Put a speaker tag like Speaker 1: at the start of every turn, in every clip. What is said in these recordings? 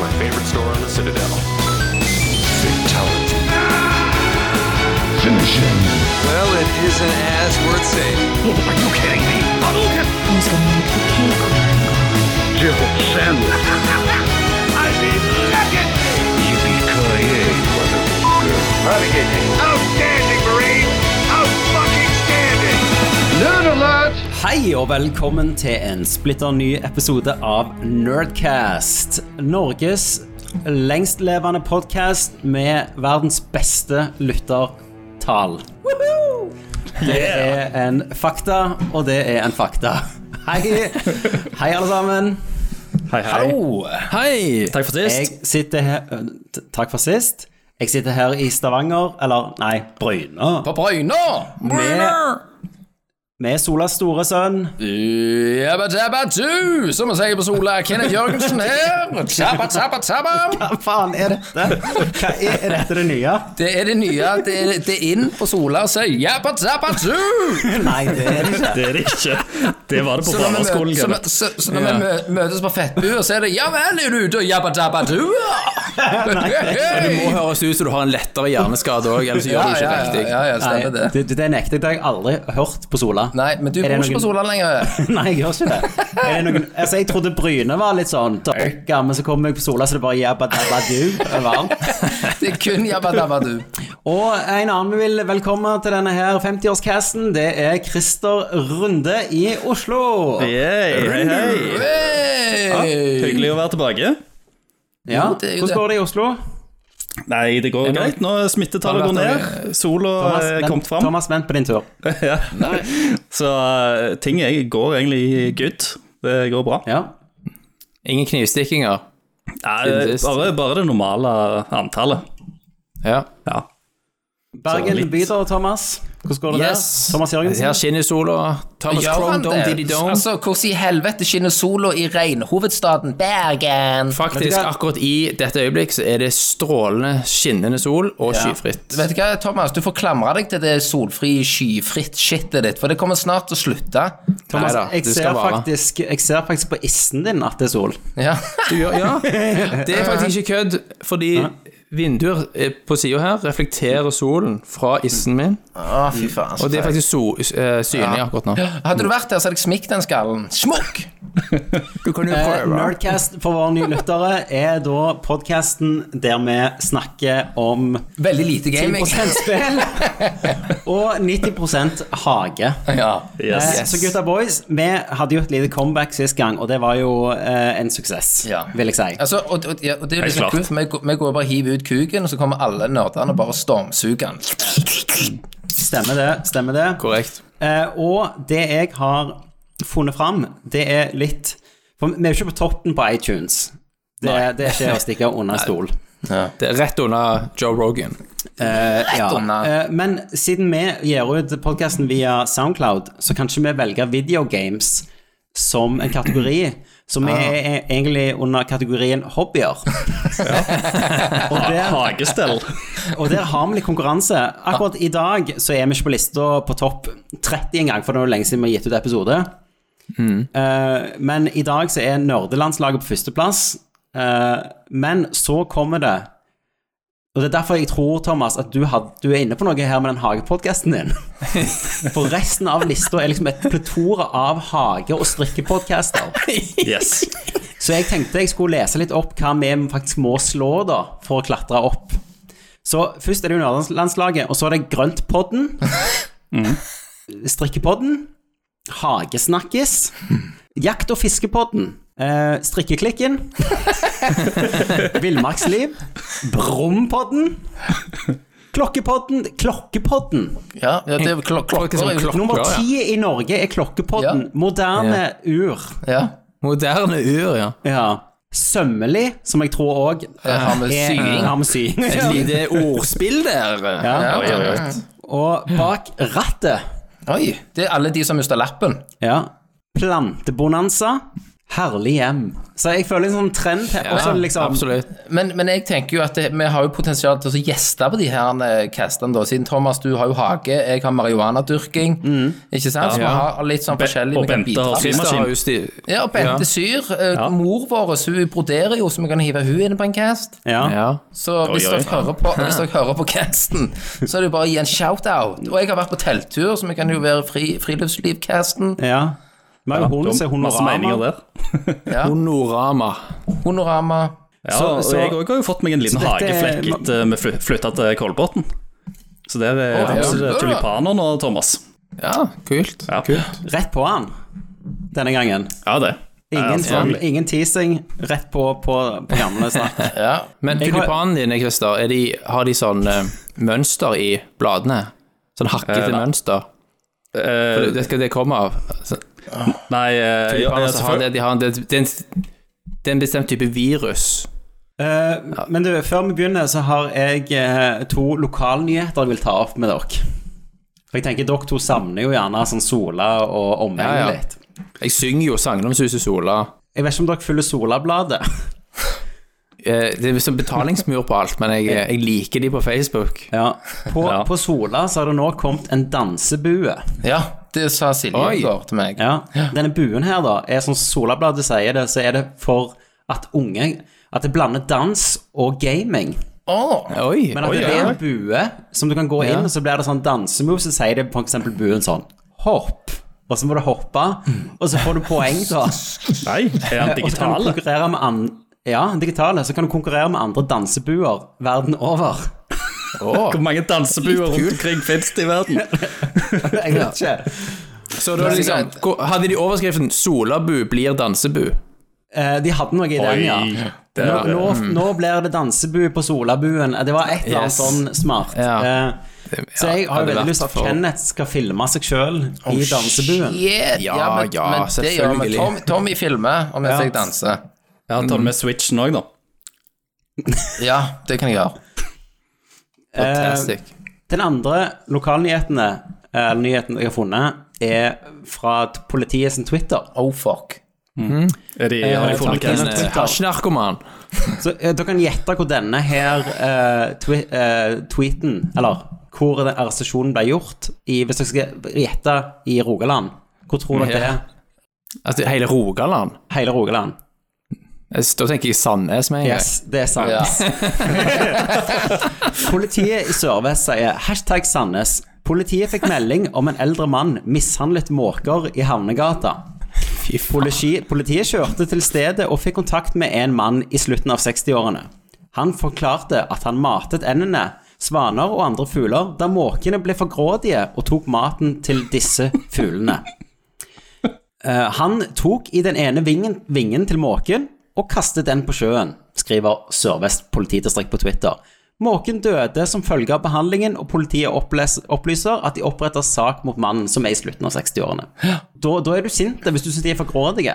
Speaker 1: my favorite store on the Citadel. Fatality.
Speaker 2: Finish him.
Speaker 3: Well, it isn't as worth saying.
Speaker 4: Who's gonna make the cake?
Speaker 2: Jill Sandwich. Yippee-ki-yay, motherfucker.
Speaker 5: Hei og velkommen til en splitter ny episode av Nerdcast. Norges lengstlevende podkast med verdens beste lyttertall. Det er en fakta, og det er en fakta. Hei, hei alle sammen.
Speaker 6: Hei, hei.
Speaker 5: Hallo.
Speaker 6: Hei! Takk for sist.
Speaker 5: Jeg sitter her øh, t- Takk for sist. Jeg sitter her i Stavanger, eller nei, Bryne,
Speaker 6: På Brøyna!
Speaker 5: Brøyna! med Solas store sønn.
Speaker 6: Jabba jabba du, som vi sier på Sola. Kenneth Jørgensen her. Jabba jabba jabba.
Speaker 5: Hva faen er dette? Hva er, er dette det nye?
Speaker 6: Det er det nye. Det er, det er inn på Sola og sier jabba jabba du.
Speaker 5: Nei, det er det ikke.
Speaker 7: Det er det ikke. Det var det på
Speaker 6: Så når vi,
Speaker 7: barneskolen.
Speaker 6: mø- så,
Speaker 7: Kenneth.
Speaker 6: når- så, så når vi mø- møtes på Fettbua, så er det ja vel, er du ute og jabba jabba du?
Speaker 8: Det må høres ut som du har en lettere hjerneskade òg, ellers gjør du
Speaker 6: Ja, ja,
Speaker 8: ikke
Speaker 6: ja,
Speaker 8: riktig.
Speaker 6: ja, ja,
Speaker 5: Nei,
Speaker 6: stemmer det.
Speaker 5: det, det nekter jeg. Det har jeg aldri hørt på Sola.
Speaker 6: Nei, men du
Speaker 5: Er
Speaker 6: bor
Speaker 5: det
Speaker 6: ikke på
Speaker 5: noen-
Speaker 6: Sola lenger.
Speaker 5: Nei, jeg gjør ikke det. Er det noen, altså, jeg trodde Bryne var litt sånn døkka, men så kom jeg på Sola, så det bare jabba dabba du. er varmt.
Speaker 6: Det er kun jabba jabba du.
Speaker 5: Og en annen vi vil velkomme til denne her 50-årscasten, det er Christer Runde i Oslo.
Speaker 7: Yay, hei, hei.
Speaker 6: Hey.
Speaker 7: Hyggelig å være tilbake.
Speaker 5: Ja,
Speaker 6: Jo, det er jo
Speaker 5: Hvordan
Speaker 6: det.
Speaker 5: går det i Oslo?
Speaker 7: Nei, det går greit nå. Smittetallet går ned. Sola eh, er kommet
Speaker 5: vent,
Speaker 7: fram.
Speaker 5: Thomas, vent på din tur.
Speaker 7: Ja. Så eh, ting er- går egentlig good. Det går bra.
Speaker 5: Ja.
Speaker 8: Ingen knivstikkinger.
Speaker 7: Nei, eh, bare, bare det normale antallet.
Speaker 8: Ja.
Speaker 7: Ja.
Speaker 5: Bergen
Speaker 7: litt.
Speaker 5: byder, Thomas. Hvordan går det
Speaker 8: Yes.
Speaker 5: der? Thomas Jørgensen?
Speaker 8: Her skinner sola. Thomas
Speaker 6: Gjør
Speaker 8: Crone,
Speaker 6: han
Speaker 8: dom diddy
Speaker 6: det?
Speaker 8: dom.
Speaker 6: Altså, hvordan i helvete skinner sola i regnhovedstaden Bergen?
Speaker 8: Faktisk,
Speaker 5: Vet du hva?
Speaker 8: akkurat i dette øyeblikk så er det strålende, skinnende sol og skyfritt.
Speaker 6: Vet du hva, Thomas, du får klamre deg til det solfri, skyfritt shitet ditt, for det kommer snart til å slutte.
Speaker 5: Thomas,
Speaker 8: Neida,
Speaker 5: jeg,
Speaker 8: det
Speaker 5: ser
Speaker 8: skal vare.
Speaker 5: faktisk, jeg ser faktisk på issen din at det er sol.
Speaker 6: Ja.
Speaker 8: Du gjør, ja. Det er faktisk ikke kødd, fordi vinduer eh, på sida her reflekterer solen fra issen min,
Speaker 6: Å, fy faen. så
Speaker 8: og det er
Speaker 6: feit.
Speaker 8: faktisk so, eh, synlig akkurat nå.
Speaker 6: Hadde du vært der, så hadde jeg smikt den skallen. Smukk!
Speaker 8: Du kan jo
Speaker 5: Eh,
Speaker 8: prøve.
Speaker 5: Nerdcast for våre nye lyttere er da podkasten der vi snakker om
Speaker 6: Veldig lite gaming.
Speaker 5: 10 spill og 90 hage.
Speaker 6: Ja.
Speaker 7: Yes.
Speaker 5: Eh, Så gutta boys, vi hadde jo et lite comeback sist gang, og det var jo eh, en suksess,
Speaker 6: Ja.
Speaker 5: vil jeg si.
Speaker 6: Altså, og, og, ja, og det er jo liksom
Speaker 7: klart.
Speaker 6: kult, for vi, går- vi går bare og hiver ut kuken, og så kommer alle nerdene og bare stormsuger den.
Speaker 5: Stemmer det. stemmer det
Speaker 8: Korrekt.
Speaker 5: Eh, og det jeg har funnet fram, det er litt For vi er jo ikke på toppen på iTunes. Det, det er ikke å stikke under en stol.
Speaker 8: Det er rett under Joe Rogan.
Speaker 5: Ja,
Speaker 6: unna.
Speaker 5: eh, men siden vi gir ut podkasten via Soundcloud, så kan ikke vi velge videogames som en kategori. Så vi er egentlig under kategorien hobbyer. og, der,
Speaker 7: Hagestell.
Speaker 5: og der har vi litt konkurranse. Akkurat i dag så er vi ikke på lista på topp 30 engang, for det er jo lenge siden vi har gitt ut episode. Eh, men i dag så er nerdelandslaget på førsteplass. Eh, men så kommer det og det er derfor jeg tror, Thomas, at du, had, du er inne på noe her med den hagepodkasten din. For resten av lista er liksom et pletora av hage- og strikkepodkaster.
Speaker 7: Yes.
Speaker 5: Så jeg tenkte jeg skulle lese litt opp hva vi faktisk må slå da, for å klatre opp. Så først er det jo Nordlandslaget, og så er det Grøntpodden. Strikkepodden. Hagesnakkis. Jakt- og fiskepodden. Eh, strikkeklikken. Villmarksliv. Brompodden. Klokkepodden. Klokkepodden.
Speaker 6: Ja, ja, det er jo klok
Speaker 8: Klokke som
Speaker 6: klokker.
Speaker 8: klok-
Speaker 5: Nummer
Speaker 8: ja.
Speaker 5: ti i Norge er Klokkepodden. Moderne ur.
Speaker 6: Ja.
Speaker 8: Moderne ur, ja.
Speaker 5: Ja. Sømmelig, som jeg tror òg
Speaker 6: Har med
Speaker 5: er-
Speaker 6: sying.
Speaker 5: har med sying.
Speaker 8: Et lite ordspill der.
Speaker 5: Ja.
Speaker 7: Oi, oi, oi.
Speaker 5: Og bak rattet
Speaker 6: Oi, det er alle de som mister lappen.
Speaker 5: Ja. Plantebonanza. Herlig hjem. Så jeg føler en sånn trend her. også liksom,
Speaker 8: absolutt.
Speaker 6: Men, men jeg tenker jo at det, vi har jo potensial til å gjeste på de her eh, castene, da. Siden Thomas, du har jo hage, jeg har marihuanadyrking. Ikke sant? Så vi har litt sånn forskjellig
Speaker 7: og
Speaker 6: vi kan
Speaker 7: Bente
Speaker 6: bidra
Speaker 7: har
Speaker 6: med.
Speaker 7: sin-
Speaker 8: Christer har jo sti...
Speaker 6: Ja, og Bente Syr. eh, Mor vår hun broderer jo, så vi kan hive hun inn på en cast.
Speaker 5: ja.
Speaker 8: Ja.
Speaker 6: Så hvis,
Speaker 7: oi.
Speaker 6: Dere hører på, hvis dere hører på casten, så er det jo bare å gi en shout-out. Og jeg har vært på telttur, så vi kan jo være fri, Friluftsliv-casten.
Speaker 5: ja. Vi har jo hund som er
Speaker 7: Masse meninger
Speaker 5: honorama.
Speaker 7: der.
Speaker 8: Honorama.
Speaker 6: Honorama.
Speaker 7: Ja,
Speaker 5: Så-
Speaker 7: og
Speaker 5: så-
Speaker 7: jeg òg har jo fått meg en liten
Speaker 5: Så dette er-
Speaker 7: hageflekk etter vi fly- flytta til Kolbotn. Så der er
Speaker 6: Å, ja.
Speaker 7: det er tulipaner nå, Thomas.
Speaker 8: Ja, kult.
Speaker 7: Ja,
Speaker 5: Rett på han denne gangen.
Speaker 7: ja det.
Speaker 5: Ingen,
Speaker 7: Ja,
Speaker 5: sånn,
Speaker 7: selvfølgelig.
Speaker 5: ingen teasing. Rett på på, på gamle snakk.
Speaker 8: Men
Speaker 5: Jeg har-
Speaker 8: tulipanene dine, Christer, er de, har de sånn eh, mønster i bladene? Sånn hakkete
Speaker 7: Eh, nei.
Speaker 8: mønster?
Speaker 7: Eh,
Speaker 8: Det skal det komme av. Så,
Speaker 7: nei, eh, ja,
Speaker 8: tulipaner
Speaker 7: ja,
Speaker 8: som har
Speaker 7: selvfølgelig.
Speaker 8: det, de har en, det, det, er en, det er en bestemt type virus.
Speaker 5: Eh, men du, før vi begynner, så har jeg eh, to lokalnyheter jeg vil ta opp med dere. For jeg tenker dere to savner jo gjerne sånn Sola og omhengen
Speaker 8: Ja, ja.
Speaker 5: litt.
Speaker 8: Jeg synger jo sangene om Suse Sola.
Speaker 5: Jeg vet ikke om dere følger Solabladet.
Speaker 8: Eh, Det er som betalingsmur på alt, men jeg, jeg liker de på Facebook.
Speaker 5: Ja. På,
Speaker 7: Ja.
Speaker 5: på Sola så har det nå kommet en dansebue.
Speaker 6: Ja, det sa Silje
Speaker 8: Oi.
Speaker 6: i går til meg.
Speaker 5: Ja. Denne buen her, da, er som Solabladet sier det, så er det for at unge At det blander dans og gaming.
Speaker 6: Åh,
Speaker 8: Oi!
Speaker 5: Men at
Speaker 7: Oi,
Speaker 5: det er
Speaker 7: ja.
Speaker 5: en bue som du kan gå inn, og så blir det sånn dansemove, så sier det f.eks. buen sånn Hopp. Og så må du hoppe, og så får du poeng, da.
Speaker 7: Nei, er han
Speaker 5: Og så kan du
Speaker 7: digital?
Speaker 5: konkurrere med an ja, digitale. Så kan du konkurrere med andre dansebuer verden over.
Speaker 7: Hvor mange dansebuer rundt omkring finnes det i verden?
Speaker 5: Jeg vet ikke.
Speaker 8: Så da liksom, hvor- hadde de overskriften 'Solabu blir dansebu'?
Speaker 5: Eh, De hadde noe i den, ja.
Speaker 7: det
Speaker 5: Nå,
Speaker 7: er-
Speaker 5: nå, nå blir det dansebu på Solabuen. Eh, Det var et eller
Speaker 8: Mm.
Speaker 5: annet
Speaker 8: Yes.
Speaker 5: sånn smart.
Speaker 8: Ja.
Speaker 5: Eh, så jeg har
Speaker 8: hadde
Speaker 5: jo veldig
Speaker 8: vært
Speaker 5: lyst til at
Speaker 8: for-
Speaker 5: Kenneth skal filme seg sjøl i dansebuen.
Speaker 6: Yeah, ja,
Speaker 8: Ja,
Speaker 6: men,
Speaker 8: ja,
Speaker 6: men det gjør vi.
Speaker 8: selvfølgelig.
Speaker 6: Tom, Tommy filmer om mens
Speaker 5: Ja.
Speaker 6: jeg danser.
Speaker 7: Ja, tar du med switchen òg, da?
Speaker 6: Ja, det kan jeg gjøre. Eh,
Speaker 8: Fantastic.
Speaker 5: Den andre lokalnyhetene eller nyheten jeg har funnet, er fra t- politiet sin Twitter.
Speaker 6: Oh, fuck.
Speaker 7: Er de, har de funnet
Speaker 5: tanken-
Speaker 8: En
Speaker 7: Kenneth?
Speaker 8: eh, hasjnarkoman.
Speaker 5: Så eh, dere kan gjette hvor denne her eh, twi eh, tweeten Eller hvor den arrestasjonen ble gjort. I, hvis dere skal gjette i Rogaland. Hvor tror dere det er?
Speaker 8: Altså hele Rogaland.
Speaker 5: Hele Rogaland.
Speaker 8: Jeg- Da tenker jeg Sandnes med en gang.
Speaker 5: Yes, det er sant.
Speaker 6: Ja.
Speaker 5: Politiet i Sør-Vest sier hashtag Sandnes. Politiet fikk melding om en eldre mann mishandlet måker i Havnegata.
Speaker 8: Fy faen.
Speaker 5: Politi, politiet kjørte til stedet og fikk kontakt med en mann i slutten av 60-årene. Han forklarte at han matet endene, svaner og andre fugler, da måkene ble for grådige og tok maten til disse fuglene. Eh, han tok i den ene vingen, vingen til måken og kastet den på sjøen, skriver Sør-Vest politidistrikt på Twitter. Måken døde som følge av behandlingen, og politiet opples- opplyser at de oppretter sak mot mannen som er i slutten av 60-årene. Da, da er du sint hvis du syns de er for grådige.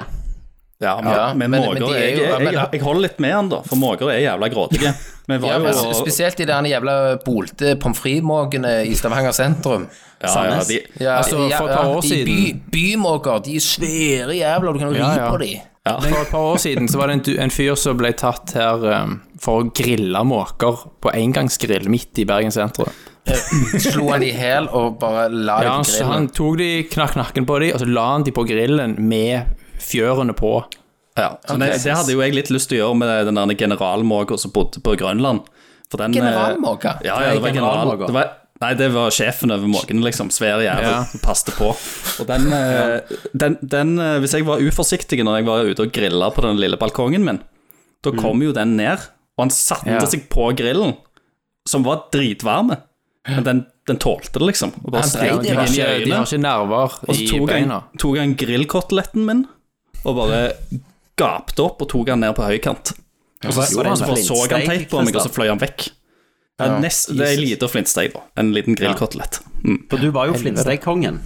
Speaker 7: Ja, men,
Speaker 6: Ja,
Speaker 7: men,
Speaker 6: men-
Speaker 7: måker
Speaker 6: men de er
Speaker 7: jeg,
Speaker 6: jo- ja,
Speaker 7: jeg,
Speaker 6: men-
Speaker 7: jeg, holder litt med han, da, for måker er jævla grådige. Vi
Speaker 6: Ja,
Speaker 7: var jo
Speaker 6: men spesielt de der jævla bolte pommes frites-måkene i Stavanger sentrum.
Speaker 7: ja, ja, de,
Speaker 6: Ja,
Speaker 8: Altså, for et par år
Speaker 6: de
Speaker 8: siden-
Speaker 6: By, bymåker, de er svære jævler, du kan jo ri
Speaker 8: Ja, ja.
Speaker 6: på dem.
Speaker 8: For et par år siden så var det en, du- en fyr som ble tatt her eh, for å grille måker på engangsgrill midt i Bergen sentrum.
Speaker 6: Slo Eh, han i hæl og bare la
Speaker 8: Ja,
Speaker 6: dem
Speaker 8: han,
Speaker 6: på grillen.
Speaker 8: han tok de, knakk nakken på de, og så la han de på grillen med fjørene på.
Speaker 7: ja. Så det, det hadde jo jeg litt lyst til å gjøre med den der generalmåka som bodde på Grønland. For den, eh,
Speaker 6: Generalmåke?
Speaker 7: Ja, ja, det
Speaker 5: Nei,
Speaker 7: var general,
Speaker 5: generalmåke.
Speaker 7: det var, nei, det var sjefen over måken, liksom. Svær jævel
Speaker 8: Ja.
Speaker 7: som passte på. Og den, eh, den, den eh, Hvis jeg var uforsiktig når jeg var ute og grilla på den lille balkongen min, da kom jo den ned, og han satte
Speaker 8: Mm. Ja.
Speaker 7: seg på grillen, som var dritvarme. Men den, den tålte det, liksom. Og bare
Speaker 6: Han dreit i
Speaker 7: strøk
Speaker 8: De
Speaker 6: det.
Speaker 7: meg
Speaker 8: har
Speaker 7: inn
Speaker 8: ikke,
Speaker 7: i
Speaker 8: de
Speaker 7: øynene.
Speaker 8: har ikke nerver
Speaker 7: Og så
Speaker 8: i
Speaker 7: tok han,
Speaker 8: beina.
Speaker 7: tok han grillkoteletten min og bare gapte opp og tok han ned på høykant.
Speaker 5: var det
Speaker 7: Og så, og så
Speaker 5: en
Speaker 7: bare så han
Speaker 5: flintsteik,
Speaker 7: teip på meg, og
Speaker 5: Kristian?
Speaker 7: så fløy han vekk. Ja, nest, det er en liten flintsteik, da. En liten grillkotelett. Mm.
Speaker 5: For du var jo Flintsteig-kongen.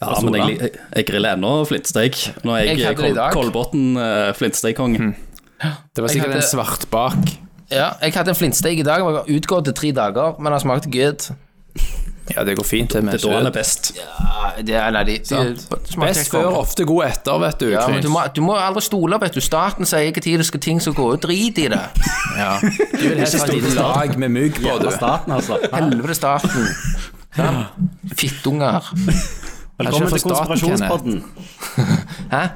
Speaker 7: Ja, men jeg, jeg, jeg griller ennå flintsteik. Nå er jeg,
Speaker 6: Jeg hadde det i dag.
Speaker 7: Kol Kolbotn uh, flintsteikkonge.
Speaker 8: Det var sikkert
Speaker 6: hadde-
Speaker 8: en svartbak.
Speaker 6: Ja, jeg hadde en flintsteik i dag, og jeg var utgått i tre dager, men han smakte good.
Speaker 8: Ja, det går fint, det med
Speaker 7: Det er da han er best.
Speaker 6: Det er, nei, de, de, smaker
Speaker 8: Best
Speaker 6: helt konge.
Speaker 8: før, ofte god etter, vet du.
Speaker 6: Ja, men du
Speaker 8: Chris.
Speaker 6: må, du må aldri stole, vet du. Staten sier ikke tid det skal ting som går ut. Drit i det.
Speaker 8: Ja. Du vil helst ha et lite lag med mygg på, du.
Speaker 5: Fra staten, altså.
Speaker 6: Helvete, staten. Sant? Fittunger.
Speaker 5: Velkommen
Speaker 8: for
Speaker 5: til
Speaker 8: staten,
Speaker 5: konspirasjonspodden.
Speaker 6: Hæ?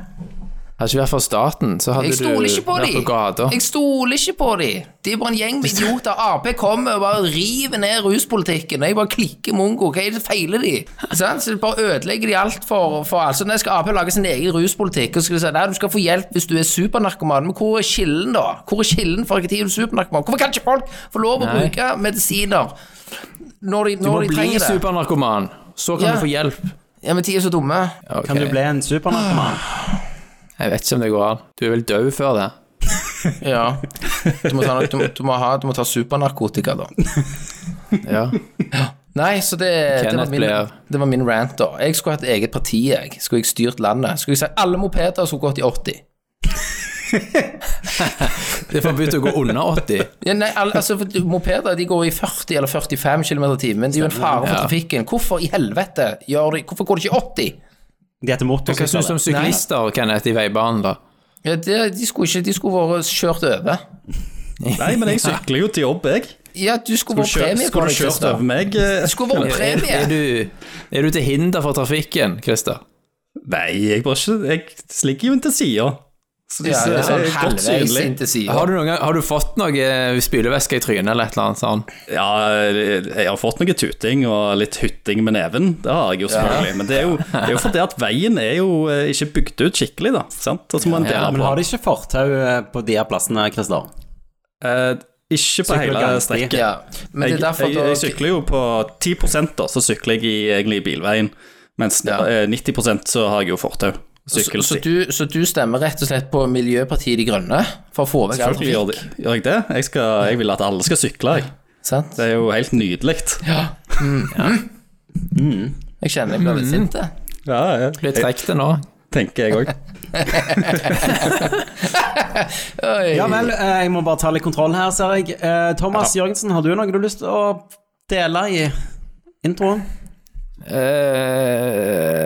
Speaker 8: Hadde ikke vært for staten, så hadde
Speaker 6: Jeg stoler ikke på
Speaker 8: du vært på gata.
Speaker 6: dem! Jeg stoler ikke på dem! De er bare en gjeng med idioter. Ap kommer og bare river ned ruspolitikken. Jeg bare klikker mongo. Hva er det feiler de? Sant? Så bare ødelegger de alt for, for alt. Så nå skal Ap lage sin egen ruspolitikk, og så skal de si nei, du skal få hjelp hvis du er supernarkoman. Men hvor er skillen, da? Hvor er skillen for hvilken tid du er supernarkoman? Hvorfor kan ikke folk få lov å
Speaker 8: Nei.
Speaker 6: bruke medisiner når de,
Speaker 8: Du må
Speaker 6: når de
Speaker 8: bli
Speaker 6: trenger det?
Speaker 8: supernarkoman, så kan
Speaker 6: Ja.
Speaker 8: du få hjelp.
Speaker 6: Ja, men de er så dumme.
Speaker 8: Ok.
Speaker 5: Kan du bli en supernarkoman?
Speaker 8: Jeg vet ikke om det går an. Du er vel død før det.
Speaker 6: Ja. Du må ta, du, må- du må ha, du må ta supernarkotika, da.
Speaker 8: Ja.
Speaker 6: Nei, så det, det, var
Speaker 8: Kenneth
Speaker 6: min,
Speaker 8: ble-
Speaker 6: det var min rant, da. Jeg skulle hatt eget parti, jeg. Skulle jeg styrt landet. Skulle jeg sagt alle mopeder skulle gått i 80.
Speaker 8: Det er forbudt å gå under 80.
Speaker 6: Ja, nei, alle, altså, for du- Mopeder de går i 40 eller 45 km i timen. Det er jo en fare for
Speaker 8: Ja.
Speaker 6: trafikken. Hvorfor i helvete gjør de Hvorfor går det ikke i 80?
Speaker 5: De heter
Speaker 8: Hva syns du om
Speaker 5: motorsykler.
Speaker 8: syklister, Kenneth, i veibanen, da?
Speaker 6: Ja, det, de skulle ikke De skulle vært kjørt over.
Speaker 7: Nei, men jeg sykler jo til jobb, jeg.
Speaker 6: Ja, du skulle vært
Speaker 7: Kjør,
Speaker 6: premie på
Speaker 7: skulle
Speaker 6: det,
Speaker 7: du kjørt
Speaker 6: Christer.
Speaker 7: over meg? eh?
Speaker 6: Du skulle vært
Speaker 8: Er,
Speaker 6: premie.
Speaker 8: er, du, er du til hinder for trafikken, Christer?
Speaker 7: Nei, jeg bare ikke Jeg ligger jo inntil sida. Så
Speaker 6: Ja,
Speaker 7: disse
Speaker 6: det er sånn
Speaker 7: er godt
Speaker 6: halvveis inn
Speaker 7: synlige.
Speaker 6: til siden.
Speaker 8: Har du, noen, gang- har du fått noe eh, spylevæske i trynet eller et eller annet sånt?
Speaker 7: Ja, jeg har fått noe tuting og litt hytting med neven. Det har jeg jo selvfølgelig. Men det er jo, det er jo fordi at veien er jo eh, ikke bygd ut skikkelig, da. Sant? Og så må en
Speaker 8: Ja,
Speaker 7: dele
Speaker 5: Men
Speaker 7: på.
Speaker 5: har de ikke fortau eh, på de her plassene, Christer?
Speaker 7: Eh, ikke på
Speaker 5: Sykler
Speaker 7: hele
Speaker 5: ganske.
Speaker 7: strekket.
Speaker 6: Ja, men det er derfor
Speaker 7: jeg, jeg, jeg
Speaker 6: da-
Speaker 7: sykler jo på 10 da, så sykler jeg i, egentlig i bilveien. Mens
Speaker 6: Ja.
Speaker 7: eh, 90 så har jeg jo fortau.
Speaker 6: Så,
Speaker 7: Sykkel.
Speaker 6: så, du, så du stemmer rett og slett på Miljøpartiet De Grønne for å få vekk all
Speaker 7: Selvfølgelig gjør,
Speaker 6: trafikk?
Speaker 7: det- gjør jeg det. Jeg, skal, jeg vil at alle skal sykle. Jeg.
Speaker 6: Sant?
Speaker 7: Det er jo helt nydelig.
Speaker 6: Jeg kjenner jeg blir litt sint. jeg.
Speaker 7: Ja, ja.
Speaker 8: Blir trukket det nå?
Speaker 7: Tenker jeg òg.
Speaker 6: Oi.
Speaker 5: Ja vel, eh, jeg må bare ta litt kontroll her, ser jeg. Eh, Thomas Jørgensen, har du noe du har lyst til å dele i introen?
Speaker 8: Eh,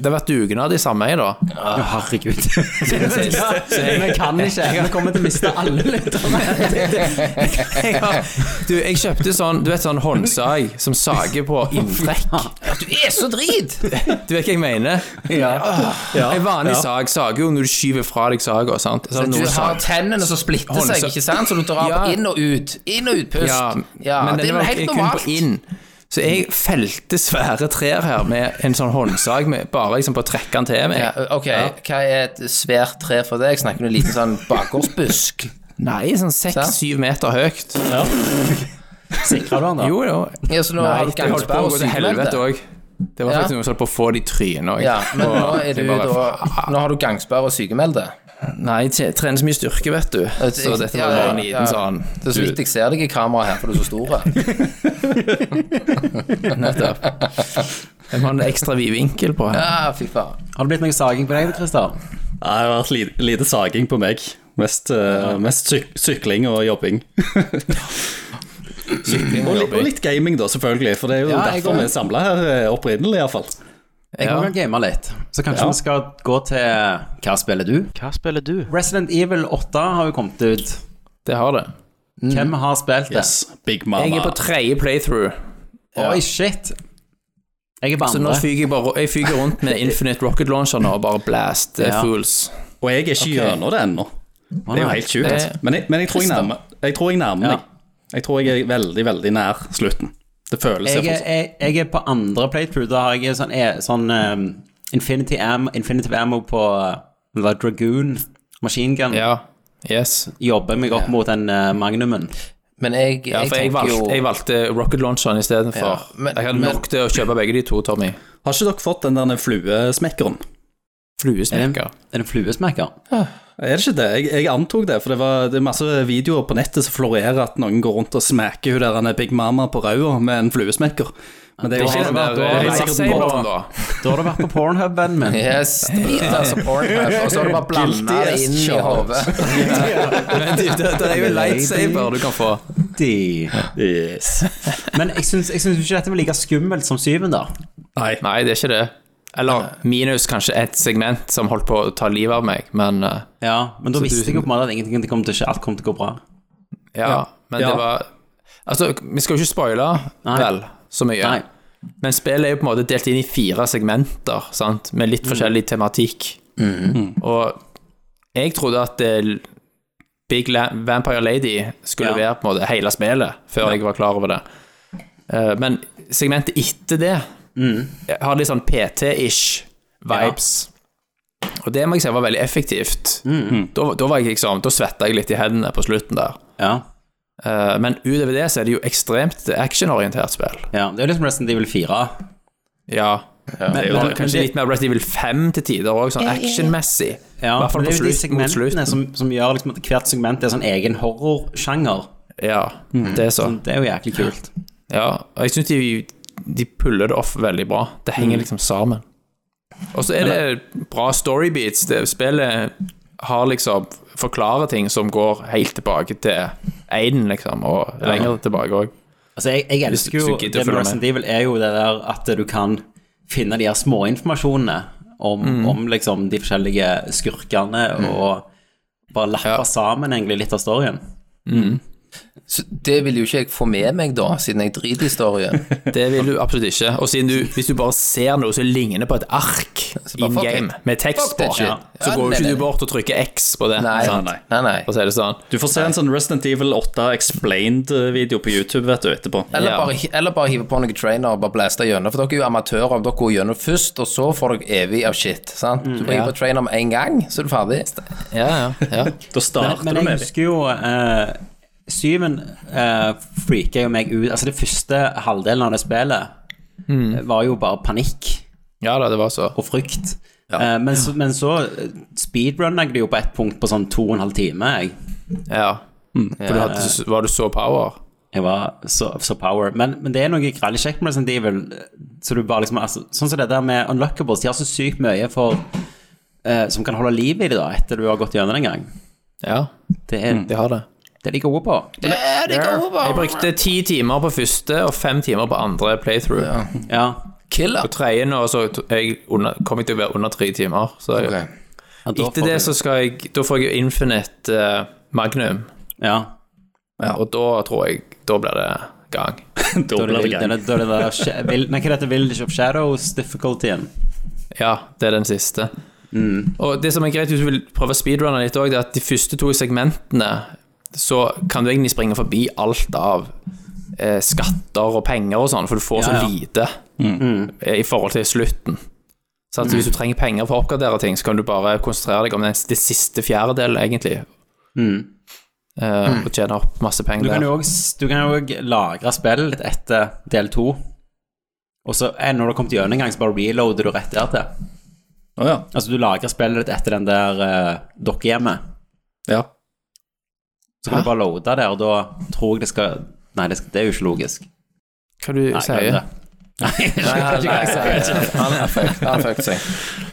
Speaker 8: det har vært dugnad i sameie, da.
Speaker 5: Å, herregud. Vi kan ikke. Vi kommer til å miste alle lytterne.
Speaker 8: Jeg har- Du, jeg kjøpte sånn Du vet sånn håndsag som sager på inntrekk.
Speaker 6: Du er så drit!
Speaker 8: Du vet hva jeg mener? Ja. En vanlig sag sager jo når du skyver fra deg saga. sant? Så er det
Speaker 6: Du
Speaker 8: noen
Speaker 6: har
Speaker 8: sag-
Speaker 6: tennene som splitter seg,
Speaker 8: Håndsa-
Speaker 6: ikke sant? Så du drar
Speaker 8: Ja.
Speaker 6: på inn og ut. Inn og ut, pust.
Speaker 8: Ja,
Speaker 6: Ja,
Speaker 8: men
Speaker 6: det
Speaker 8: denne
Speaker 6: er
Speaker 8: var
Speaker 6: jo helt
Speaker 8: kun
Speaker 6: normalt.
Speaker 8: på inn. Så jeg felte svære trær her med en sånn håndsag med, bare liksom på å trekke den til meg.
Speaker 6: Ja, ok, hva er et svært tre for deg? Snakker du en liten sånn bakgårdsbusk?
Speaker 8: Nei, sånn seks-syv meter høyt.
Speaker 5: Sikrer du han, da?
Speaker 8: Jo, jo.
Speaker 6: Ja, så nå
Speaker 8: Nei,
Speaker 6: har du
Speaker 8: det holdt på
Speaker 6: gangsperre
Speaker 8: å
Speaker 6: og
Speaker 8: gå til helvete
Speaker 6: sykemeldte.
Speaker 8: òg. Det var
Speaker 6: Ja.
Speaker 8: faktisk noen som holdt på å få det i trynet òg.
Speaker 6: Ja, men nå er du da Nå har du gangsperre og sykemeldte.
Speaker 8: Nei, jeg t- trener så mye styrke, vet du. Så dette var bare en liten sånn
Speaker 6: Det er så vidt jeg ser deg i kameraet her, for du er så stor.
Speaker 8: Nettopp. Jeg må ha en ekstra vid vinkel på her.
Speaker 6: Ja, Ah, fy faen.
Speaker 5: Har det blitt noe saging på deg, Christer?
Speaker 7: Det har vært lite, lite saging på meg. Mest, eh, mest syk sykling og jobbing.
Speaker 8: Sykling
Speaker 7: Og
Speaker 8: og
Speaker 7: litt, og
Speaker 8: jobbing.
Speaker 7: litt gaming, da, selvfølgelig. For det er jo
Speaker 5: Ja, jeg
Speaker 7: derfor
Speaker 5: går-
Speaker 7: vi er samla her, eh, opprinnelig iallfall.
Speaker 5: Jeg må
Speaker 8: Ja.
Speaker 5: vel game litt. Så kanskje vi skal gå til Hva spiller du?
Speaker 1: Hva spiller du?
Speaker 5: Resident Evil 8 har jo kommet ut.
Speaker 8: Det har det. Mm.
Speaker 5: Hvem har spilt det?
Speaker 7: Yes. Big Mama.
Speaker 8: Jeg er på tredje playthrough,
Speaker 5: Oi, shit. Jeg er på
Speaker 8: så nå
Speaker 5: andre.
Speaker 8: fyker jeg bare jeg fyker rundt med Infinite Rocket Launcher nå og bare blast eh,
Speaker 5: Ja.
Speaker 8: fools.
Speaker 7: Og jeg er ikke gjennom det ennå. Det er jo helt
Speaker 8: Det-
Speaker 7: sjukt. Men, jeg- men jeg tror jeg nærmer Jeg tror jeg nærmer
Speaker 5: Ja.
Speaker 7: meg. Jeg tror jeg er veldig, veldig nær slutten. Det føles
Speaker 5: Jeg er,
Speaker 7: iallfall sånn.
Speaker 5: jeg, jeg er på andre playthrough. Da har jeg sånn, eh, sånn ehm, Infinity Am, Infinitive Ammo på eh, hva, Dragoon Machine Gun.
Speaker 8: Ja. Yes.
Speaker 5: Jobber meg opp mot den eh, Magnumen.
Speaker 6: Men jeg,
Speaker 8: Ja, for jeg
Speaker 6: tenker
Speaker 8: valgte,
Speaker 6: jo
Speaker 8: jeg valgte Rocket Launcheren
Speaker 6: Ja,
Speaker 8: istedenfor.
Speaker 6: men-
Speaker 8: Jeg hadde
Speaker 6: men-
Speaker 8: nok til å kjøpe begge de to, Tommy.
Speaker 7: Har ikke dere fått den der fluesmekkeren?
Speaker 5: Er det
Speaker 8: Fluesnekker.
Speaker 5: er det en fluesmekker?
Speaker 7: Er det ikke det? Jeg, jeg antok det, for det, var, det er masse videoer på nettet som florerer at noen går rundt og smeker hun der han er Big Mama på ræva med en fluesmekker. Men det er jo
Speaker 8: Ikke
Speaker 7: ikke
Speaker 8: den der
Speaker 7: da er det
Speaker 8: lightsaberen,
Speaker 7: sikkert
Speaker 8: da.
Speaker 5: Da har du vært på pornhub, vennen min.
Speaker 6: Yes, drit altså Pornhub, og så har du bare blanda
Speaker 7: Guilty
Speaker 6: det
Speaker 7: as
Speaker 6: inn i
Speaker 7: charged.
Speaker 6: hodet.
Speaker 8: Men det, det, det er jo en lightsaber du kan få.
Speaker 5: De.
Speaker 7: Yes.
Speaker 5: Men jeg syns, jeg syns ikke dette var like skummelt som syven, da.
Speaker 7: Nei.
Speaker 8: Nei, det er ikke det. Eller minus kanskje ett segment som holdt på å ta livet av meg, men eh,
Speaker 5: Ja, Men da
Speaker 8: Så du-
Speaker 5: visste jeg jo på en måte at ingenting kom til å skje, alt kom til å gå bra.
Speaker 8: ja. Men
Speaker 7: Ja.
Speaker 8: det var Altså, vi skal jo ikke spoile vel så mye.
Speaker 5: Nei.
Speaker 8: Men spillet er jo på en måte delt inn i fire segmenter, sant? med litt forskjellig tematikk. Og jeg trodde at eh, Big La Vampire Lady skulle
Speaker 5: Ja.
Speaker 8: være på en måte hele spillet, før jeg var klar over det. Eh, men segmentet etter det har litt sånn PT-ish vibes. Og det må jeg si var veldig effektivt. Da, da, var jeg liksom, da svetta jeg litt i hendene på slutten der.
Speaker 5: Ja.
Speaker 8: Eh, men utover det så er det jo ekstremt actionorientert spill.
Speaker 5: ja. Det er jo liksom Resident Evil 4.
Speaker 8: Ja.
Speaker 5: Men-
Speaker 8: Men
Speaker 5: men-
Speaker 8: kanskje litt mer Resident Evil 5 til tider òg, sånn actionmessig.
Speaker 5: Ja,
Speaker 8: I hvert fall
Speaker 5: men
Speaker 8: på
Speaker 5: det er jo de
Speaker 8: slutt, mot
Speaker 5: segmentene
Speaker 8: slutten.
Speaker 5: som, som gjør liksom at hvert segment er sånn egen horrorsjanger.
Speaker 8: Ja,
Speaker 5: Mm.
Speaker 8: det er så.
Speaker 5: Det er jo jæklig kult.
Speaker 8: Ja, og jeg syns de, de puller det off veldig bra. Det
Speaker 5: Mm.
Speaker 8: henger liksom sammen. Og så er det bra storybeats. Det spillet har liksom forklarer ting som går helt tilbake til Aiden, liksom, og lenger tilbake òg.
Speaker 5: Altså, jeg, jeg
Speaker 8: Hvis du-
Speaker 5: elsker jo
Speaker 8: hvis du gidder å
Speaker 5: det med
Speaker 8: følge
Speaker 5: Resident Evil, er jo det der at du kan finne de her småinformasjonene om,
Speaker 8: Mm.
Speaker 5: om liksom de forskjellige skurkene, og bare lappe
Speaker 8: Ja.
Speaker 5: sammen egentlig litt av storyen.
Speaker 6: Så det vil jo ikke jeg få med meg, da, siden jeg driter i storyen.
Speaker 8: Det vil du absolutt ikke. Og siden du, hvis du bare ser noe som ligner på et ark
Speaker 6: bare
Speaker 8: in
Speaker 6: fuck
Speaker 8: game
Speaker 6: it.
Speaker 8: med tekst
Speaker 6: Fuck
Speaker 8: på,
Speaker 6: that shit.
Speaker 8: ja, så
Speaker 6: Ja,
Speaker 8: går jo
Speaker 6: nei,
Speaker 8: ikke
Speaker 6: nei.
Speaker 8: du bort og trykker X på det.
Speaker 6: Nei,
Speaker 8: sant?
Speaker 6: nei, nei.
Speaker 8: For å si det sånn.
Speaker 7: Du får se en sånn Resident Evil 8 Explained-video på YouTube vet du, etterpå.
Speaker 6: Eller,
Speaker 8: Ja.
Speaker 6: bare, eller bare hive på noen trainer og bare blaste gjennom, for dere er jo amatører. Om dere går gjennom først, og så får dere evig av shit. sant? Du bare hiver på trainer med en gang, så er du ferdig.
Speaker 8: Ja, ja, ja.
Speaker 7: Da starter
Speaker 5: Men
Speaker 7: du
Speaker 5: jeg
Speaker 7: med
Speaker 5: husker jo eh, Syven eh, freaka jo meg ut. Altså, det første halvdelen av det spillet
Speaker 8: Mm.
Speaker 5: eh, var jo bare panikk.
Speaker 8: ja da, det var så.
Speaker 5: og frykt. Eh, men, så, men så eh, speedrunner jeg det jo på ett punkt på sånn to og en halv time. Jeg,
Speaker 8: Ja. For du hadde, var du så power?
Speaker 5: jeg var så, så power. Men, men det er noe grællig kjekt med Resident Evil. eh, Så du bare liksom, altså, sånn som det der med Unlockables, de har så sykt mye for eh, som kan holde liv i det da, etter du har gått gjennom det en gang.
Speaker 8: Ja,
Speaker 5: Det er
Speaker 8: de har det.
Speaker 5: det er de gode på.
Speaker 8: Jeg brukte ti timer på første og fem timer på andre playthrough.
Speaker 5: Ja.
Speaker 8: På tredje nå så to- jeg under, kom jeg til å være under tre timer. Så jeg,
Speaker 6: Ok.
Speaker 5: Ja, da
Speaker 8: etter
Speaker 5: får
Speaker 8: det
Speaker 5: du-
Speaker 8: så skal jeg Da får jeg jo Infinite eh, Magnum,
Speaker 5: Ja.
Speaker 8: og da tror jeg Da blir det gang.
Speaker 7: det. Da
Speaker 5: Da er det
Speaker 7: blir det
Speaker 5: vild-
Speaker 7: gang.
Speaker 5: da er det- da er det der sha- vil- Nei, hva er dette Village of Shadows difficultyen?
Speaker 8: Ja, det er den siste.
Speaker 5: Mm.
Speaker 8: Og det som er greit hvis du vil prøve å speedrunne litt òg, er at de første to segmentene så kan du egentlig springe forbi alt av eh, skatter og penger og sånn, for du får
Speaker 5: Ja, ja.
Speaker 8: så lite
Speaker 5: Mm.
Speaker 8: eh, i forhold til slutten. Så at hvis du trenger penger for å oppgradere ting, så kan du bare konsentrere deg om den, det siste fjerdedelen, egentlig.
Speaker 5: Mm.
Speaker 8: Eh, og tjene opp masse
Speaker 5: Du
Speaker 8: penger
Speaker 5: kan
Speaker 8: der.
Speaker 5: jo også- du kan jo òg lagre spillet ditt etter del to. Og så eh, når du har kommet gjennom en gang, så bare reloader du rett der til.
Speaker 7: Å ja.
Speaker 5: Altså du lagrer spillet ditt etter den der eh, dokkehjemmet.
Speaker 7: ja.
Speaker 5: Så kan du bare loade der, og da tror jeg det skal Nei, det, skal, det er jo ikke logisk.
Speaker 8: Hva du
Speaker 5: Nei, glem
Speaker 8: sier
Speaker 5: det. Nei,
Speaker 6: Han er fucked. Han er fucked seg.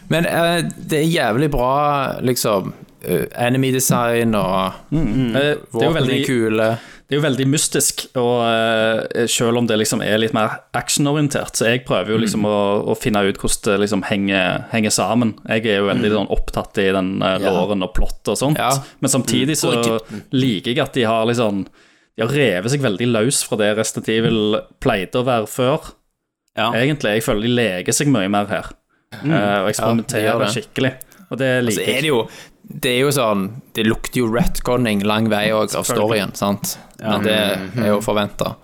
Speaker 8: Men eh, det er jævlig bra, liksom, eh, enemy design og
Speaker 7: Eh, Det er jo
Speaker 8: våpen
Speaker 7: veldig
Speaker 8: i kule.
Speaker 7: Det er jo veldig mystisk, og eh, selv om det liksom er litt mer actionorientert, så jeg prøver
Speaker 8: Mm.
Speaker 7: jo liksom å, å finne ut hvordan det liksom henger, henger sammen. Jeg er jo veldig sånn opptatt i den eh, låren og plott og sånt,
Speaker 8: Mm. Ja. Mm.
Speaker 7: men samtidig så liker jeg at de har liksom De har revet seg veldig løs fra det Resident Evil pleide å være før,
Speaker 5: Ja.
Speaker 7: egentlig. Jeg føler de leker seg mye mer her, eh, og
Speaker 8: Mm.
Speaker 7: eksperimenterer
Speaker 8: Ja, de gjør det.
Speaker 7: skikkelig. Og det
Speaker 8: Så
Speaker 7: liker
Speaker 8: er det
Speaker 7: jeg.
Speaker 8: jo Det er jo sånn Det lukter jo retconning lang vei òg av storyen, sant? Men det er jo forventa.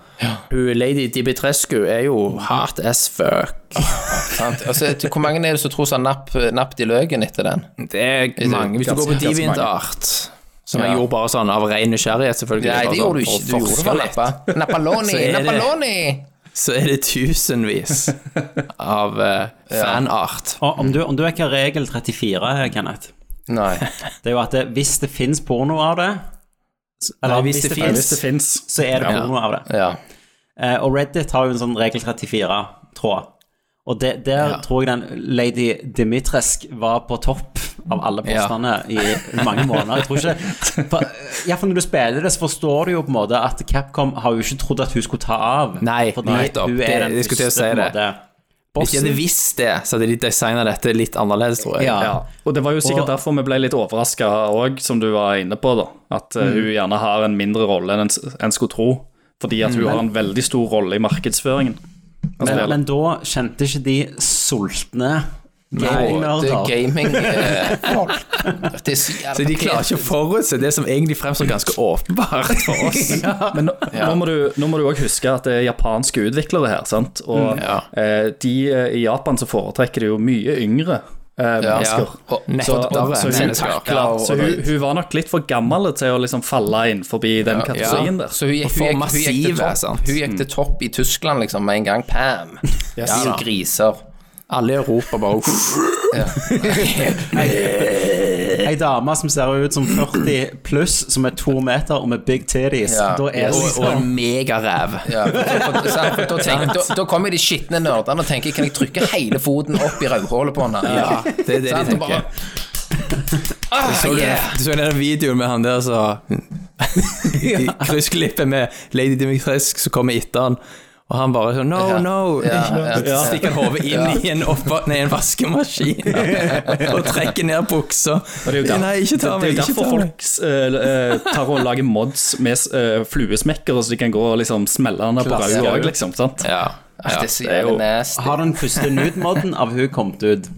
Speaker 8: Hun Lady Dibitrescu er jo hard as fuck.
Speaker 6: Sant? Altså, et- hvor mange er det som tror sånn napp, napp i løken etter den?
Speaker 8: Det er mange. Hvis du går på
Speaker 7: ganske mange.
Speaker 8: DeviantArt, som jeg gjorde bare sånn av ren nysgjerrighet, selvfølgelig
Speaker 6: Nei, det
Speaker 8: bare
Speaker 6: gjorde du
Speaker 8: sånn,
Speaker 6: ikke. Du
Speaker 8: for å
Speaker 6: gjorde
Speaker 8: forske
Speaker 6: det Altså, for
Speaker 8: litt,
Speaker 6: nappa. Napaloni,
Speaker 8: Så er det-
Speaker 6: napaloni!
Speaker 8: Så er det tusenvis av eh, fanart.
Speaker 5: Og om du, om du ikke har regel 34, Kenneth,
Speaker 6: Nei.
Speaker 5: det er jo at det, hvis det fins porno av det s- Eller
Speaker 8: Nei, hvis det
Speaker 5: finnes,
Speaker 7: Hvis det fins.
Speaker 5: så er det porno av det.
Speaker 6: Ja.
Speaker 5: Eh, og Reddit har jo en sånn regel 34-tråd. Og det, der tror jeg den Lady Dimitresk var på topp av alle
Speaker 8: Ja.
Speaker 5: postene i mange måneder. Jeg tror ikke for, ja, for Når du spiller det, så forstår du jo på en måte at Capcom har jo ikke trodd at hun skulle ta av.
Speaker 8: Nei,
Speaker 5: fordi
Speaker 8: nettopp.
Speaker 5: hun
Speaker 8: Det-
Speaker 5: er den
Speaker 8: jeg skulle til å si
Speaker 5: første på en
Speaker 8: det.
Speaker 5: måte
Speaker 8: Hvis de hadde
Speaker 5: bossen.
Speaker 8: visst det, så hadde de designa dette litt annerledes, tror jeg.
Speaker 5: Ja.
Speaker 7: Ja. Og det var jo
Speaker 5: Og-
Speaker 7: sikkert derfor vi ble litt overraska òg, som du var inne på, da. At eh, hun gjerne har en mindre rolle enn en, s- en skulle tro. Fordi at hun har en veldig stor rolle i markedsføringen.
Speaker 5: Men,
Speaker 7: Altså,
Speaker 5: men da kjente ikke de sultne
Speaker 6: Det er
Speaker 5: gamingnerder.
Speaker 6: gaming eh, folk. Det er så
Speaker 8: Så
Speaker 6: jævla
Speaker 8: de klarer ikke å forutse det som egentlig fremstår ganske åpenbart for oss.
Speaker 7: Men nå, nå må du- nå må du òg huske at det er japanske utviklere her, sant. Og
Speaker 8: Ja.
Speaker 7: eh, de eh, i Japan så foretrekker de jo mye yngre eh, mennesker.
Speaker 8: Og
Speaker 7: Så,
Speaker 8: nettopp
Speaker 7: så, hun,
Speaker 8: mennesker.
Speaker 7: takla, så hun, hun var nok litt for gammel til å liksom falle inn forbi den kategorien der.
Speaker 6: Så hun, gikk-
Speaker 8: Og for
Speaker 6: hun, gikk- hun,
Speaker 8: massive,
Speaker 6: gikk til topp,
Speaker 8: sant?
Speaker 6: hun gikk til topp i Tyskland liksom med en gang. Pam! De er jo griser.
Speaker 8: Alle i Europa bare uff.
Speaker 5: Ei dame som ser ut som 40 pluss, som er to meter og med big titties.
Speaker 6: Ja.
Speaker 5: Da er
Speaker 8: Og, og en
Speaker 5: liksom
Speaker 8: megaræv.
Speaker 6: Ja, for- for- sant? da, tenker, da, da kommer de skitne nerdene og tenker Kan jeg trykke hele foten opp i rødhålet på henne?
Speaker 8: Ja, det er det de
Speaker 6: Sant? Og
Speaker 8: tenker.
Speaker 6: bare ah,
Speaker 8: Så du,
Speaker 6: yeah.
Speaker 8: du så den videoen med han der som I kryssklippet med Lady Dimitrescu som kommer etter han, og han bare sånn No,
Speaker 6: Ja.
Speaker 8: no!
Speaker 6: Ja, ja.
Speaker 8: Stikker hodet inn i en, oppva- nei, en vaskemaskin og trekker ned buksa.
Speaker 7: Og det er jo der-
Speaker 8: Nei, ikke ta meg!
Speaker 7: det- det er jo
Speaker 8: Ikke
Speaker 7: derfor
Speaker 8: ta meg!
Speaker 7: folk eh, eh, tar og lager mods med eh, fluesmekkere, så de kan gå og liksom smelle den der på
Speaker 5: Klasse.
Speaker 7: rauda òg, liksom. sant?
Speaker 8: Ja.
Speaker 6: Ah, Det er så
Speaker 7: det er jo-
Speaker 6: jævlig nasty.
Speaker 5: Har den første nude-modden av hun kommet ut?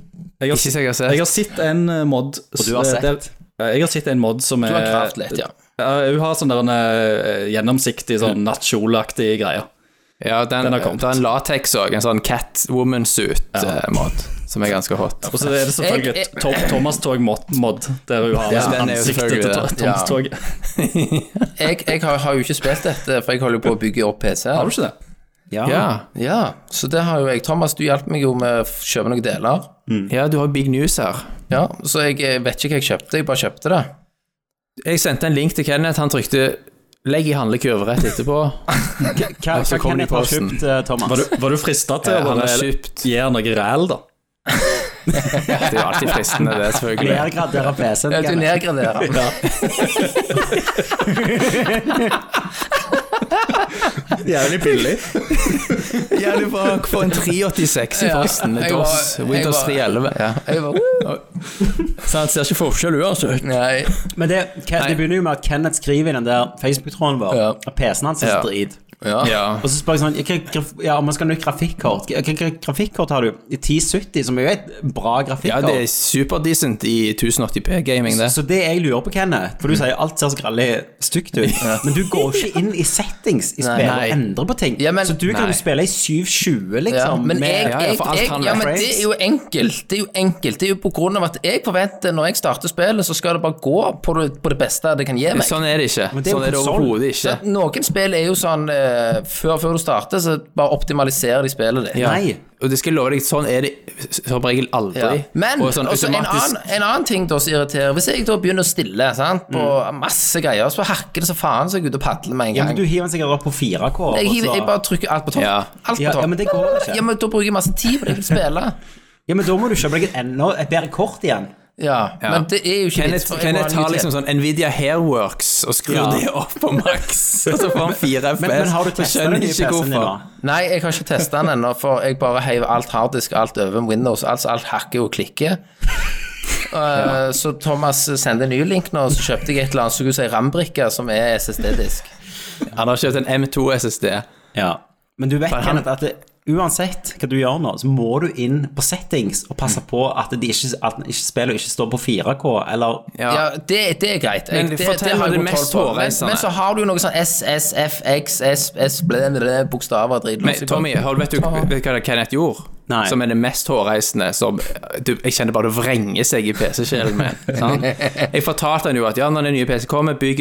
Speaker 7: Jeg har,
Speaker 8: Ikke sikkert jeg har sett.
Speaker 7: jeg har sett en eh, mod
Speaker 5: Og du har sett?
Speaker 7: Jeg har sett en mod som er
Speaker 6: Du har kraft litt, ja.
Speaker 7: Ja, hun har sånn der en eh, gjennomsiktig, sånn nattkjoleaktig greie.
Speaker 8: Ja, den,
Speaker 7: Den har kommet.
Speaker 8: det er en lateks òg, en sånn Catwoman-suit-mod, som er ganske hot.
Speaker 7: Og så er det selvfølgelig
Speaker 6: Jeg-
Speaker 7: et Tom, Thomas Tog-mod, der hun har
Speaker 8: Ja,
Speaker 7: liksom
Speaker 8: den er jo
Speaker 7: ansiktet til
Speaker 8: selvfølgelig
Speaker 7: to-
Speaker 8: det.
Speaker 7: Thomas Tog.
Speaker 6: Jeg, jeg har, har jo ikke spilt dette, for jeg holder jo på å bygge opp PC.
Speaker 7: Har du ikke det?
Speaker 8: Ja.
Speaker 6: Ja, så det har jo jeg. Thomas, du hjalp meg jo med å kjøpe noen deler.
Speaker 8: ja, du har big news her.
Speaker 6: Ja, så jeg eh, vet ikke hva jeg kjøpte, jeg bare kjøpte det.
Speaker 8: Jeg sendte en link til Kenneth, han trykte 'legg i handlekurv' rett etterpå.
Speaker 5: Hva,
Speaker 8: Og så
Speaker 5: hva
Speaker 8: kom
Speaker 5: kan
Speaker 8: de
Speaker 5: jeg ta
Speaker 8: posten.
Speaker 5: kjøpt, eh, Thomas?
Speaker 7: Var du, var du frista til
Speaker 8: Ja,
Speaker 7: å
Speaker 8: han
Speaker 7: bare
Speaker 8: har kjøpt.
Speaker 7: gi henne noe ræl, da?
Speaker 8: Det er jo alltid fristende, det, selvfølgelig.
Speaker 5: Nedgradere PC-en.
Speaker 6: Ja, Du
Speaker 5: Kenneth.
Speaker 6: nedgraderer.
Speaker 7: Jævlig billig.
Speaker 8: Ja, du bare får en 386 i posten med
Speaker 6: Ja, jeg var-
Speaker 8: DOS,
Speaker 6: jeg
Speaker 8: Windows
Speaker 6: var-
Speaker 8: 311. Ja.
Speaker 6: Jeg bare,
Speaker 8: Så han ser ikke forskjell uansett.
Speaker 6: nei.
Speaker 5: Men det, Ke- det begynner jo med at Kenneth skriver i den der Facebook-tråden vår
Speaker 6: Ja.
Speaker 5: at PC-en hans er
Speaker 8: Ja.
Speaker 5: drit.
Speaker 6: Ja.
Speaker 8: Ja.
Speaker 5: Og så spør jeg sånn hva, graf- Ja, om man skal ha nytt grafikkort Hva hva grafikkort har du? I 1070, som er jo et bra
Speaker 8: ja,
Speaker 5: grafikkort.
Speaker 8: det er superdecent i 1080p-gaming, det.
Speaker 5: så det jeg lurer på, Kenneth For du sier alt ser så grallig stygt ut, men du går ikke inn i settings i spillet
Speaker 8: nei.
Speaker 5: og endrer på ting.
Speaker 6: Ja, men-
Speaker 5: så du kan
Speaker 8: Nei.
Speaker 5: jo spille i 720,
Speaker 6: Ja,
Speaker 5: liksom.
Speaker 6: men
Speaker 5: med-
Speaker 6: jeg,
Speaker 8: ja,
Speaker 6: jeg,
Speaker 8: for alt
Speaker 6: jeg,
Speaker 8: kan
Speaker 6: ja,
Speaker 8: være
Speaker 6: men
Speaker 5: frames.
Speaker 6: det er jo enkelt. Det er jo enkelt. Det er jo på grunn av at jeg forventer når jeg starter spillet, så skal det bare gå på det, på det beste det kan gi meg.
Speaker 8: Sånn er det ikke.
Speaker 5: Men det er jo
Speaker 8: sånn er det
Speaker 5: konsol.
Speaker 8: overhodet
Speaker 6: Så
Speaker 8: ikke.
Speaker 6: at noen spill er jo sånn eh, før, før du starter, så bare optimaliserer de spillet ditt.
Speaker 8: Ja.
Speaker 5: Nei.
Speaker 8: Og det skal jeg love deg, sånn er det som regel aldri.
Speaker 6: Ja. Men
Speaker 8: og sånn
Speaker 6: også en,
Speaker 8: automatisk
Speaker 6: annen, en annen ting da som irriterer Hvis jeg da begynner å stille sant, på
Speaker 8: Mm.
Speaker 6: masse greier, så hakker det så faen så jeg er ute og padler med en
Speaker 5: Ja,
Speaker 6: gang.
Speaker 5: men du hiver den sikkert opp på 4K. og
Speaker 6: jeg, hiver,
Speaker 5: så-
Speaker 6: jeg bare trykker alt på topp.
Speaker 8: Ja.
Speaker 6: Alt på
Speaker 5: ja,
Speaker 6: topp.
Speaker 5: ja, men det går
Speaker 6: Ja,
Speaker 5: ikke.
Speaker 6: men da bruker jeg masse tid på det jeg vil spille.
Speaker 5: Ja, men da må du kjøpe deg et, enda, et bedre kort igjen.
Speaker 6: Ja, men det er jo ikke vits,
Speaker 8: Kenneth,
Speaker 6: for jeg må ha
Speaker 8: Kenneth
Speaker 6: en ny
Speaker 8: tar
Speaker 6: til.
Speaker 8: liksom sånn Nvidia Hairworks og skrur
Speaker 5: Ja.
Speaker 8: det opp på maks, og så får han 4 FPS.
Speaker 5: Men, men har du
Speaker 8: Så
Speaker 5: testet
Speaker 8: skjønner
Speaker 5: den nye
Speaker 8: ikke
Speaker 5: PC-en din
Speaker 8: hvorfor.
Speaker 5: nå?
Speaker 6: Nei, jeg har ikke testa den ennå, for jeg bare heiv alt harddisk, alt over med Windows, altså alt hakker og klikker. Eh, Så Thomas sendte en ny link nå, så kjøpte jeg et eller annet som skulle si rambrikke, som er SSD-disk.
Speaker 8: Han har kjøpt en M2 SSD.
Speaker 5: Ja. Men du vet,
Speaker 8: For han-
Speaker 5: Kenneth, at det, uansett hva du gjør nå, så må du inn på settings og passe på at, de ikke, at ikke spillet ikke står på 4K, eller
Speaker 8: Ja.
Speaker 6: Ja, det, det er greit. Jeg,
Speaker 8: Men fortell
Speaker 6: har
Speaker 8: meg
Speaker 6: jeg
Speaker 8: det
Speaker 6: kontroll
Speaker 8: mest
Speaker 6: på.
Speaker 8: hårreisende.
Speaker 6: Men, men så har du jo noe sånn SSFX, SS, bokstaver, drit
Speaker 8: Men Tommy, har du vet du vet du hva det Kenneth gjorde?
Speaker 5: Nei.
Speaker 8: Som er det mest hårreisende som du, Jeg kjenner bare det vrenger seg i PC-sjelen min. sant? Jeg fortalte han jo at ja, når den nye PC kommer, bygg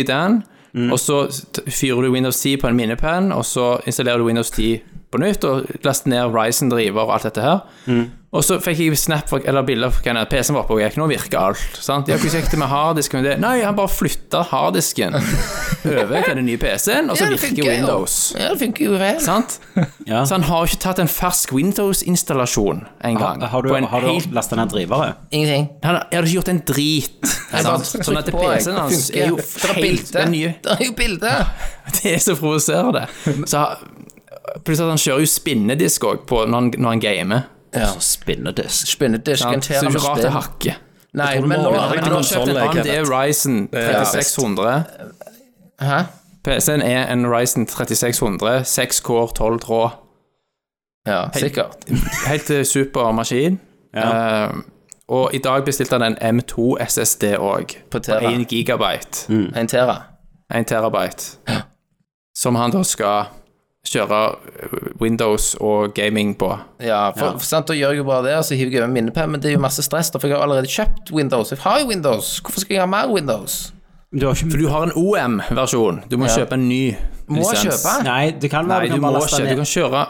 Speaker 6: Mm.
Speaker 8: den, og så t- fyrer du Windows 10 på en minnepenn, og så installerer du Windows 10 på nytt og lastet ned Ryzen driver og alt dette her.
Speaker 6: Mm.
Speaker 8: Og så fikk jeg snap fra, eller bilder fra hva PC-en var på, og jeg nå virker alt. sant? Ja, Hvordan gikk det med harddisken? og det? Nei, han bare flytta harddisken over til den nye PC-en, og så
Speaker 6: Ja, det
Speaker 8: virker
Speaker 6: funker jo.
Speaker 8: Windows.
Speaker 6: Ja, det funker jo vel.
Speaker 8: Sant?
Speaker 5: Ja.
Speaker 8: Så han har jo ikke tatt en fersk Windows-installasjon engang.
Speaker 5: Har du,
Speaker 8: På en
Speaker 5: har du
Speaker 8: helt-
Speaker 5: lastet ned drivere?
Speaker 6: Ingenting.
Speaker 8: Han har han har ikke gjort en drit. sant?
Speaker 6: bare
Speaker 8: Sånn at
Speaker 6: trykk på, jeg.
Speaker 8: PC-en hans
Speaker 6: Funker.
Speaker 8: er jo
Speaker 6: Det er
Speaker 8: helt
Speaker 6: bilde.
Speaker 8: den nye
Speaker 6: Det er jo bilde.
Speaker 8: Det er så provoserende. Så Pluss at han kjører jo spinnedisk òg når, han- når han gamer.
Speaker 5: Spinnedisk.
Speaker 8: Ja,
Speaker 6: Spinnedisk.
Speaker 8: så det er jo ikke rart det hakker.
Speaker 6: Nei,
Speaker 7: tror du
Speaker 6: men
Speaker 7: må
Speaker 6: nå
Speaker 7: være
Speaker 6: men
Speaker 7: riktig
Speaker 6: nå-
Speaker 8: Han har kjøpt en AMD Ryzen
Speaker 7: Ja.
Speaker 8: 3600.
Speaker 6: Hæ?
Speaker 8: PC-en er en Ryzen 3600, 6 core, 12 tråd.
Speaker 6: Ja, sikkert.
Speaker 8: Helt eh, super maskin. Eh, og i dag bestilte han en M2 SSD òg, på
Speaker 6: På Tera. Mm.
Speaker 8: 1 gigabyte.
Speaker 6: En Tera.
Speaker 8: 1 terabyte. Som han da skal kjøre eh, Windows og gaming på.
Speaker 6: Ja, for, for sant, da gjør jeg jo bare det, og så hiver jeg over minnepenn, men det er jo masse stress, da, for jeg har allerede kjøpt Windows. Jeg har jo Windows. Hvorfor skal jeg ha mer Windows?
Speaker 5: Du har
Speaker 8: For
Speaker 5: ikke
Speaker 8: du har en OM-versjon. Du må kjøpe en ny
Speaker 6: Må jeg kjøpe?
Speaker 5: Nei, det kan
Speaker 8: Nei,
Speaker 5: være
Speaker 8: du
Speaker 5: kan
Speaker 8: må
Speaker 5: bare laste
Speaker 8: ikke. Du
Speaker 5: ned.
Speaker 8: kan kjøre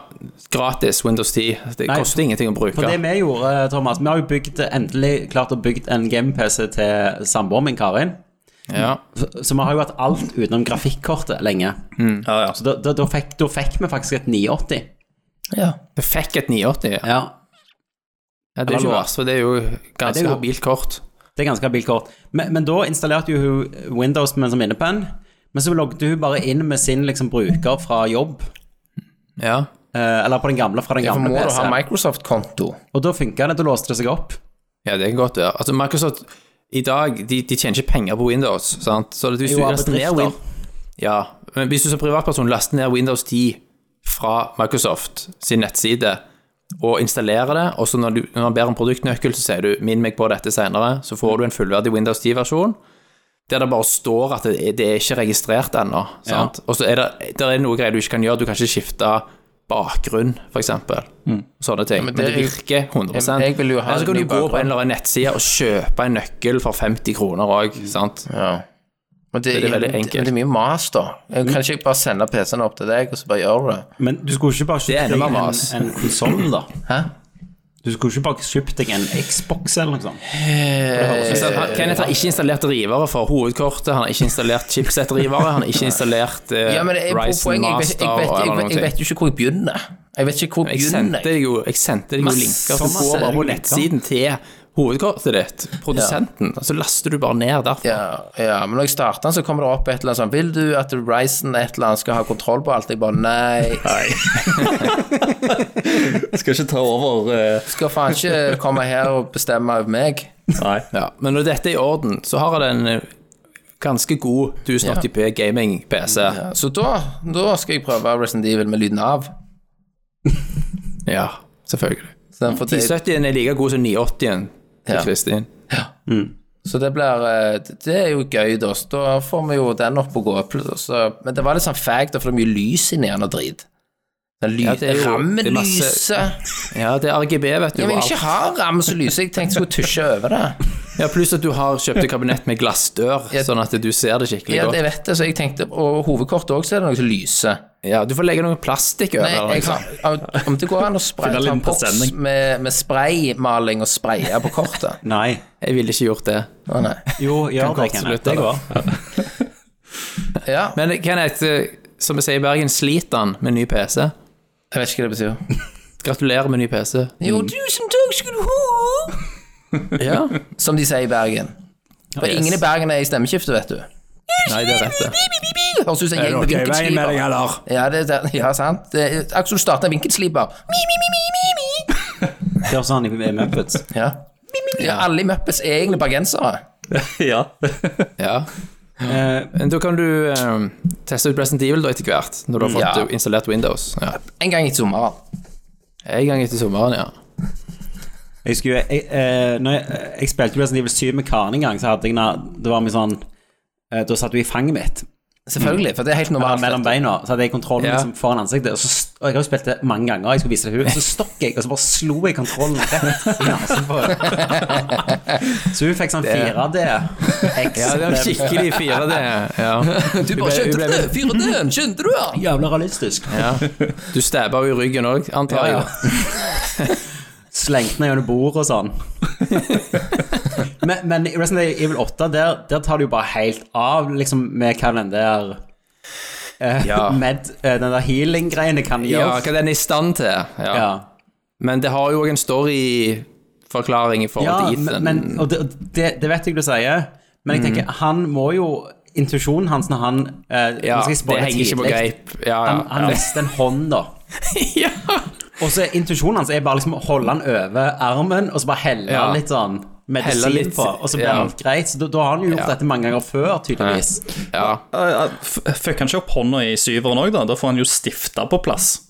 Speaker 8: gratis Windows 10. Det
Speaker 5: Nei,
Speaker 8: koster ingenting å bruke.
Speaker 5: For det vi gjorde, Thomas Vi har jo bygd, endelig klart å bygge en game-PC til samboeren min, Karin.
Speaker 8: Ja.
Speaker 5: Så så vi har jo hatt alt utenom grafikkortet lenge.
Speaker 7: Ja, ja.
Speaker 5: Så da, da, da, fikk, da fikk vi faktisk et 980.
Speaker 6: Ja.
Speaker 8: Du fikk et 980. Ja.
Speaker 5: Ja,
Speaker 8: Ja, det er ikke
Speaker 5: Eller-
Speaker 8: verst, for det er jo
Speaker 5: det er
Speaker 8: ganske
Speaker 5: jo-
Speaker 8: habilt kort.
Speaker 5: Det er ganske habilt kort. Men, men da installerte jo hun Windows med en sånn innepenn. Men så logget hun bare inn med sin liksom, bruker fra jobb.
Speaker 8: Ja.
Speaker 5: eh, eller på den gamle, fra den
Speaker 6: For
Speaker 5: gamle
Speaker 6: må du ha
Speaker 5: PC-en.
Speaker 6: Microsoft-konto?
Speaker 5: Og da funka det. Da låste det seg opp.
Speaker 8: ja, det kan godt være. Altså, Microsoft i dag de, de tjener ikke penger på Windows, sant? så hvis
Speaker 5: Jo,
Speaker 8: du
Speaker 5: av
Speaker 8: laster ned
Speaker 5: bedrifter.
Speaker 8: Win ja. Men hvis du som privatperson laster ned Windows 10 fra Microsoft sin nettside og installerer det, og så når, du, når han ber om produktnøkkel, så sier du 'minn meg på dette senere', så får du en fullverdig Windows 10-versjon. Der det bare står at det, er- det er ikke registrert ennå. sant? Og så er det, der er det noe greier du ikke kan gjøre. Du kan ikke skifte bakgrunn, f.eks. Sånne ting. men,
Speaker 6: Mm. det
Speaker 8: det,
Speaker 6: er-
Speaker 8: virker 100
Speaker 6: Jeg- jeg vil jo ha
Speaker 8: Eller så kan
Speaker 6: det
Speaker 8: du gå
Speaker 6: med
Speaker 8: på en
Speaker 6: bakgrunn.
Speaker 8: eller annen nettside og kjøpe en nøkkel for 50 kroner òg.
Speaker 6: Mm.
Speaker 8: sant?
Speaker 6: Ja. Men det,
Speaker 8: Det er veldig
Speaker 6: men
Speaker 8: enkelt. Mm.
Speaker 6: Det, er mye mas, da. Jeg kan ikke jeg bare sende PC-en opp til deg, og så bare gjør du det?
Speaker 5: Men du skulle ikke bare
Speaker 8: Det er
Speaker 5: kjøpt deg
Speaker 8: enda
Speaker 5: en,
Speaker 8: mas.
Speaker 5: en konsoll, da.
Speaker 6: Hæ?
Speaker 5: Du skulle ikke bare kjøpt deg en Xbox eller noe sånt.
Speaker 8: Så han- Eh, Kenneth har ikke installert rivere for hovedkortet, han har ikke installert chipset-rivere, han har ikke installert eh,
Speaker 6: Ja, men det er
Speaker 8: Ryzen
Speaker 6: poenget. Jeg vet,
Speaker 8: Master
Speaker 6: jeg, vet,
Speaker 8: og
Speaker 6: jeg,
Speaker 8: eller
Speaker 6: vet,
Speaker 8: noen
Speaker 6: jeg
Speaker 8: ting.
Speaker 6: vet jo ikke hvor jeg begynner. Jeg vet ikke hvor jeg
Speaker 8: Jeg
Speaker 6: begynner.
Speaker 8: sendte deg jo, jeg sendte deg jo
Speaker 6: Masse-
Speaker 8: linker. Du
Speaker 6: masse
Speaker 8: går bare på
Speaker 6: linker.
Speaker 8: nettsiden til hovedkortet ditt, produsenten, og så laster du bare ned derfra.
Speaker 6: Ja, ja, men når jeg starter den, så kommer det opp et eller annet sånn Vil du at Ryzen et eller annet skal ha kontroll på alt? Jeg bare nei.
Speaker 7: Skal ikke ta over eh,
Speaker 6: Skal faen ikke komme her og bestemme over meg.
Speaker 7: Nei.
Speaker 8: Ja, men når dette er i orden, så har jeg en eh, ganske god 1080p gaming-PC.
Speaker 6: Ja, så da, da skal jeg prøve Resident Evil med lyden av.
Speaker 8: Ja, selvfølgelig.
Speaker 6: Så, den får tid.
Speaker 8: 1070-en er like god som 980-en til
Speaker 6: Ja.
Speaker 8: Kristin.
Speaker 6: så det blir eh, Det er jo gøy, da. Så da får vi jo den opp og gå. Pl- Så, men det var litt sånn fag, da, for det er mye lys inni den og drit. Den ly
Speaker 8: Ja, det er jo- det
Speaker 6: rammen
Speaker 8: er masse-
Speaker 6: lyser.
Speaker 8: Ja, det er RGB, vet du.
Speaker 6: Jeg vil
Speaker 8: og
Speaker 6: ikke
Speaker 8: alt.
Speaker 6: ha ram som lyser. Jeg tenkte jeg skulle tusje over det.
Speaker 8: Ja, Pluss at du har kjøpt et kabinett med glassdør,
Speaker 6: Ja.
Speaker 8: sånn at du ser det skikkelig
Speaker 6: Ja,
Speaker 8: godt.
Speaker 6: det vet jeg, så jeg tenkte Og hovedkortet òg, så er det noe som lyser.
Speaker 8: Ja, Du får legge noe plastikk over.
Speaker 6: Nei, jeg
Speaker 8: liksom.
Speaker 6: har, om det går an å spraye
Speaker 7: Finne
Speaker 6: ta
Speaker 7: litt
Speaker 6: en boks
Speaker 7: presenning.
Speaker 6: med, med spraymaling og spraye på kortet.
Speaker 5: Nei.
Speaker 8: jeg ville ikke gjort det.
Speaker 6: Å, nei.
Speaker 5: Jo,
Speaker 8: Kan
Speaker 5: gjør det,
Speaker 8: godt
Speaker 5: Kenneth.
Speaker 8: slutte,
Speaker 5: Det
Speaker 8: da.
Speaker 5: går.
Speaker 6: Ja,
Speaker 8: Men Kenneth, eh, som vi sier i Bergen, sliter han med ny PC.
Speaker 6: jeg vet ikke hva det betyr.
Speaker 8: Gratulerer med ny PC.
Speaker 6: Jo, tusen takk skal du ha!
Speaker 8: Ja.
Speaker 6: Som de sier i Bergen. For
Speaker 8: Yes.
Speaker 6: ingen i Bergen er i stemmeskiftet, vet du.
Speaker 8: Nei, det er rett, det.
Speaker 6: Høres ut som en gjeng med vinkelsliper.
Speaker 8: eller?
Speaker 6: Ja, det, det, ja, sant. Det er akkurat som du starter en vinkelsliper. Mi, mi, mi, mi, mi, mi.
Speaker 5: Det er sånn i i Muppets.
Speaker 6: Ja. Mi, mi, mi. ja, alle i Muppets er egentlig bergensere.
Speaker 7: Ja.
Speaker 8: Ja.
Speaker 5: Eh,
Speaker 8: Men da kan du eh, teste ut Resident Evil da etter hvert, når du har fått
Speaker 6: Ja.
Speaker 8: eh, installert Windows. Ja.
Speaker 6: En gang i sommeren.
Speaker 8: En gang etter sommeren, ja.
Speaker 5: Jeg husker jo jeg, eh, Når jeg, jeg spilte Resident Evil 7 med Karen en gang, så hadde jeg en- Det var mye sånn eh, Da satt hun i fanget mitt.
Speaker 6: Selvfølgelig, for det er helt
Speaker 5: Ja,
Speaker 6: normalt.
Speaker 5: mellom beina, så hadde jeg kontrollen
Speaker 8: Ja.
Speaker 5: liksom, foran ansiktet. Og, så, st- og jeg har jo spilt det mange ganger, jeg skulle vise det til henne. Så stokk jeg, og så bare slo jeg kontrollen rett i nasen på henne. Så hun fikk sånn 4D.
Speaker 8: Ja, det var skikkelig 4D. Ja. Hun
Speaker 6: Du bare
Speaker 8: ble- hun
Speaker 6: skjønte
Speaker 8: ble-
Speaker 6: det! Fyren din, skjønte du det?
Speaker 5: Jævla realistisk.
Speaker 8: Ja. Du stabba jo i ryggen òg, antar jeg.
Speaker 5: Ja, Slengte meg gjennom bordet og sånn. men, men i Resident Evil 8, der, der tar det jo bare helt av, liksom, med hva den der eh,
Speaker 8: Ja.
Speaker 5: Med eh, den der healing-greiene kan
Speaker 8: Ja,
Speaker 5: gjøre.
Speaker 8: hva den er i stand til. Ja.
Speaker 5: Ja.
Speaker 8: Men det har jo òg en storyforklaring i forhold
Speaker 5: Ja,
Speaker 8: til Ethan.
Speaker 5: men, og det, og det, det vet jeg du sier, men
Speaker 8: Mm.
Speaker 5: jeg tenker, han må jo Intuisjonen hans når han eh, nå
Speaker 8: ja,
Speaker 5: skal jeg
Speaker 8: det
Speaker 5: spoile
Speaker 8: henger ikke på
Speaker 5: tidlig.
Speaker 8: greip. Ja, ja,
Speaker 5: Han, han
Speaker 8: ja.
Speaker 5: mister en hånd, da. Og så er intuisjonen hans er bare liksom å holde han over armen, og så bare helle
Speaker 8: Ja.
Speaker 5: litt sånn
Speaker 8: Helle
Speaker 5: medisin
Speaker 8: litt,
Speaker 5: på, og så blir
Speaker 8: ja.
Speaker 5: alt greit. Så da, da har han jo gjort
Speaker 8: Ja.
Speaker 5: dette mange ganger før, tydeligvis.
Speaker 8: ja.
Speaker 7: Uh, Fikk han ikke opp hånda i syveren òg, da? Da får han jo stifta på plass.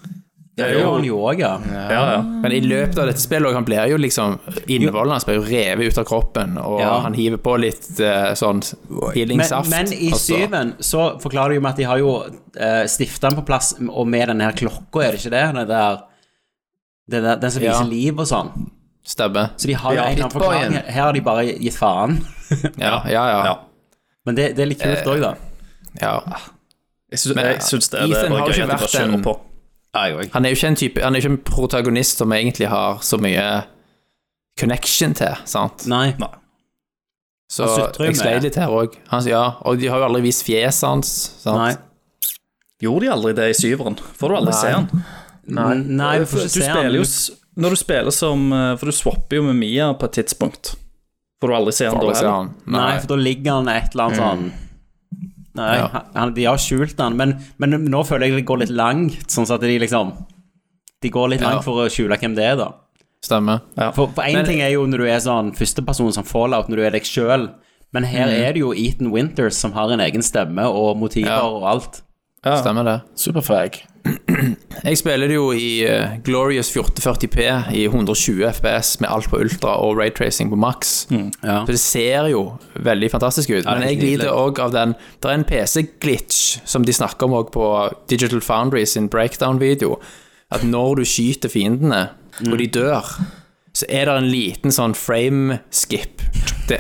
Speaker 5: Det gjør han jo òg, ja.
Speaker 7: Ja, ja.
Speaker 8: Men i løpet av dette spillet også, han blir jo liksom Innvollene hans blir jo revet ut av kroppen, og
Speaker 5: Ja.
Speaker 8: han hiver på litt eh, sånn
Speaker 5: Men,
Speaker 8: healingsaft.
Speaker 5: men i
Speaker 8: og så-
Speaker 5: syven så forklarer de jo med at de har jo uh, stifta den på plass, og med denne her klokka, er det ikke det? Den, der, den, der, den som
Speaker 8: Ja.
Speaker 5: viser liv og sånn.
Speaker 8: Stabbe.
Speaker 5: Så de har jo
Speaker 7: Ja,
Speaker 5: en eller annen forklaring.
Speaker 6: Hitboyen.
Speaker 5: Her har de bare gitt faen.
Speaker 8: Ja, ja, ja.
Speaker 7: Ja.
Speaker 5: Men det, det er litt
Speaker 8: Eh,
Speaker 5: kult òg, da.
Speaker 8: ja.
Speaker 7: Jeg syns jeg syns det, det
Speaker 8: Ethan
Speaker 7: var
Speaker 8: har jo
Speaker 7: gøy
Speaker 8: ikke
Speaker 7: at de bare
Speaker 8: vært
Speaker 7: kjører
Speaker 8: en-
Speaker 7: på.
Speaker 8: Han er jo ikke en type Han er jo ikke en protagonist som vi egentlig har så mye connection til, sant?
Speaker 5: Nei.
Speaker 7: Nei.
Speaker 8: Så
Speaker 5: Han sutrer jo
Speaker 8: jeg sleit
Speaker 5: med-
Speaker 8: litt her òg. Ja, og de har jo aldri vist fjeset hans, sant?
Speaker 5: Nei.
Speaker 7: Gjorde de aldri det i syveren? Får du aldri
Speaker 8: Nei.
Speaker 7: se han?
Speaker 5: Nei, Nei vi
Speaker 7: For
Speaker 5: får
Speaker 7: du
Speaker 5: ikke se
Speaker 7: spiller
Speaker 5: han.
Speaker 7: jo s- Når du spiller som eh, For du swapper jo med Mia på et tidspunkt. Får du aldri se han da
Speaker 8: Aldri ser
Speaker 7: heller.
Speaker 8: han.
Speaker 5: Nei,
Speaker 8: Nei.
Speaker 5: for da ligger han et eller annet sånn Nei,
Speaker 8: Ja.
Speaker 5: han, de har skjult han, men, men nå føler jeg det går litt langt, sånn at de liksom De går litt
Speaker 8: Ja.
Speaker 5: langt for å skjule hvem det er, da.
Speaker 8: Stemmer.
Speaker 5: For, for en
Speaker 8: Men-
Speaker 5: ting er jo når du er sånn førsteperson som Fallout, når du er deg sjøl, men her er det jo Ethan Winters som har en egen stemme og motiver
Speaker 8: Ja.
Speaker 5: og alt.
Speaker 7: Ja.
Speaker 8: Stemmer det.
Speaker 1: Superfag.
Speaker 8: Jeg spiller det jo i eh, Glorious 1440P i 120 FPS med alt på ultra og raytracing på maks.
Speaker 5: Ja.
Speaker 8: Så det ser jo veldig fantastisk ut. men jeg lider òg av den Det er en PC-glitch som de snakker om òg på Digital Foundry sin breakdown-video. At når du skyter fiendene, og de dør, så er det en liten sånn frame-skip. Det,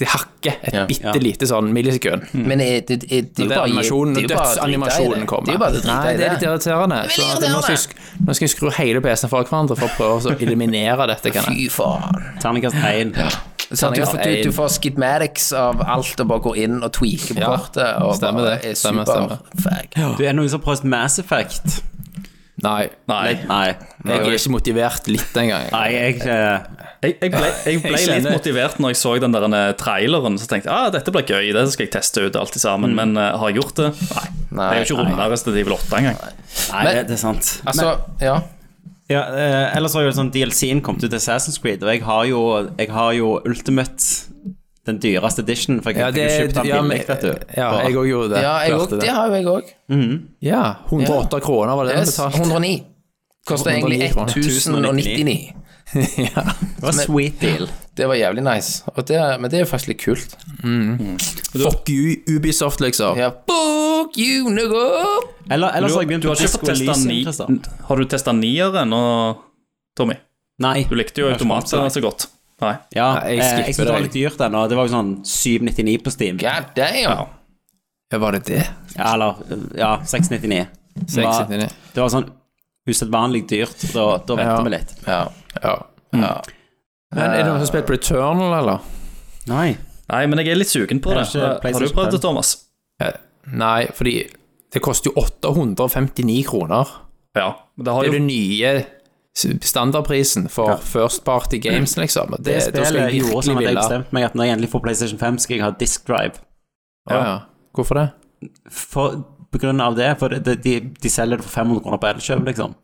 Speaker 8: det hakker et
Speaker 1: Ja.
Speaker 8: bitte lite sånn millisekund.
Speaker 6: Men er, det, er, det er
Speaker 8: Det
Speaker 6: jo
Speaker 8: er
Speaker 6: bare
Speaker 8: animasjonen
Speaker 6: det
Speaker 8: og
Speaker 6: er jo bare å drite i
Speaker 8: dødsanimasjonen
Speaker 6: det.
Speaker 8: kommer.
Speaker 6: Det er jo bare å drite
Speaker 8: Nei,
Speaker 6: i
Speaker 8: det er litt irriterende.
Speaker 6: Det er
Speaker 8: Så at
Speaker 6: veldig
Speaker 8: nå, skal jeg,
Speaker 6: irriterende.
Speaker 8: sk- nå skal jeg skru hele PC-en fra hverandre for å prøve å eliminere dette. Kan jeg.
Speaker 6: Fy faen.
Speaker 5: Terningkast én.
Speaker 6: Sånn, du,
Speaker 8: Terningkast
Speaker 6: får- du,
Speaker 8: én.
Speaker 6: du får skidmatics av alt og bare går inn og tweaker på
Speaker 8: Ja,
Speaker 6: kortet. Og
Speaker 8: stemmer
Speaker 6: bare
Speaker 8: det.
Speaker 6: er
Speaker 8: Stemmer,
Speaker 6: superfag.
Speaker 5: Du er det noen som har prøvd Mass Effect?
Speaker 8: Nei,
Speaker 7: Nei.
Speaker 5: Nei.
Speaker 8: jeg er ikke motivert litt engang.
Speaker 5: Nei, jeg eh,
Speaker 7: Jeg, jeg ble, jeg ble
Speaker 8: Jeg
Speaker 7: litt
Speaker 8: kjenner-
Speaker 7: motivert når jeg så den der eh, traileren. Så tenkte jeg ah, dette blir gøy, det skal jeg teste ut alt i
Speaker 8: Mm.
Speaker 7: sammen. Men eh, har jeg gjort det? Nei. jeg har ikke runda Resident Evil 8 engang.
Speaker 5: Nei,
Speaker 6: Men-
Speaker 5: det er sant.
Speaker 6: Altså, ja.
Speaker 5: Ja, eh, ellers har jo sånn DLC-en kommet ut til Assassin's Creed, og jeg har jo, jeg har jo Ultimate, den dyreste edition, for jeg
Speaker 8: Ja,
Speaker 5: har
Speaker 8: det,
Speaker 5: kjøpt den
Speaker 8: ja, men-
Speaker 5: billig, vet du.
Speaker 8: ja, jeg òg gjorde det.
Speaker 6: ja jeg
Speaker 8: Klarte
Speaker 6: også, det har jo jeg òg.
Speaker 8: Ja, 108 kroner var det
Speaker 6: Yes,
Speaker 8: han betalte.
Speaker 6: 109. Koster egentlig
Speaker 8: 109 kroner.
Speaker 6: 1099.
Speaker 5: Det var sweet deal.
Speaker 6: Det var jævlig nice. Og det, men det er jo faktisk litt kult.
Speaker 8: Fuck you, Ubisoft, liksom.
Speaker 6: Ja, book you, nigga!
Speaker 5: Eller, ellers
Speaker 7: Du,
Speaker 5: har jeg begynt
Speaker 7: du
Speaker 5: på
Speaker 7: har ikke
Speaker 5: Disco
Speaker 7: fått testa
Speaker 5: Elysium,
Speaker 7: ni-
Speaker 5: Christer.
Speaker 7: Har du testa nieren og Tommy?
Speaker 5: Nei.
Speaker 7: Du likte jo
Speaker 5: Jeg har ikke
Speaker 7: automater
Speaker 5: kommet
Speaker 7: så godt. Nei.
Speaker 5: Ja,
Speaker 8: Nei, jeg
Speaker 5: jeg, jeg,
Speaker 8: skipper
Speaker 5: synes det var
Speaker 8: det,
Speaker 5: litt dyrt ennå. Det var jo sånn 799 på Steam.
Speaker 6: God damn!
Speaker 8: Ja, var det det?
Speaker 5: Ja, eller ja, 699. Det var,
Speaker 8: 699.
Speaker 5: det var sånn usedvanlig dyrt, og da, da ventet
Speaker 8: Ja.
Speaker 5: vi litt.
Speaker 6: Ja. Mm.
Speaker 8: Ja. ja. Men er det noen som har spilt Returnal, eller?
Speaker 5: Nei.
Speaker 7: Nei, men jeg er litt sugen på det.
Speaker 5: Jeg har ikke
Speaker 7: Har du
Speaker 5: PlayStation
Speaker 7: prøvd det,
Speaker 5: 5.
Speaker 7: Thomas?
Speaker 8: Eh, Nei, fordi det koster jo 859 kroner.
Speaker 7: Ja. men Det
Speaker 8: Det
Speaker 7: har
Speaker 8: er jo
Speaker 7: jo
Speaker 8: den nye standardprisen for first party games, liksom. Og Det,
Speaker 5: Det
Speaker 8: da skal
Speaker 5: spillet
Speaker 8: jeg
Speaker 5: gjorde
Speaker 8: virkelig
Speaker 5: sånn at jeg
Speaker 8: ville.
Speaker 5: bestemte meg at når jeg endelig får PlayStation 5, skal jeg ha disk drive.
Speaker 8: Å ja. Hvorfor det?
Speaker 5: For, på grunn av det, for det, de, de selger det for 500 kroner på Elkjøp, liksom.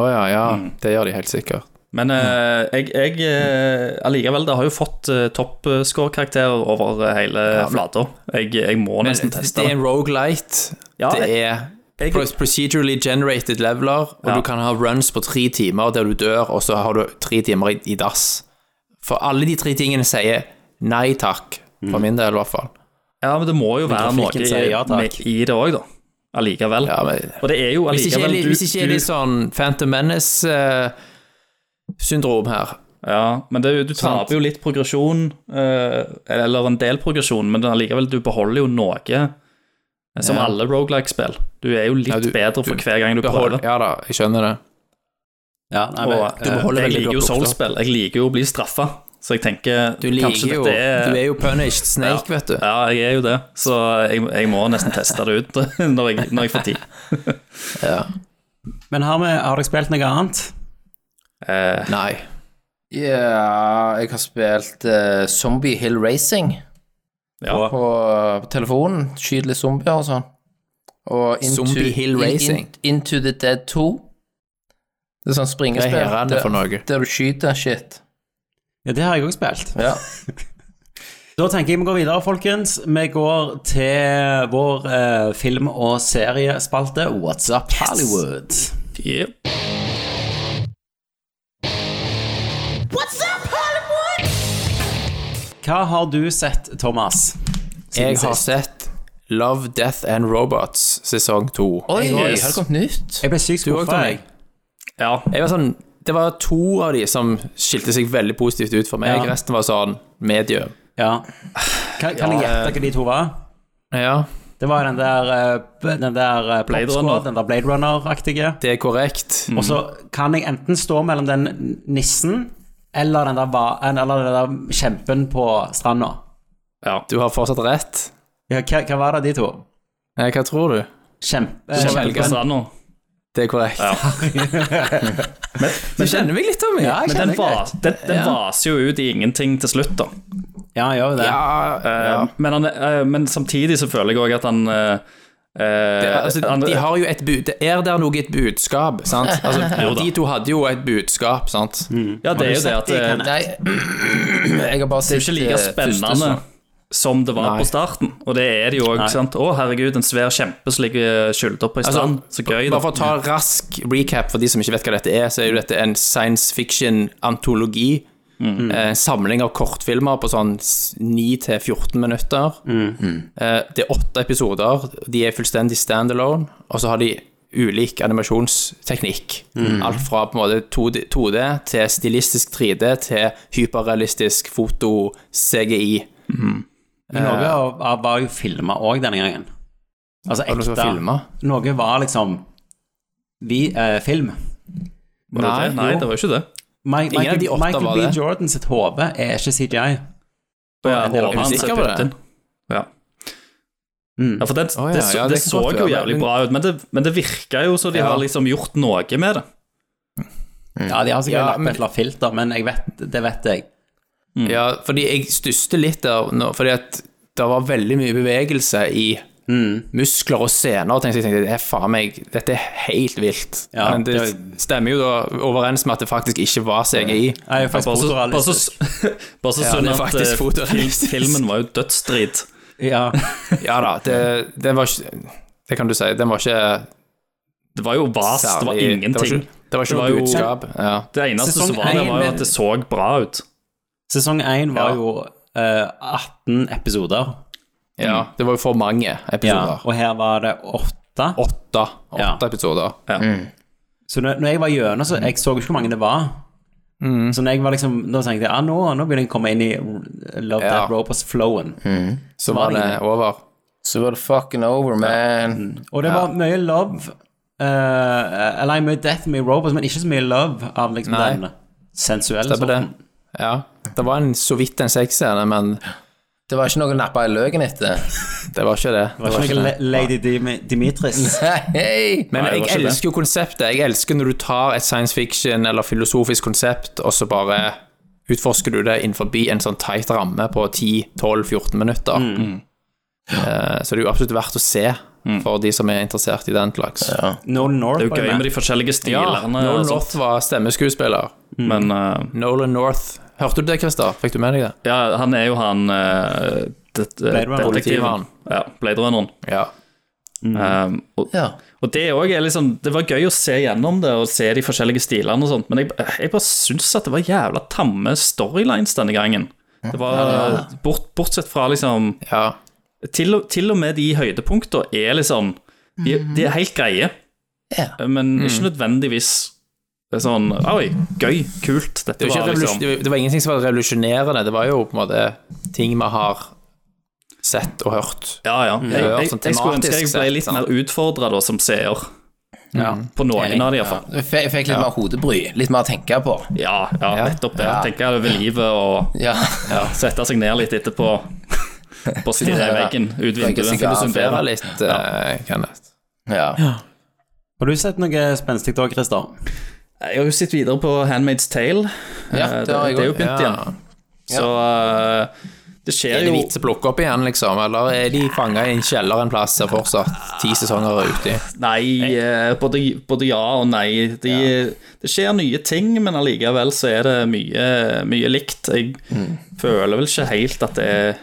Speaker 8: Å ja, ja. Det gjør de helt sikkert.
Speaker 7: Men eh, jeg, jeg eh, allikevel, det har jo fått uh, toppscore-karakterer over eh, hele flata. Jeg, jeg må
Speaker 8: Men
Speaker 7: nesten
Speaker 8: det
Speaker 7: teste
Speaker 8: er
Speaker 7: det.
Speaker 8: en roguelite
Speaker 7: Ja,
Speaker 8: det
Speaker 7: jeg-
Speaker 8: er
Speaker 7: jeg-
Speaker 8: pro- procedurally generated leveler, og
Speaker 7: Ja.
Speaker 8: du kan ha runs på tre timer der du dør, og så har du tre timer i, i Mm. dass. For alle de tre tingene sier nei takk, for min del i hvert fall.
Speaker 7: Ja, men det må jo være noe
Speaker 5: trafikken sier
Speaker 7: i,
Speaker 5: ja, takk.
Speaker 7: i det òg, da. Allikevel.
Speaker 8: Ja, men-
Speaker 7: Og det er jo
Speaker 8: Hvis ikke, er
Speaker 7: allikevel
Speaker 8: litt- hvis ikke er litt
Speaker 7: du,
Speaker 8: sånn Phantom Menace-syndrom her.
Speaker 7: Ja, men det, er jo- du
Speaker 8: Sant.
Speaker 7: taper jo litt progresjon, eh, eller en del progresjon, men allikevel, du beholder jo noe. eh, Som
Speaker 8: Ja.
Speaker 7: alle roguelike-spill. Du er jo litt
Speaker 8: Ja, du-
Speaker 7: bedre for
Speaker 8: du
Speaker 7: hver gang du
Speaker 8: Behold,
Speaker 7: prøver.
Speaker 8: ja da, jeg skjønner det.
Speaker 5: Ja, nei, men,
Speaker 7: Og
Speaker 5: eh,
Speaker 7: eh, jeg
Speaker 8: veldig
Speaker 7: liker jo
Speaker 8: godt opp, da.
Speaker 7: Soul-spill. Jeg liker jo å bli straffa, så jeg tenker
Speaker 8: Du liker
Speaker 7: kanskje
Speaker 8: jo
Speaker 7: dette er
Speaker 8: Du er jo punished snake, vet du.
Speaker 7: Ja, jeg er jo det, så jeg, jeg må nesten teste det ut når jeg, når jeg får tid.
Speaker 5: men har, vi, har dere spilt noe annet?
Speaker 7: Eh,
Speaker 8: Nei.
Speaker 6: Ja, jeg har spilt eh, Zombie Hill Racing på,
Speaker 7: ja.
Speaker 6: på telefonen. Skyter litt zombier og sånn. Og
Speaker 8: Zombie Hill Racing.
Speaker 6: Into the Dead 2. Det er sånn
Speaker 8: Hva
Speaker 6: springespill
Speaker 8: er herrene for
Speaker 6: der,
Speaker 8: noe?
Speaker 6: der du skyter shit.
Speaker 5: Ja, det har jeg òg spilt.
Speaker 6: Ja.
Speaker 5: Da tenker jeg vi går videre, folkens. Vi går til vår eh, film- og seriespalte What's Up Hollywood.
Speaker 7: Yep.
Speaker 5: Hva har du sett, Thomas?
Speaker 8: Jeg
Speaker 5: siden
Speaker 8: har
Speaker 5: sist?
Speaker 8: sett Love, Death and Robots sesong to.
Speaker 6: Oi,
Speaker 7: Yes.
Speaker 6: har det kommet nytt?
Speaker 5: Jeg ble sykt
Speaker 8: Du òg,
Speaker 5: skuffa,
Speaker 8: Tommy.
Speaker 5: jeg.
Speaker 7: ja.
Speaker 8: Jeg var sånn, det var to av de som skilte seg veldig positivt ut for meg.
Speaker 5: Ja.
Speaker 8: Resten var sånn medie.
Speaker 5: Ja. Kan, kan jeg
Speaker 7: Ja,
Speaker 5: gjette hva de to var?
Speaker 8: Ja,
Speaker 5: Det var den der, eh, den der eh,
Speaker 7: Blade
Speaker 5: Pop Squad,
Speaker 7: Runner.
Speaker 5: den der Blade Runner-aktige.
Speaker 8: det er korrekt.
Speaker 5: Og så kan jeg enten stå mellom den nissen eller den der, va- eller den der kjempen på stranda.
Speaker 7: ja.
Speaker 8: Du har fortsatt rett.
Speaker 5: Ja, hva, hva var det, de to?
Speaker 8: Nei, hva tror du?
Speaker 5: Kjempe,
Speaker 7: Velge
Speaker 5: kjempen.
Speaker 7: stranda.
Speaker 8: Det er korrekt.
Speaker 7: Men
Speaker 8: Du kjenner meg litt, Tommy. Ja,
Speaker 7: Men den, va- den, den vaser jo ut i ingenting til slutt, da.
Speaker 5: Ja, han gjør jo det.
Speaker 7: Eh, men, han, eh, men samtidig så føler jeg òg at han eh, eh,
Speaker 8: altså,
Speaker 7: han-
Speaker 8: de har jo et bud Det er der noe et budskap, sant? Altså,
Speaker 7: Jo da. Mm.
Speaker 8: de to hadde jo et budskap, sant?
Speaker 7: Ja, det er jo det at eh, det
Speaker 6: Nei, jeg har bare
Speaker 7: er
Speaker 6: sett
Speaker 7: jo ikke like
Speaker 6: eh, første
Speaker 7: spennende
Speaker 6: sesong.
Speaker 7: som det var
Speaker 8: Nei.
Speaker 7: på starten, og det er det jo òg. Å, herregud, en svær kjempe som ligger eh, skylda på ei strand. Sånn, Så gøy, da.
Speaker 8: Altså, Bare for å ta rask recap for de som ikke vet hva dette er, så er jo dette en science fiction-antologi. Eh, En samling av kortfilmer på sånn 9-14 minutter. Eh, Det er åtte episoder. De er fullstendig standalone, og så har de ulik animasjonsteknikk. Alt fra på en måte 2D, 2D til stilistisk 3D til hyperrealistisk foto-CGI.
Speaker 5: Men noe av, av var jo filma òg denne gangen. Altså
Speaker 8: Var det noe som var
Speaker 5: ekte.
Speaker 8: filmet?
Speaker 5: Noe var liksom vi, eh, film.
Speaker 7: Var det
Speaker 8: Nei,
Speaker 7: det? Nei,
Speaker 8: jo.
Speaker 7: det var jo ikke det.
Speaker 5: Mi-
Speaker 8: Ingen av
Speaker 5: Michael,
Speaker 8: de åtte
Speaker 5: Michael
Speaker 8: var
Speaker 5: B.
Speaker 8: det.
Speaker 5: Jordan sitt hode er ikke CGI.
Speaker 7: Ja,
Speaker 8: Er dere
Speaker 7: hodet hans
Speaker 8: usikre
Speaker 7: er
Speaker 8: på det?
Speaker 7: putt inn. Ja.
Speaker 5: Mm.
Speaker 7: ja, for det,
Speaker 8: Å, ja,
Speaker 7: det, så-
Speaker 8: ja, det
Speaker 7: det
Speaker 8: kan
Speaker 7: så
Speaker 8: godt
Speaker 7: jo
Speaker 8: være,
Speaker 7: jævlig
Speaker 8: men-
Speaker 7: bra ut, men det, men det virker jo så de
Speaker 8: Ja.
Speaker 7: har liksom gjort noe med det.
Speaker 5: Ja, de har sikkert
Speaker 8: Ja,
Speaker 5: lagt på
Speaker 8: men-
Speaker 5: et eller annet filter, men jeg vet, det vet jeg.
Speaker 8: Ja, fordi jeg stusste litt der nå, fordi at det var veldig mye bevegelse i Mm. muskler og sener, og tenkte, jeg tenkte, det er faen meg, dette er helt vilt.
Speaker 5: Ja,
Speaker 8: Men det,
Speaker 5: det-
Speaker 8: stemmer jo da overens med at det faktisk ikke var CGI.
Speaker 5: Jeg er faktisk
Speaker 7: Bare så, bare så,
Speaker 5: fotorealistisk.
Speaker 7: bare så
Speaker 8: Ja,
Speaker 7: synd
Speaker 8: det er
Speaker 7: at
Speaker 8: faktisk
Speaker 7: eh,
Speaker 8: fotorealistisk.
Speaker 7: fil- filmen var jo dødsdrit.
Speaker 5: Ja.
Speaker 8: Ja da, det, det var ikke, det kan du si, den var ikke
Speaker 7: Det var jo vast, det var
Speaker 8: særlig- Det
Speaker 7: ingenting.
Speaker 8: var ikke, det var ikke
Speaker 7: Det var jo-
Speaker 8: noe budskap. Ja.
Speaker 7: Det eneste
Speaker 5: Sesong
Speaker 7: som var der,
Speaker 5: én-
Speaker 7: var jo at det så bra ut.
Speaker 5: Sesong én var
Speaker 8: Ja.
Speaker 5: jo eh, 18 episoder,
Speaker 8: ja, det var jo for mange
Speaker 5: ja.
Speaker 8: episoder.
Speaker 5: og her var det åtte.
Speaker 8: Åtte, åtte
Speaker 5: Ja.
Speaker 8: episoder.
Speaker 5: Så når, når jeg var gjennom, så jeg så ikke hvor mange det var. Så når jeg var liksom, da tenkte jeg ah, nå, nå begynner jeg å komme inn i Love
Speaker 8: Ja.
Speaker 5: That Robots-flowen.
Speaker 8: Så var det over.
Speaker 6: Så var det fucking over, man.
Speaker 5: Og det var mye love eh, Eller mye death, mye robots, men ikke så mye love av liksom
Speaker 8: Nei.
Speaker 5: den sensuelle
Speaker 8: Det var det.
Speaker 5: sorten.
Speaker 8: Ja, det var en, så vidt en sexscene, men
Speaker 6: Det var ikke noe å nappe i løken etter.
Speaker 8: det var ikke det.
Speaker 5: Det var ikke noe Le- Lady Dimi- Dimitris.
Speaker 6: Hei!
Speaker 8: Men
Speaker 7: Nei, det var
Speaker 8: jeg
Speaker 7: ikke det.
Speaker 8: elsker jo konseptet. Jeg elsker når du tar et science fiction eller filosofisk konsept, og så bare utforsker du det innenfor en sånn tight ramme på 10-12-14 minutter.
Speaker 7: Mm.
Speaker 8: Eh, Så det er jo absolutt verdt å se for de som er interessert i den slags. Ja,
Speaker 5: Nolan North
Speaker 7: Det er jo
Speaker 5: var jo
Speaker 7: gøy med
Speaker 5: med.
Speaker 7: de forskjellige stilene.
Speaker 8: Nolan
Speaker 7: og sånt,
Speaker 8: North var stemmeskuespiller.
Speaker 5: Mm.
Speaker 7: men eh,
Speaker 8: Nolan North. Hørte du det, Christer? Fikk du med deg det?
Speaker 7: ja, han er jo han eh, det-
Speaker 5: Blade Runner.
Speaker 7: detektiven.
Speaker 8: Politimannen.
Speaker 7: Ja, Blade Runneren.
Speaker 8: Ja.
Speaker 5: Mm.
Speaker 7: Um, og,
Speaker 6: Ja.
Speaker 7: og det òg er liksom Det var gøy å se gjennom det og se de forskjellige stilene og sånt, men jeg, jeg bare syns at det var jævla tamme storylines denne gangen. Det var Bort, Bortsett fra liksom
Speaker 8: ja.
Speaker 7: til, og- til og med de høydepunktene er liksom De, de er helt greie,
Speaker 6: Ja.
Speaker 7: men ikke nødvendigvis det er sånn Oi, gøy, kult. Dette
Speaker 8: Det var,
Speaker 7: var
Speaker 8: ikke
Speaker 7: liksom
Speaker 8: revolusjon- det var ingenting som var revolusjonerende. Det var jo på en måte ting vi har sett og hørt.
Speaker 7: Ja, ja. Jeg, jeg,
Speaker 8: sånn
Speaker 7: jeg skulle ønske jeg
Speaker 8: tematisk
Speaker 7: ble
Speaker 8: sett,
Speaker 7: litt
Speaker 8: sant?
Speaker 7: mer utfordra da, som seer. På noen av de, iallfall.
Speaker 6: Jeg fikk, jeg fikk litt mer hodebry, litt mer å tenke på.
Speaker 7: Ja, ja, nettopp det. Tenke over livet og
Speaker 6: Ja.
Speaker 7: ja, sette seg ned litt etterpå. Bare stirre i veggen, ut
Speaker 6: Røyke
Speaker 7: vinduet,
Speaker 6: sigar.
Speaker 8: Det var
Speaker 7: filosofere.
Speaker 8: litt, eh, Kenneth.
Speaker 6: ja.
Speaker 5: Har du sett noe spenstig da, Christer?
Speaker 7: Jeg har jo sett videre på Handmaid's Tale.
Speaker 6: Ja,
Speaker 7: Eh,
Speaker 6: det har jeg
Speaker 7: det er jo
Speaker 6: også.
Speaker 8: Ja.
Speaker 7: begynt igjen. Så eh, det skjer
Speaker 8: Er de
Speaker 7: jo
Speaker 8: vits å plukke opp igjen, liksom? Eller er de fanga i en kjeller en plass der fortsatt ti sesonger er ute i?
Speaker 7: Nei, eh, både, både ja og nei. De, Det skjer nye ting, men allikevel så er det mye, mye likt. Jeg føler vel ikke helt at det er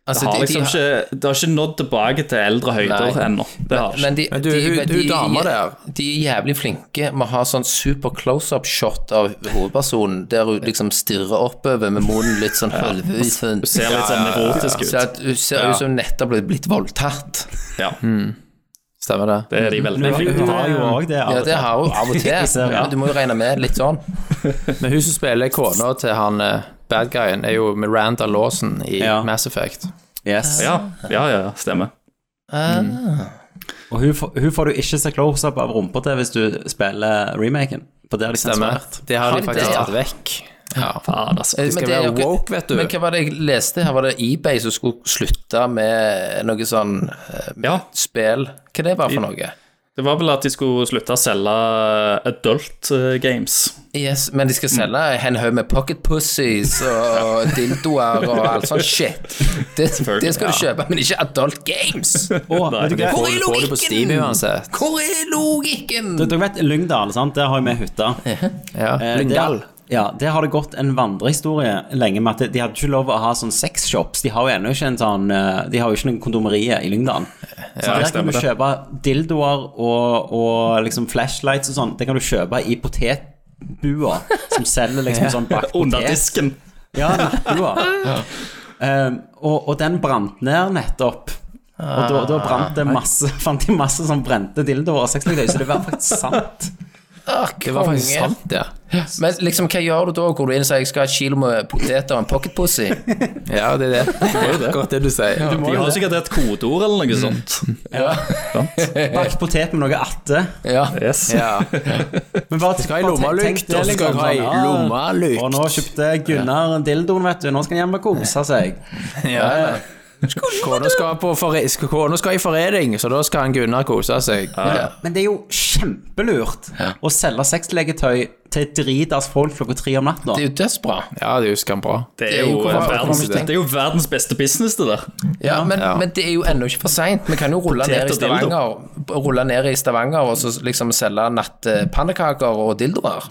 Speaker 6: Mm. Altså,
Speaker 7: det har
Speaker 6: de- de
Speaker 7: liksom
Speaker 6: har-
Speaker 7: ikke Det har ikke nådd tilbake til eldre høyder
Speaker 6: Nei.
Speaker 7: ennå. Det har ikke.
Speaker 6: Men de,
Speaker 8: Men du,
Speaker 6: de,
Speaker 8: hun-
Speaker 6: de,
Speaker 8: hun dama der.
Speaker 6: de er jævlig flinke med å ha sånn super close-up shot av hovedpersonen, der hun liksom stirrer oppover med munnen litt sånn halvvis. Sånn.
Speaker 7: Det ser litt sånn erotisk
Speaker 6: Så
Speaker 7: ut.
Speaker 6: at hun ser ut som nettopp blitt- blitt voldtatt.
Speaker 7: Ja,
Speaker 6: Mm.
Speaker 8: Stemmer det?
Speaker 7: det er de veldig flinke
Speaker 5: Hun har jo òg det.
Speaker 6: Ja, det har hun av og til.
Speaker 5: Jeg ser det.
Speaker 6: Ja, du må jo regne med litt sånn.
Speaker 8: Men hun som spiller kona til han eh, bad guyen, er jo Miranda Lawson i
Speaker 5: Ja.
Speaker 8: Mass Effect.
Speaker 5: Yes.
Speaker 7: Ja, ja, ja, ja, stemmer.
Speaker 6: Ah,
Speaker 8: Mm.
Speaker 5: Og hun, får- hun får du ikke se close-up av rumpa til hvis du spiller remaken. For det har de
Speaker 8: Stemmer.
Speaker 5: sensurert.
Speaker 8: Det har
Speaker 6: Har
Speaker 8: de
Speaker 6: de
Speaker 8: faktisk
Speaker 6: det, ja?
Speaker 8: tatt vekk. Ja.
Speaker 7: Faen, altså.
Speaker 8: De skal
Speaker 6: det er
Speaker 8: være
Speaker 6: jo ikke-
Speaker 8: woke, vet du.
Speaker 6: Men hva var det jeg leste her? Var det eBay som skulle slutte med noe sånn eh,
Speaker 7: Ja,
Speaker 6: spill? Hva det var for noe?
Speaker 7: det var vel at de skulle slutte å selge adult eh, games.
Speaker 6: Yes, men de
Speaker 8: Mm.
Speaker 6: skal selge en haug med pocket pussies og dildoer og alt sånn shit. Det, det skal du kjøpe, men ikke Adult Games.
Speaker 5: Og, vet du hva?
Speaker 6: Hvor
Speaker 8: Får
Speaker 6: er
Speaker 8: du- får du på Steam
Speaker 6: logikken?
Speaker 8: uansett.
Speaker 6: Hvor er logikken?
Speaker 5: Dere vet Lyngdal, sant? Der har jo vi hytta.
Speaker 6: Ah,
Speaker 8: Ja.
Speaker 5: Eh,
Speaker 8: Lyngdal.
Speaker 5: Der, ja, der har det gått en vandrehistorie lenge med at de hadde ikke lov å ha sånn sexshops. De har jo ennå ikke en sånn eh, De har jo ikke noen kondomerier i Lyngdal. Så der kan
Speaker 7: stemmer
Speaker 5: du
Speaker 7: det.
Speaker 5: kjøpe dildoer og, og liksom flashlights og sånn. Det kan du kjøpe i potetbua som selger liksom sånn bakt
Speaker 7: Under
Speaker 5: potet.
Speaker 7: disken.
Speaker 5: Ja, nattbua. Ehm, og, og den brant ned nettopp. Og da, da brant
Speaker 8: Ah,
Speaker 5: det masse fant de masse sånn brente dildoer og sexleketøy, så det var faktisk sant.
Speaker 6: Ah,
Speaker 8: Det var faktisk
Speaker 6: konge.
Speaker 8: sant, det.
Speaker 6: Men liksom, hva gjør du da? Går du inn og sier jeg skal ha et kilo med poteter og en pocket pussy?
Speaker 8: Ja, det er det. Det er jo akkurat det du sier.
Speaker 7: De har sikkert et kodeord eller
Speaker 6: Mm.
Speaker 7: noe sånt.
Speaker 6: Ja.
Speaker 5: Bakt potet med noe atte.
Speaker 6: ja.
Speaker 7: Yes.
Speaker 8: Ja.
Speaker 5: Men bare,
Speaker 8: Skal ha i
Speaker 5: bare tenk-
Speaker 8: lommelykt,
Speaker 5: tenk det,
Speaker 8: og
Speaker 5: liksom,
Speaker 8: skal ha i
Speaker 5: sånn,
Speaker 6: ah.
Speaker 5: ja,
Speaker 8: lommelykt.
Speaker 5: Og nå kjøpte Gunnar dildoen, vet du. Nå skal han hjem og kose seg.
Speaker 8: Ja. Kona skal, på forre- sk- Kona skal i forening, så da skal han Gunnar kose seg.
Speaker 5: Men det er jo kjempelurt å selge sexleketøy til dritas folk klokka tre om natta.
Speaker 6: Det er jo dødsbra.
Speaker 8: Ja, det husker han bra.
Speaker 7: Det er jo, eh,
Speaker 6: Hvorfor- hvorfor har
Speaker 7: verdens,
Speaker 6: vi ikke tenkt-
Speaker 7: det er jo verdens beste business, det der.
Speaker 6: Ja, men, men det er jo ennå ikke for seint. Vi kan jo rulle ned
Speaker 7: Potet
Speaker 6: i
Speaker 7: og dildo.
Speaker 6: Stavanger Rulle ned i Stavanger og så liksom selge nattpannekaker og dildoer.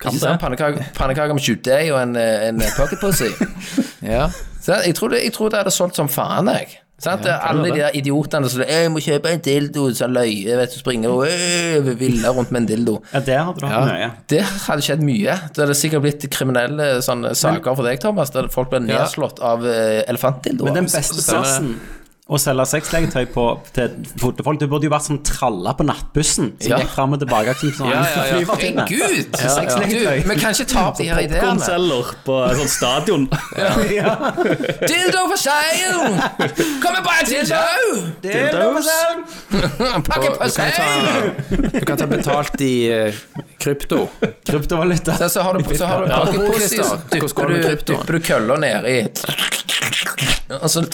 Speaker 7: Kan
Speaker 6: Ikke sant?
Speaker 7: det.
Speaker 6: Pannekaker, pannekaker med tjuvdeig og en, eh, en pocket pussy.
Speaker 8: Ja.
Speaker 6: Så jeg, tror det, jeg tror det hadde solgt som faen, jeg. Sant? Alle
Speaker 7: det.
Speaker 6: de der idiotene som 'Jeg må kjøpe en dildo', så løye, vet du, springer og øh, viller rundt med en dildo.
Speaker 5: Ja, det hadde du hatt mye.
Speaker 6: Det hadde skjedd mye. Det hadde sikkert blitt kriminelle eh, sånne saker for deg, Thomas, der folk ble
Speaker 8: Ja.
Speaker 6: nedslått av eh, elefantdildoer.
Speaker 5: Men den beste plassen å selge sexleketøy på til fotfolk Det burde jo vært sånn tralla på nattbussen som
Speaker 6: Ja.
Speaker 5: gikk fram og tilbake. Aktivt, sånn,
Speaker 8: Ja, ja, ja.
Speaker 5: flyvertinne.
Speaker 6: Herregud!
Speaker 5: Sexleketøy.
Speaker 6: Du, vi kan ikke ta opp de her ideene.
Speaker 7: Kornceller på et sånt stadion.
Speaker 6: Dildo for seieren! Kom med bare en dildo!
Speaker 5: Det er lov å selge.
Speaker 6: Pakke på seieren!
Speaker 8: Du kan ta betalt i eh, krypto.
Speaker 5: Kryptovaluta.
Speaker 6: Så, så har du, så har du
Speaker 8: Ja.
Speaker 6: pakket
Speaker 8: Hvordan
Speaker 6: pussy, så
Speaker 8: går
Speaker 6: dypper
Speaker 8: det med
Speaker 6: du,
Speaker 8: kryptoen?
Speaker 6: dypper du kølla nedi. Og så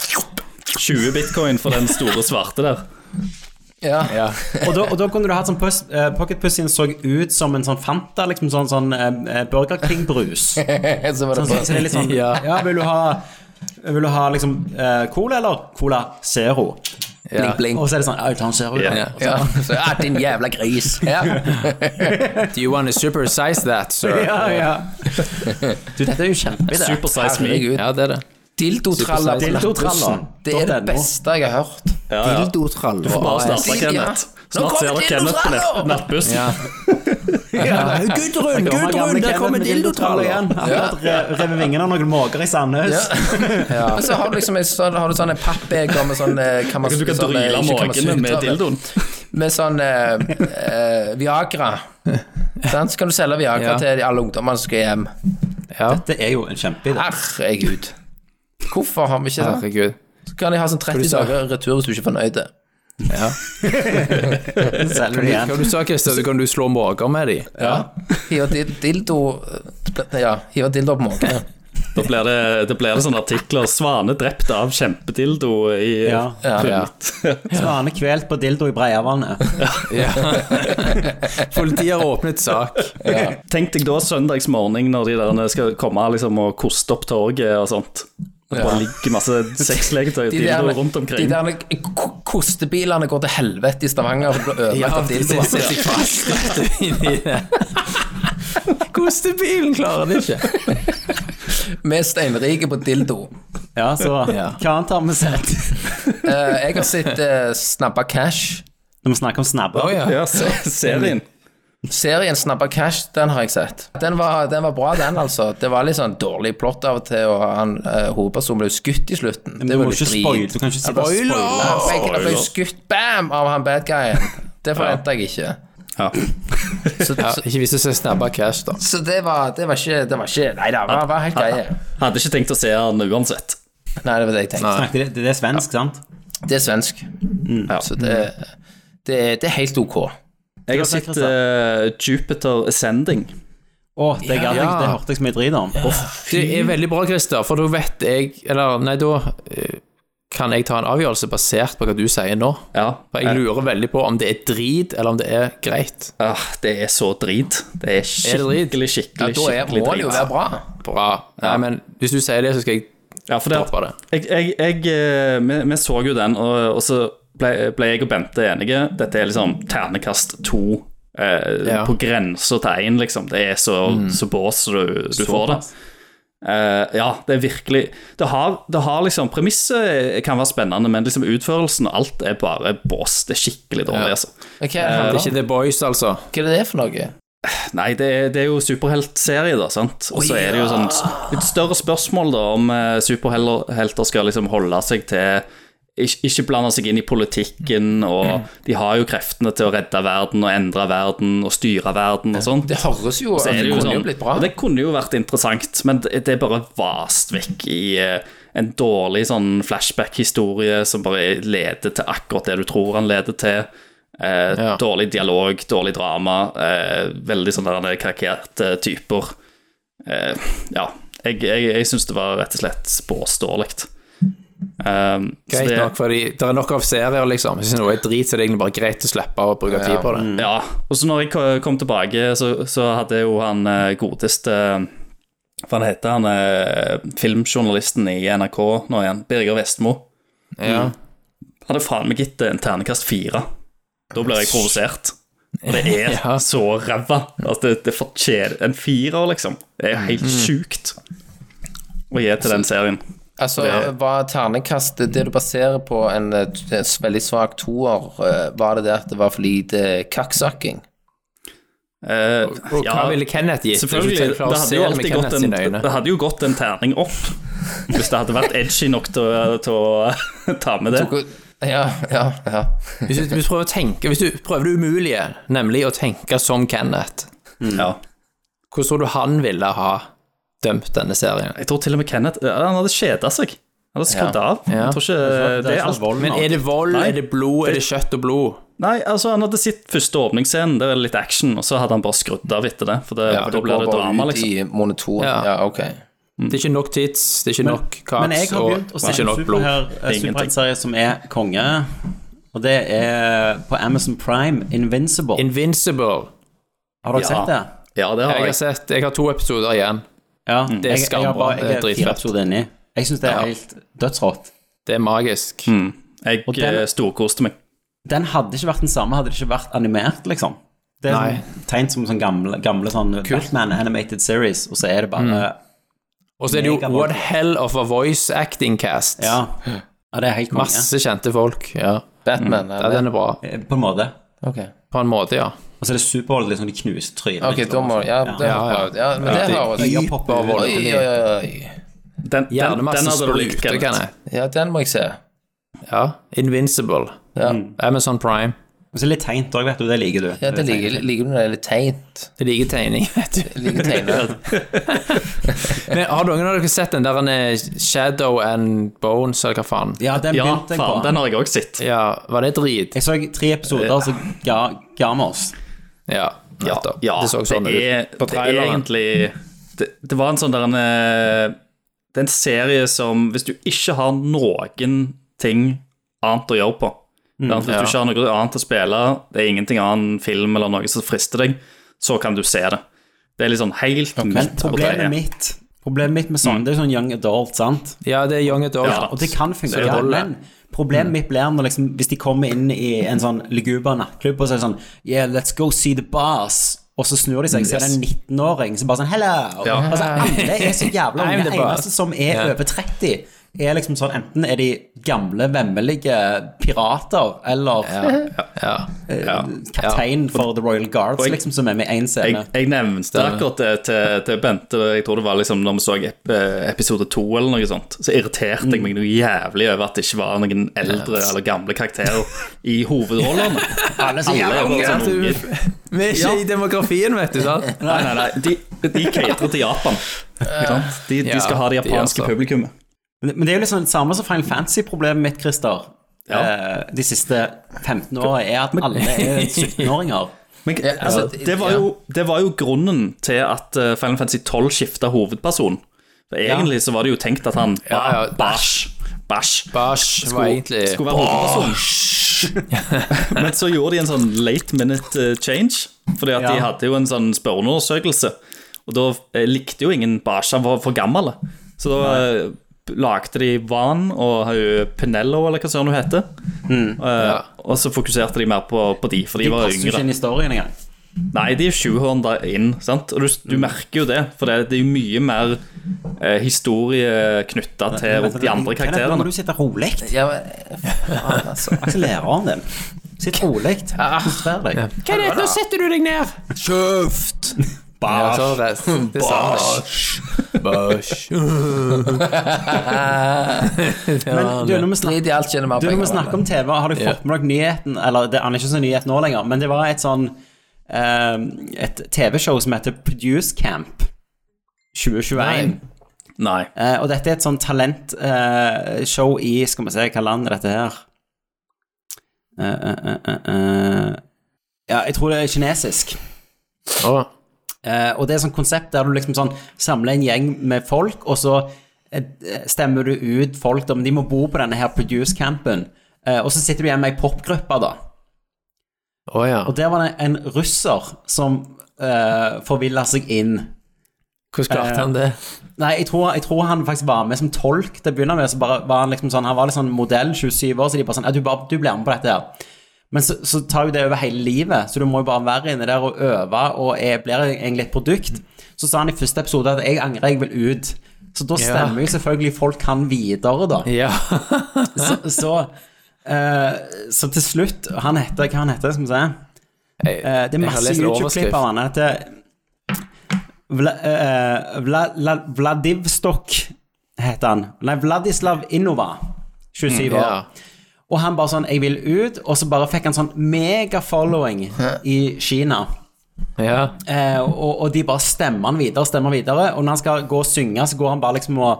Speaker 7: 20 bitcoin for den store svarte der.
Speaker 6: Ja.
Speaker 8: Ja.
Speaker 5: Og da, og da kunne du hatt sånn pus, eh, Pocket Pussyen så ut som en sånn Fanta, liksom sånn, sånn eh, Burger King-brus. Sånn,
Speaker 6: Så var det
Speaker 5: så det er
Speaker 6: bare
Speaker 5: litt sånn Ja, vil du ha vil du ha liksom eh, cola eller Cola Zero?
Speaker 8: Ja.
Speaker 6: bling, bling.
Speaker 5: Og så er det sånn Ja, jeg tar en Zero.
Speaker 7: Ja.
Speaker 5: Ja.
Speaker 8: Ja.
Speaker 6: Ja, så, ja, din jævla gris. Ja.
Speaker 8: Do you want to supersize that, sir?
Speaker 5: Ja, ja. Du, dette er jo kjempeidé.
Speaker 7: Super size me.
Speaker 6: Herregud.
Speaker 8: Ja, det er det.
Speaker 6: Dildotraller på
Speaker 5: Dildotraller.
Speaker 6: nattbussen. Det er det
Speaker 5: .no.
Speaker 6: beste jeg har hørt.
Speaker 7: Ja, ja.
Speaker 6: Dildotraller.
Speaker 7: Bare
Speaker 6: Ja,
Speaker 7: starte,
Speaker 6: ja.
Speaker 7: Kenneth.
Speaker 6: Nå
Speaker 7: Snart ser
Speaker 6: kommer
Speaker 7: dere Kenneth på nett-
Speaker 6: dildotraller!
Speaker 7: nettbussen.
Speaker 8: Ja.
Speaker 5: Gudrun, Gudrun, der kommer dildotraller igjen! Han
Speaker 6: Ja.
Speaker 5: har re- revet vingene av noen måker i Sandnes.
Speaker 6: Og så har du liksom en sånn, har du sånn en pappbeger med sånn eh, kan man,
Speaker 7: Du kan
Speaker 6: sånn, eh, ikke
Speaker 7: dryle
Speaker 6: kan man
Speaker 7: måkene
Speaker 6: suge
Speaker 7: med
Speaker 6: ut av det.
Speaker 7: dildoen.
Speaker 6: Med sånn eh, eh, Viagra. Sant? Så kan du selge Viagra
Speaker 8: Ja.
Speaker 6: til alle ungdommene som skal hjem.
Speaker 5: Dette er jo en kjempeidé.
Speaker 6: Herregud. Hvorfor har vi ikke det?
Speaker 8: Herregud.
Speaker 6: Så kan de ha sånn 30
Speaker 8: sa?
Speaker 6: dager retur hvis du ikke er fornøyd.
Speaker 5: Selger du
Speaker 8: Hva
Speaker 5: igjen.
Speaker 8: du sa Christer, så kan du slå måker med de.
Speaker 6: Hive dil- dildo eh, Ja, hive dildo på måken.
Speaker 7: Da blir det, det, blir det sånne artikler 'Svane drept av kjempedildo' i
Speaker 5: Ja.
Speaker 6: Ja, ja.
Speaker 5: Svane kvelt på dildo i Breiavannet.
Speaker 8: Politiet har åpnet sak.
Speaker 7: Tenk deg da søndagsmorgen når de der skal komme liksom, og koste opp torget og sånt. Det bare ligger masse sexleketøy og
Speaker 6: De der,
Speaker 7: dildoer rundt
Speaker 6: de
Speaker 7: omkring.
Speaker 6: der k- kostebilene går til helvete i Stavanger for å bli ødelagt av dildoer.
Speaker 8: Kostebilen klarer det ikke.
Speaker 6: Vi er steinrike på dildo.
Speaker 5: Ja, så hva annet har vi sett?
Speaker 6: Eh, jeg har sett eh, Snabba Cash.
Speaker 5: Når vi snakker om snabber.
Speaker 7: Ja, se, serien.
Speaker 6: Serien Snabba Cash, den har jeg sett. Den var, den var bra, den, altså. Det var litt sånn dårlig plott av og til, og han eh, hovedpersonen ble jo skutt i slutten.
Speaker 5: Men
Speaker 6: Det
Speaker 5: du
Speaker 6: var
Speaker 5: må
Speaker 6: litt
Speaker 5: ikke spoile. Du kan ikke si bare spoile.
Speaker 6: Han ble, han ble skutt, bam, av han bad guyen. Det forventa jeg ikke.
Speaker 7: Ja.
Speaker 6: Så, så,
Speaker 8: Ikke hvis du ser snabba cash, da.
Speaker 6: så det, var, det var ikke Det var ikke Nei da, det var- var helt greie.
Speaker 7: Hadde ikke tenkt å se den uansett.
Speaker 6: Nei, det var det jeg tenkte.
Speaker 5: Snakket de- Det er svensk, sant?
Speaker 6: Det er svensk. Så det, det, det er helt ok.
Speaker 7: Jeg har
Speaker 5: Det
Speaker 7: sett
Speaker 5: var
Speaker 7: eh, Jupiter Ascending.
Speaker 5: Å, det gadd jeg. Det hørte jeg så mye drit om.
Speaker 8: Det er veldig bra, Christer, for da vet jeg Eller, nei, da eh, kan jeg ta en avgjørelse basert på hva du sier nå.
Speaker 7: Ja.
Speaker 8: For jeg lurer veldig på om det er drit, eller om det er greit.
Speaker 7: Ah, det er så drit. Det er
Speaker 8: drit?
Speaker 6: Ja,
Speaker 7: skikkelig, skikkelig,
Speaker 6: da er,
Speaker 7: skikkelig
Speaker 6: må det jo være
Speaker 7: drit.
Speaker 6: bra.
Speaker 8: Bra. Nei, men hvis du sier det, så skal jeg
Speaker 7: Ja, for det,
Speaker 8: Dropp det.
Speaker 7: jeg, jeg, jeg, eh, vi, vi så jo den, og, og så ble, ble jeg og Bente enige. Dette er liksom ternekast to. Eh,
Speaker 8: Ja.
Speaker 7: På grensa til én, liksom. Det er så,
Speaker 6: Mm.
Speaker 7: så bås du, du får det. Eh, ja, det er virkelig Det har, det har liksom Premisset kan være spennende, men liksom utførelsen alt er bare bås. Det er skikkelig dårlig, altså.
Speaker 6: Men Hva er
Speaker 8: Det
Speaker 6: det,
Speaker 8: er ikke The Boys, altså.
Speaker 6: hva er det for noe?
Speaker 7: Nei, det er, det er jo superheltserie, da, sant? Og så er det jo sånn s- litt større spørsmål, da, om eh, superhelter skal liksom holde seg til ikke, ikke blande seg inn i politikken, og de har jo kreftene til å redde verden og endre verden og styre verden og sånt.
Speaker 6: Det høres jo Det
Speaker 7: Så er det jo
Speaker 6: kunne
Speaker 7: sånn,
Speaker 6: jo blitt bra.
Speaker 7: og det kunne jo vært interessant, men det det er bare vast vekk i eh, en dårlig sånn flashback-historie som bare leder til akkurat det du tror han leder til. Eh,
Speaker 8: Ja.
Speaker 7: Dårlig dialog, dårlig drama, eh, veldig sånne der karikerte typer. Eh, ja, jeg, jeg, jeg syns det var rett og slett spåståelig. Um, så
Speaker 8: Greit
Speaker 7: det-
Speaker 8: nok, fordi det er nok av serier, liksom. Hvis noe er drit, så er det egentlig bare greit å slippe å bruke tid på det.
Speaker 7: Ja, og så når jeg ko- kom tilbake, så, så hadde jo han eh, godeste eh, Hva han heter han eh, filmjournalisten i NRK nå igjen? Birger Vestmo. Mm.
Speaker 8: Ja.
Speaker 7: Hadde faen meg gitt eh, en ternekast fire. Da blir jeg provosert. Og det er
Speaker 8: Ja.
Speaker 7: så ræva. Altså, det, det fortjener en firer, liksom. Det er jo helt
Speaker 8: Mm.
Speaker 7: sjukt å gi til den serien.
Speaker 6: Altså,
Speaker 7: Det-
Speaker 6: var ternekastet det du baserer på en, eh, t- en veldig svak toer, eh, var det det at det var for lite kakksakking?
Speaker 7: Eh,
Speaker 8: Og hva
Speaker 7: ja.
Speaker 8: ville Kenneth gitt?
Speaker 7: Selvfølgelig,
Speaker 8: Hvis du klarer å
Speaker 7: det hadde,
Speaker 8: se
Speaker 7: jo
Speaker 8: med
Speaker 7: alltid
Speaker 8: Kenneth
Speaker 7: gått en,
Speaker 8: sine øyne.
Speaker 7: det hadde jo gått en terning opp hvis det hadde vært edgy nok til å, til å ta med det.
Speaker 6: Hvor- Ja, ja, ja.
Speaker 8: Hvis du, hvis, du prøver å tenke, hvis du prøver det umulige, nemlig å tenke som Kenneth,
Speaker 7: Ja.
Speaker 8: hvordan tror du han ville ha dømt denne serien?
Speaker 7: Jeg tror til og med Kenneth ja, Han hadde kjeda seg. Han hadde skrudd av.
Speaker 8: Ja.
Speaker 7: Jeg tror ikke det,
Speaker 5: Det
Speaker 7: er
Speaker 5: ikke
Speaker 7: alt.
Speaker 5: vold
Speaker 8: Men
Speaker 5: nå.
Speaker 8: er det vold,
Speaker 7: Nei.
Speaker 8: er det blod, er det kjøtt og blod?
Speaker 7: Nei, altså Han hadde sett første åpningsscenen, der er det litt action, og så hadde han bare skrudd av etter det. For, det,
Speaker 6: ja
Speaker 7: for da blir det drama, liksom.
Speaker 6: I monoton.
Speaker 8: Ja.
Speaker 6: Ja. ok.
Speaker 8: Det er ikke nok tits, det er ikke nok
Speaker 5: Men jeg
Speaker 8: kaks,
Speaker 5: har
Speaker 8: og
Speaker 5: begynt å
Speaker 8: det
Speaker 5: se
Speaker 8: er ikke
Speaker 5: en
Speaker 8: nok blod.
Speaker 5: superher- eh,
Speaker 7: Ingenting.
Speaker 5: superheltserie som er konge, og det er på Amazon Prime, Invincible.
Speaker 8: Invincible.
Speaker 5: Har dere
Speaker 7: Ja.
Speaker 5: sett det?
Speaker 7: Ja, det har
Speaker 8: Jeg har
Speaker 7: jeg.
Speaker 8: sett, jeg har to episoder igjen.
Speaker 5: Ja.
Speaker 8: er
Speaker 6: Mm.
Speaker 5: jeg- Jeg,
Speaker 8: skambra.
Speaker 5: har bare-
Speaker 8: Det er
Speaker 5: jeg er
Speaker 8: dritfett.
Speaker 5: fire episoder inni. Jeg syns det er helt dødsrått.
Speaker 8: Det er magisk.
Speaker 7: Mm. Jeg
Speaker 5: Og den-
Speaker 7: eh, storkoste meg.
Speaker 5: Den hadde ikke vært den samme hadde det ikke vært animert, liksom. Det er
Speaker 8: Nei.
Speaker 5: sånn tegnet som sånn gamle, gamle sånn Batman animated series, og så er det bare
Speaker 6: Mm.
Speaker 8: Og så er det jo
Speaker 5: Mega
Speaker 8: What
Speaker 5: voldelig.
Speaker 8: Hell of a Voice Acting Cast.
Speaker 5: Ja. ja det er helt konge.
Speaker 8: Masse kjente folk. Ja,
Speaker 6: Batman.
Speaker 8: Mm. ja
Speaker 6: eller?
Speaker 8: den er bra.
Speaker 5: Eh, På en måte.
Speaker 6: Ok,
Speaker 8: På en måte, ja.
Speaker 5: Og så er det Superbowl, liksom, de knuser trynet.
Speaker 6: Ok, da må Ja, det
Speaker 8: Ja,
Speaker 6: har
Speaker 8: ja.
Speaker 6: jeg prøvd. Ja, men det høres
Speaker 5: Øya
Speaker 6: Oi,
Speaker 5: popper ut.
Speaker 8: Hypervold.
Speaker 6: oi, oi, oi.
Speaker 7: Den, den, den
Speaker 8: Hjernemasse
Speaker 7: hadde du likt,
Speaker 8: spruter, kan
Speaker 7: Kenneth.
Speaker 8: jeg.
Speaker 6: Ja, den må jeg se.
Speaker 8: Ja. Invincible.
Speaker 6: Ja,
Speaker 8: Amazon Prime.
Speaker 5: Og så er det litt teint òg, vet du. Det liker du.
Speaker 6: ja det liker liker du når det er litt teint.
Speaker 8: Det liker tegning, vet du.
Speaker 6: Jeg liker tegnet.
Speaker 8: Men Har noen av dere sett den der en, eh, Shadow and Bones, eller hva faen?
Speaker 5: Ja, den
Speaker 7: Ja,
Speaker 5: begynte jeg
Speaker 7: faen,
Speaker 5: på.
Speaker 7: den har jeg òg sett.
Speaker 8: Ja, var det drit?
Speaker 5: Jeg så tre episoder, så ga, ga vi oss.
Speaker 8: Ja, nettopp. det så sånn
Speaker 7: det er,
Speaker 8: ut på
Speaker 7: det er
Speaker 8: traileren.
Speaker 7: egentlig det, det var en sånn der en eh, Det er en serie som Hvis du ikke har noen ting annet å gjøre på sant? Hvis
Speaker 8: Mm, ja.
Speaker 7: du ikke har noe annet å spille, det er ingenting annen film eller noe som frister deg, så kan du se det. Det er litt sånn helt
Speaker 5: Men
Speaker 7: midt på
Speaker 5: problemet
Speaker 7: treet.
Speaker 5: mitt Problemet mitt med sånn, det er sånn young adult, sant?
Speaker 8: Ja, det er Young Adult.
Speaker 7: Ja.
Speaker 5: Og det kan funke,
Speaker 8: det
Speaker 5: ja,
Speaker 8: holder.
Speaker 5: men problemet mitt blir når liksom, hvis de kommer inn i en sånn luguber nattklubb og så er det sånn Yeah, let's go see the bars. Og så snur de seg, så er det en 19-åring som bare sånn Hello!
Speaker 7: Ja.
Speaker 5: Altså, alle er så jævla
Speaker 8: I'm
Speaker 5: unge.
Speaker 8: the boss.
Speaker 5: Eneste som er over 30, er liksom sånn Enten er de gamle, vemmelige pirater, eller
Speaker 8: Ja.
Speaker 7: Ja.
Speaker 5: kaptein for The Royal Guards,
Speaker 7: jeg-
Speaker 5: liksom, som er med i én
Speaker 7: Jeg,
Speaker 5: scene.
Speaker 7: jeg nevnte akkurat det til, til Bente, jeg tror det var liksom når vi så ep episode to eller noe sånt, så irriterte jeg meg noe jævlig over at det ikke var noen eldre eller gamle karakterer i hovedrollene.
Speaker 5: Alle er så jævla
Speaker 7: Alle er
Speaker 5: unge.
Speaker 7: bare
Speaker 8: sant?
Speaker 7: sånn unge.
Speaker 8: Vi er ikke
Speaker 7: Ja.
Speaker 8: i demografien, vet du. sant?
Speaker 7: Nei, nei, nei, de, de caterer til Japan. sant? De, de skal
Speaker 8: Ja,
Speaker 7: ha det
Speaker 8: de
Speaker 7: japanske
Speaker 8: også.
Speaker 7: publikummet.
Speaker 5: Men men det er jo liksom det samme som Final Fantasy-problemet mitt, Christer.
Speaker 7: Ja.
Speaker 5: eh, De siste 15 åra er at alle er 17-åringer.
Speaker 7: Men altså,
Speaker 6: ja.
Speaker 7: det, var jo, det var jo grunnen til at eh, Final Fantasy 12 skifta hovedperson. For egentlig så var det jo tenkt at han
Speaker 8: Ja, ja.
Speaker 7: Bæsj. Bæsj.
Speaker 8: Bash var egentlig
Speaker 7: skulle være hovedperson. Men så gjorde de en sånn late minute eh, change, fordi at de
Speaker 5: Ja.
Speaker 7: hadde jo en sånn spørreundersøkelse. Og da eh, likte jo ingen Basha var for gammel. Så da eh, lagde de Van og hun Pinello, eller hva søren hun heter. Eh, Og så fokuserte de mer på, på de, for de,
Speaker 5: Mm. De
Speaker 7: var
Speaker 5: passer jo ikke
Speaker 7: yngre.
Speaker 5: inn i storyen engang.
Speaker 7: Nei, de er 700 inn, sant? og du,
Speaker 5: Mm.
Speaker 7: du merker jo det. For det, det er jo mye mer eh, historie knytta til rundt de andre
Speaker 5: Kenneth, Nå må
Speaker 7: karakterene.
Speaker 5: du sitte rolig.
Speaker 6: Ja, men faen, altså.
Speaker 5: Akselereren din. Sitt rolig. Konsentrer deg.
Speaker 8: Kenneth, nå setter du deg ned! Kjøft! Ja, så det, det Bash. Bash.
Speaker 5: Men du, når vi snakker
Speaker 6: Drit i alt, tjener mer
Speaker 5: Du, når vi
Speaker 6: penger.
Speaker 5: snakker om TV, har du fått med deg nyheten Eller det han er ikke så nyhet nå lenger, men det var et sånn eh, Et TV-show som heter Produce Camp 2021.
Speaker 7: Nei.
Speaker 5: Eh, og dette er et sånn talentshow i Skal vi se, hva land er dette her? Eh, eh, eh, eh, eh. Ja, jeg tror det er kinesisk.
Speaker 8: Å.
Speaker 5: Eh, og det er sånn konsept der du liksom sånn samler en gjeng med folk, og så eh, stemmer du ut folk da, men de må bo på denne her produce-campen. Eh, og så sitter du igjen med ei popgruppe, da.
Speaker 8: Å ja.
Speaker 5: Og der var det en russer som uh, forvilla seg inn.
Speaker 8: Hvordan klarte han det?
Speaker 5: Nei, jeg tror, jeg tror han faktisk var med som tolk til å begynne med. Så bare var han liksom sånn Han var litt sånn modell, 27 år, så de bare sånn Ja, du, bare, du blir med på dette her. Men så, så tar jo det over hele livet, så du må jo bare være inne der og øve, og jeg blir egentlig et produkt. Så sa han i første episode at 'jeg angrer, jeg vil ut'. Så da stemmer jo selvfølgelig folk han videre, da.
Speaker 8: Ja.
Speaker 5: Så, så, eh, så til slutt Han heter Hva han heter skal vi se?
Speaker 8: Jeg,
Speaker 5: Eh, det er
Speaker 8: jeg har
Speaker 5: masse
Speaker 8: lest
Speaker 5: YouTube-klipp av han. Han heter Vla, eh, Vla, La, Vladivstok heter han. Nei, Vladislav Innova. 27 år.
Speaker 8: Mm, Ja.
Speaker 5: Og han bare sånn 'Jeg vil ut', og så bare fikk han sånn mega-following i Kina.
Speaker 8: ja.
Speaker 5: Eh, og, og de bare stemmer han videre, stemmer han videre. Og når han skal gå og synge, så går han bare liksom og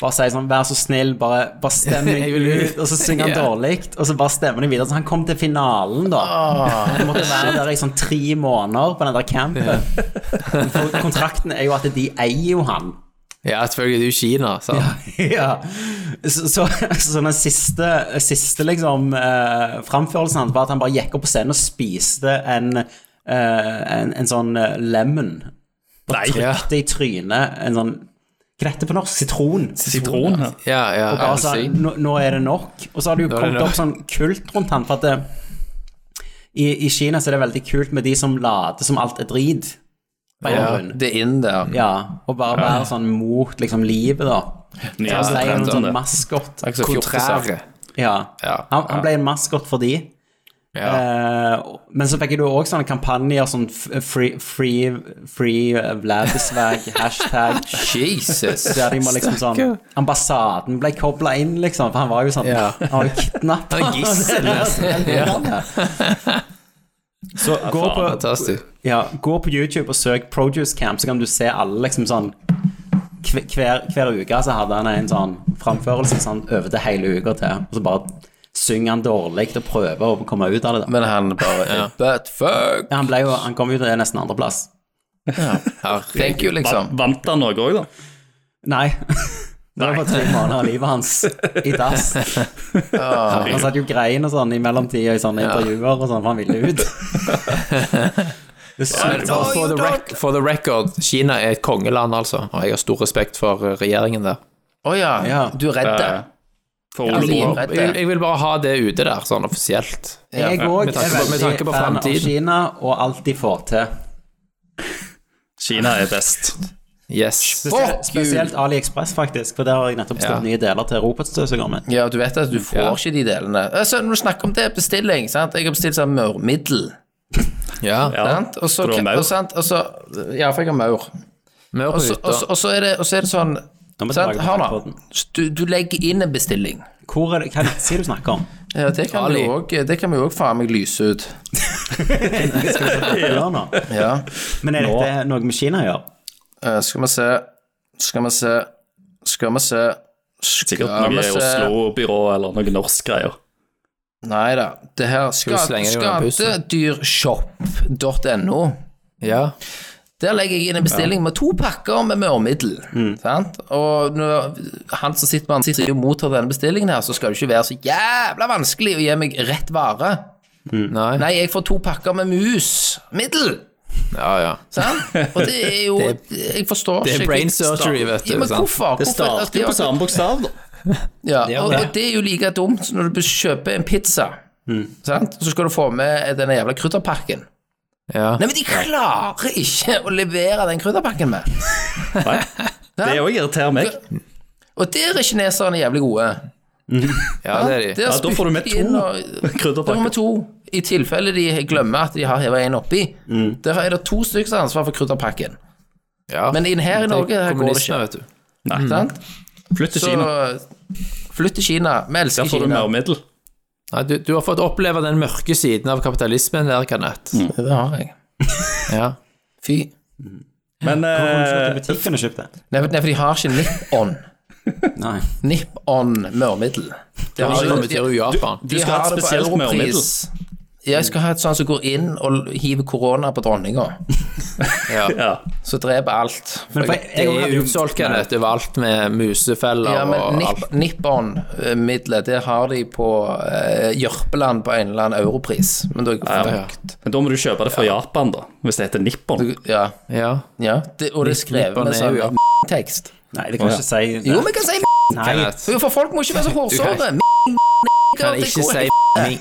Speaker 5: bare sier sånn 'Vær så snill, bare, bare stem meg
Speaker 8: Jeg vil
Speaker 5: ut.'
Speaker 8: ut.
Speaker 5: Og så synger han
Speaker 8: Ja.
Speaker 5: dårlig, og så bare stemmer han videre. Så han kom til finalen, da.
Speaker 8: Ah.
Speaker 5: Han måtte være der i sånn tre måneder på den der campen. For kontrakten er jo at de eier jo han.
Speaker 8: ja, selvfølgelig. Det er jo Kina, sant?
Speaker 5: ja. Så, så, så den siste, siste liksom, eh, framførelsen hans var at han bare gikk opp på scenen og spiste en, eh, en, en sånn eh, lemon.
Speaker 7: Nei.
Speaker 5: Brukte i trynet en sånn Hva heter det på norsk? Sitron.
Speaker 7: Sitron. Ja.
Speaker 8: Ja, ja.
Speaker 5: Og bare sa
Speaker 8: appelsin.
Speaker 5: nå, nå er det nok. Og så har det jo
Speaker 8: Nå er det
Speaker 5: kommet
Speaker 8: nok.
Speaker 5: opp sånn kult rundt han, for at det, i, i Kina så er det veldig kult med de som later som alt er drit. På en
Speaker 8: Ja.
Speaker 5: grunn.
Speaker 6: Det er inn der.
Speaker 5: Ja, og bare være sånn mot liksom livet, da.
Speaker 7: Nye
Speaker 5: Han ble en
Speaker 7: trender,
Speaker 5: sånn
Speaker 7: det.
Speaker 5: maskot.
Speaker 6: Det er ikke så fjortiser.
Speaker 8: Kontrære.
Speaker 5: Ja.
Speaker 8: Ja.
Speaker 5: Han, han ble en maskot for de.
Speaker 8: Ja.
Speaker 5: Eh, men så fikk jeg jo òg sånne kampanjer sånn f- free, free, free Vladisvag, hashtag
Speaker 6: Jesus.
Speaker 5: Der de må liksom sånn Ambassaden ble kobla inn, liksom. For han var jo sånn
Speaker 8: Ja.
Speaker 5: Han var jo kidnappa.
Speaker 8: Han er gissel,
Speaker 5: Så gå på,
Speaker 8: Fantastisk.
Speaker 5: ja, gå på YouTube og søk Produce Camp, så kan du se alle liksom sånn hver- hver, hver uke så hadde han en sånn framførelse sånn over til hele uka til. Og så bare synger han dårlig og prøver å komme ut av det. da.
Speaker 6: Men han bare But fuck.
Speaker 5: Ja, han, ble jo, han kom jo til nesten andreplass.
Speaker 6: Thank you,
Speaker 7: Va-
Speaker 6: liksom.
Speaker 7: Vant han noe òg, da?
Speaker 5: Nei. Det var bare tre måneder av livet hans i dass. Han satt jo grein og sånn i mellomtida i sånne intervjuer og sånn, for han ville ut. Det er sykt.
Speaker 8: For, for, the
Speaker 6: you
Speaker 8: rec for the record, Kina er et kongeland, altså. Og jeg har stor respekt for eh, regjeringen der.
Speaker 6: Å ja.
Speaker 5: Ja.
Speaker 6: Du er redd det?
Speaker 7: For
Speaker 6: Ja,
Speaker 7: Ole
Speaker 6: altså,
Speaker 7: Brumm.
Speaker 6: Rett det.
Speaker 8: Jeg, jeg vil bare ha det ute der, sånn offisielt.
Speaker 5: Jeg
Speaker 6: Ja.
Speaker 5: òg
Speaker 8: Med tanke
Speaker 5: er
Speaker 8: på- med tanke
Speaker 5: veldig
Speaker 8: på
Speaker 5: fan av
Speaker 8: fremtiden.
Speaker 5: Kina og alt de får til.
Speaker 7: Kina er best.
Speaker 8: Yes.
Speaker 6: Fuck
Speaker 5: Spesielt AliExpress, faktisk, for der har jeg nettopp bestilt
Speaker 8: Ja.
Speaker 5: nye deler til robotstøvsugeren min.
Speaker 6: Ja, du vet at du får
Speaker 8: Ja.
Speaker 6: ikke de delene. Altså, når du snakker om det, bestilling, sant? Jeg har bestilt sånn maurmiddel,
Speaker 8: Ja.
Speaker 7: Ja.
Speaker 6: sant? Og så,
Speaker 7: For du har maur.
Speaker 6: og sant? Og så, ja, for jeg har maur.
Speaker 8: Mør på
Speaker 6: Og så-
Speaker 8: hytta.
Speaker 6: og så- og så er det, og så er det sånn,
Speaker 5: Nå må jeg
Speaker 6: sant?
Speaker 5: tilbake til
Speaker 6: Hør nå,
Speaker 5: iPoden.
Speaker 6: du, du legger inn en bestilling.
Speaker 5: Hvor er det, hva sier du snakker om?
Speaker 6: Ja, det kan
Speaker 8: Ali.
Speaker 6: vi jo også- det kan vi jo også faen meg lyse ut.
Speaker 5: Gjør nå.
Speaker 6: Ja.
Speaker 5: Men er dette noe med Kina å gjøre?
Speaker 6: Eh, skal vi se, skal vi se, skal vi se,
Speaker 7: Sikkert
Speaker 6: skal vi
Speaker 7: noe
Speaker 6: se.
Speaker 7: Oslo-byrå eller noe norsk greier.
Speaker 6: Nei da. Det her
Speaker 8: du slenge det under bussen?
Speaker 6: skadedyrshop.no.
Speaker 8: Ja.
Speaker 6: Der legger jeg inn en bestilling med to pakker med mørmiddel. Sant? Og når han som sitter med ansiktet og mottar denne bestillingen her, så skal det ikke være så jævla vanskelig å gi meg rett vare.
Speaker 8: Nei.
Speaker 6: Nei, jeg får to pakker med musmiddel.
Speaker 8: Ja, ja.
Speaker 6: Sant? Og det er jo
Speaker 8: Det
Speaker 6: Jeg forstår
Speaker 8: det er
Speaker 6: ikke
Speaker 8: brain
Speaker 6: jeg stav-
Speaker 8: surgery, vet du,
Speaker 6: Ja, men
Speaker 8: sant?
Speaker 6: hvorfor? altså,
Speaker 7: Det
Speaker 6: Hvorfor-
Speaker 7: starter jo på samme bokstav, da.
Speaker 6: Ja, og, og det er jo like dumt som når du kjøper en pizza. Sant? Så skal du få med denne jævla krydderpakken.
Speaker 8: ja.
Speaker 6: Nei, men de klarer ikke å levere den krydderpakken med.
Speaker 7: Nei. Det òg irriterer meg.
Speaker 6: Og der er kineserne jævlig gode.
Speaker 8: ja, det er de.
Speaker 6: Der
Speaker 7: Ja, da får du med
Speaker 6: spytter de inn
Speaker 7: to
Speaker 6: og- Da får vi
Speaker 7: krydderpakker.
Speaker 6: to, i tilfelle de glemmer at de har hevet en oppi. Der er det to stykker som har ansvar for krydderpakken.
Speaker 8: Ja.
Speaker 6: Men inn her i Norge her går det
Speaker 8: Kommunistene,
Speaker 6: ikke. Mm.
Speaker 8: vet du.
Speaker 6: Sant?
Speaker 7: Flytt Mm. til
Speaker 6: Så
Speaker 7: Kina.
Speaker 6: flytt til Kina. Vi elsker
Speaker 7: Der får du
Speaker 6: Kina.
Speaker 7: mer middel.
Speaker 8: Nei, du, du har fått oppleve den mørke siden av kapitalismen der, Kanett.
Speaker 6: Det har jeg.
Speaker 8: Ja.
Speaker 6: Fy.
Speaker 5: Hvorfor har du
Speaker 7: Men
Speaker 5: ikke
Speaker 7: eh,
Speaker 5: vært i butikken og kjøpt det?
Speaker 6: Nei, for- nei, for de har ikke Nip-On.
Speaker 5: Nei.
Speaker 6: Nip-On mørmiddel. Det har
Speaker 8: Kina
Speaker 6: de-
Speaker 8: betyr jo Japan.
Speaker 7: du skal ha et spesielt mørmiddel.
Speaker 6: Jeg skal ha et sånt som går inn og hiver korona på dronninga.
Speaker 8: Ja.
Speaker 7: Ja.
Speaker 6: Så dreper alt.
Speaker 5: Men for jeg,
Speaker 8: Det
Speaker 5: jeg,
Speaker 8: er
Speaker 5: hadde
Speaker 8: jo
Speaker 5: jo-
Speaker 8: utsolgt, Kanett, overalt med musefeller
Speaker 6: Ja, men
Speaker 8: og alt.
Speaker 6: Nip- Nippon-middelet, det har de på eh, Jørpeland på en eller annen europris. Men da
Speaker 7: Ja.
Speaker 6: ja.
Speaker 7: Men da må du kjøpe det fra Japan, da. Hvis det heter Nippon.
Speaker 6: ja,
Speaker 8: Ja.
Speaker 6: ja. Det, og det er skrevet
Speaker 8: Nippon
Speaker 6: med
Speaker 8: er
Speaker 6: sånn
Speaker 8: jo-
Speaker 6: tekst.
Speaker 5: Nei, det kan jeg ikke si.
Speaker 6: Jo, vi kan si
Speaker 5: Nei,
Speaker 8: Kenneth.
Speaker 6: Jo, for folk må ikke være så hårsåre.
Speaker 8: Kan ikke si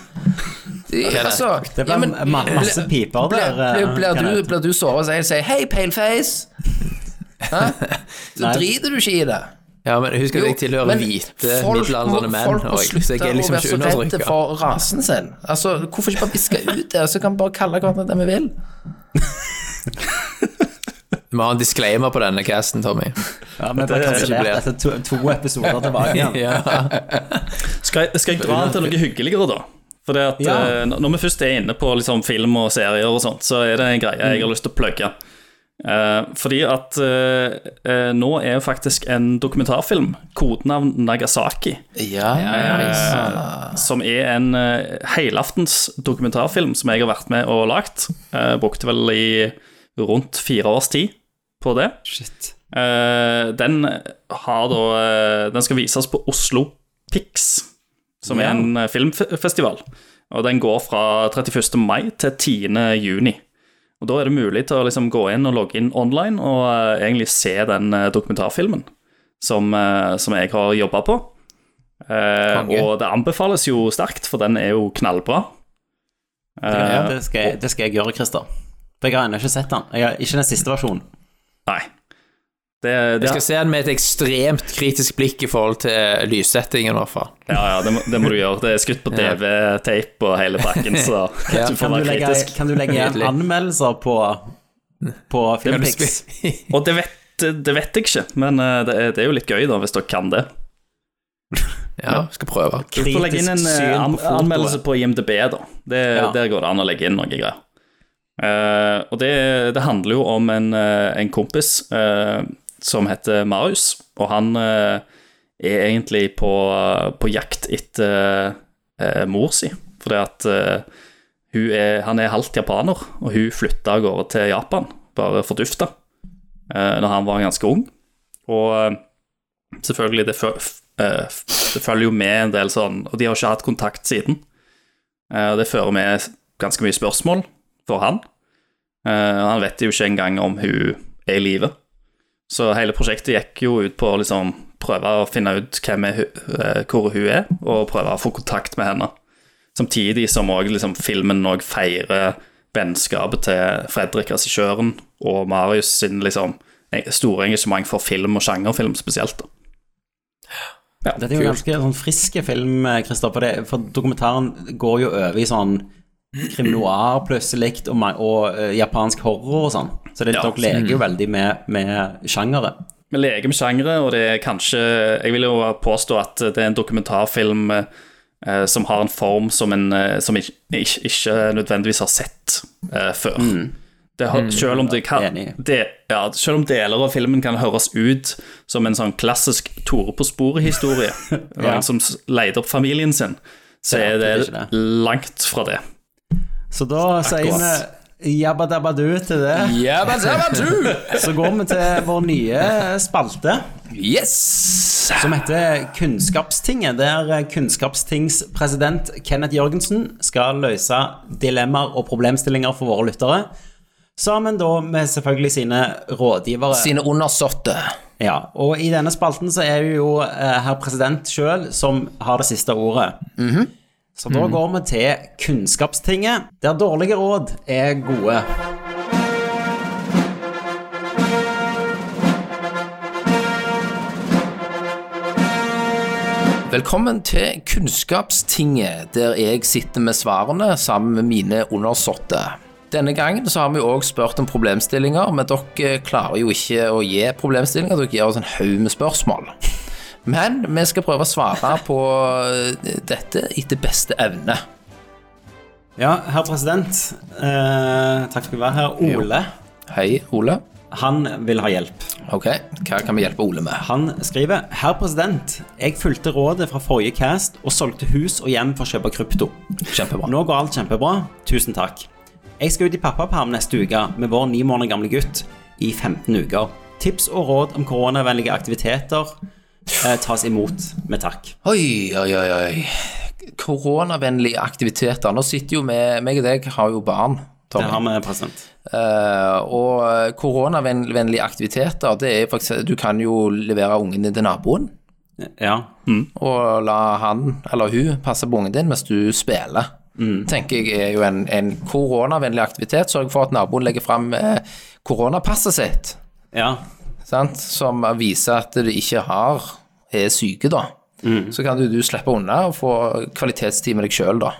Speaker 6: Det- altså,
Speaker 5: det
Speaker 6: ja,
Speaker 5: ble
Speaker 6: men-
Speaker 5: ma masse piper
Speaker 6: Blir-
Speaker 5: der.
Speaker 6: blir-
Speaker 5: eh,
Speaker 6: Blir du-
Speaker 5: Kenneth.
Speaker 6: blir du såret så jeg sier 'hei, paleface'? Hæ? Så
Speaker 5: Nei.
Speaker 6: driter du ikke i det.
Speaker 8: Ja, men husk at jeg
Speaker 6: Jo,
Speaker 8: tilhører
Speaker 6: men
Speaker 8: hvite,
Speaker 6: folk må-
Speaker 8: middelaldrende menn,
Speaker 6: Folk må
Speaker 8: og jeg, så
Speaker 6: slutte
Speaker 8: jeg er liksom
Speaker 6: å være
Speaker 8: ikke
Speaker 6: så redde
Speaker 8: undertrykka.
Speaker 6: for rasen sin. Altså, Hvorfor ikke bare viske ut det, og så kan vi bare kalle hverandre det vi vil?
Speaker 8: Vi har en disclaimer på denne casten, Tommy.
Speaker 5: Ja, men bare
Speaker 7: Det-
Speaker 5: kansellert etter Altså, to, to episoder tilbake igjen.
Speaker 8: Ja.
Speaker 7: Skal jeg, skal jeg dra til noe hyggeligere, da? Fordi at
Speaker 5: Ja.
Speaker 7: eh, Når vi først er inne på liksom, film og serier og sånt, så er det en greie jeg har lyst til å plugge. Eh, fordi at eh, eh, nå er faktisk en dokumentarfilm, kodenavn Nagasaki,
Speaker 6: Ja,
Speaker 7: som er en eh, helaftens dokumentarfilm som jeg har vært med og lagd. Eh, brukte vel i rundt fire års tid på det.
Speaker 5: Shit.
Speaker 7: Eh, den har da eh, Den skal vises på Oslo Pix, som er en eh, filmfestival. Og den går fra 31. mai til 10. juni. Og da er det mulig til å liksom gå inn og logge inn online og eh, egentlig se den eh, dokumentarfilmen som, eh, som jeg har jobba på. Eh,
Speaker 8: Konge.
Speaker 7: og det anbefales jo sterkt, for den er jo knallbra. Eh,
Speaker 5: Ja, det, skal jeg, det skal jeg gjøre, Christer. For jeg har ennå ikke sett den. Jeg har, ikke den siste versjonen.
Speaker 7: Nei. Det, det,
Speaker 8: Jeg skal se den med et ekstremt kritisk blikk i forhold til eh, lyssettingen, i hvert fall.
Speaker 7: ja, ja, det, må, det må du gjøre. Det er skutt på DV-tape og hele pakken, så du får
Speaker 5: Kan du
Speaker 7: være
Speaker 5: legge,
Speaker 7: kritisk.
Speaker 5: kan du legge igjen
Speaker 8: Nydelig.
Speaker 5: anmeldelser på, på Filmpix?
Speaker 7: Og det vet, det vet jeg ikke, men eh, det er, det er jo litt gøy, da, hvis dere kan det.
Speaker 8: Ja, skal prøve.
Speaker 7: Kult å legge inn en
Speaker 5: Kritisk
Speaker 7: eh,
Speaker 5: syn på
Speaker 7: an
Speaker 5: fotoet.
Speaker 7: anmeldelse på IMDb, da. Det,
Speaker 5: Ja.
Speaker 7: Der går det an å legge inn noe greier. Eh, og det, det handler jo om en, eh, en kompis eh, som heter Marius, og han eh, er egentlig på, på jakt etter eh, mor si, fordi at eh, hun er, han er halvt japaner, og hun flytta av gårde til Japan, bare fordufta, uh, når han var ganske ung. Og eh, selvfølgelig, det, fø- f- eh, f- det følger jo med en del sånn Og de har ikke hatt kontakt siden. Eh, og det fører med ganske mye spørsmål for han. Eh, og han vet jo ikke engang om hun er i live. Så hele prosjektet gikk jo ut på å liksom prøve å finne ut hvem er, hu- eh, hvor hun er, og prøve å få kontakt med henne. Samtidig som også liksom, filmen også feirer vennskapet til Fredrik, regissøren, og Marius sin liksom, en- store engasjement for film og sjangerfilm spesielt. Da.
Speaker 5: Dette er jo ganske sånn friske film, Kristoffer. det- For dokumentaren går jo over i sånn krim noir plutselig, og, ma- og eh, japansk horror og sånn. Så det,
Speaker 7: Ja.
Speaker 5: dere leker jo veldig med, med sjangere.
Speaker 7: Vi leker med sjangre, og det er kanskje Jeg vil jo påstå at det er en dokumentarfilm eh, som har en form som en eh, som ikke, ikke, ikke nødvendigvis har sett eh, før. Det har, selv, om det kan,
Speaker 5: Mm. Enig.
Speaker 7: det, ja, selv om deler av filmen kan høres ut som en sånn klassisk Tore på sporet-historie,
Speaker 5: Ja.
Speaker 7: som s- leide opp familien sin, så
Speaker 5: Det er
Speaker 7: er det
Speaker 5: absolutt ikke det.
Speaker 7: langt fra det.
Speaker 5: Så da sier vi jabba dabba du til det.
Speaker 6: Jabba dabba doo!
Speaker 5: Så går vi til vår nye spalte.
Speaker 6: Yes!
Speaker 5: Som heter Kunnskapstinget, der kunnskapstingspresident Kenneth Jørgensen skal løse dilemmaer og problemstillinger for våre lyttere. Sammen da med selvfølgelig sine rådgivere.
Speaker 6: Sine undersåtte.
Speaker 5: Ja, og i denne spalten så er det jo eh, herr president sjøl som har det siste ordet. Så da går vi til Kunnskapstinget, der dårlige råd er gode.
Speaker 6: Velkommen til Kunnskapstinget, der jeg sitter med svarene sammen med mine undersåtte. Denne gangen så har vi òg spurt om problemstillinger, men dere klarer jo ikke å gi problemstillinger. Dere gir oss en haug med spørsmål. Men vi skal prøve å svare på eh, dette etter beste evne.
Speaker 5: Ja, herr president, eh, takk skal du være her. Ole,
Speaker 6: Hei, Ole.
Speaker 5: han vil ha hjelp.
Speaker 6: Ok, hva kan vi hjelpe Ole med?
Speaker 5: Han skriver Herr president, jeg fulgte rådet fra forrige cast og solgte hus og hjem for å kjøpe krypto.
Speaker 6: Kjempebra.
Speaker 5: Nå går alt kjempebra. Tusen takk. Jeg skal ut i pappaperm neste uke med vår ni måneder gamle gutt i 15 uker. Tips og råd om koronavennlige aktiviteter eh, tas imot med takk.
Speaker 6: Oi, oi, oi, oi. Koronavennlige aktiviteter. Nå sitter jo vi, meg og deg har jo barn.
Speaker 5: Det
Speaker 6: Tommy.
Speaker 5: har vi, president.
Speaker 6: Eh, og koronavennlige aktiviteter, det er faktisk Du kan jo levere ungen din til naboen,
Speaker 5: Ja.
Speaker 6: Mm. og la han eller hun passe på ungen din mens du spiller. Tenker jeg er jo en, en koronavennlig aktivitet. Sørg for at naboen legger fram eh, koronapasset sitt,
Speaker 5: ja.
Speaker 6: sant? som viser at du ikke har er syke, da. Så kan du, du slippe unna og få kvalitetstid med deg sjøl, da.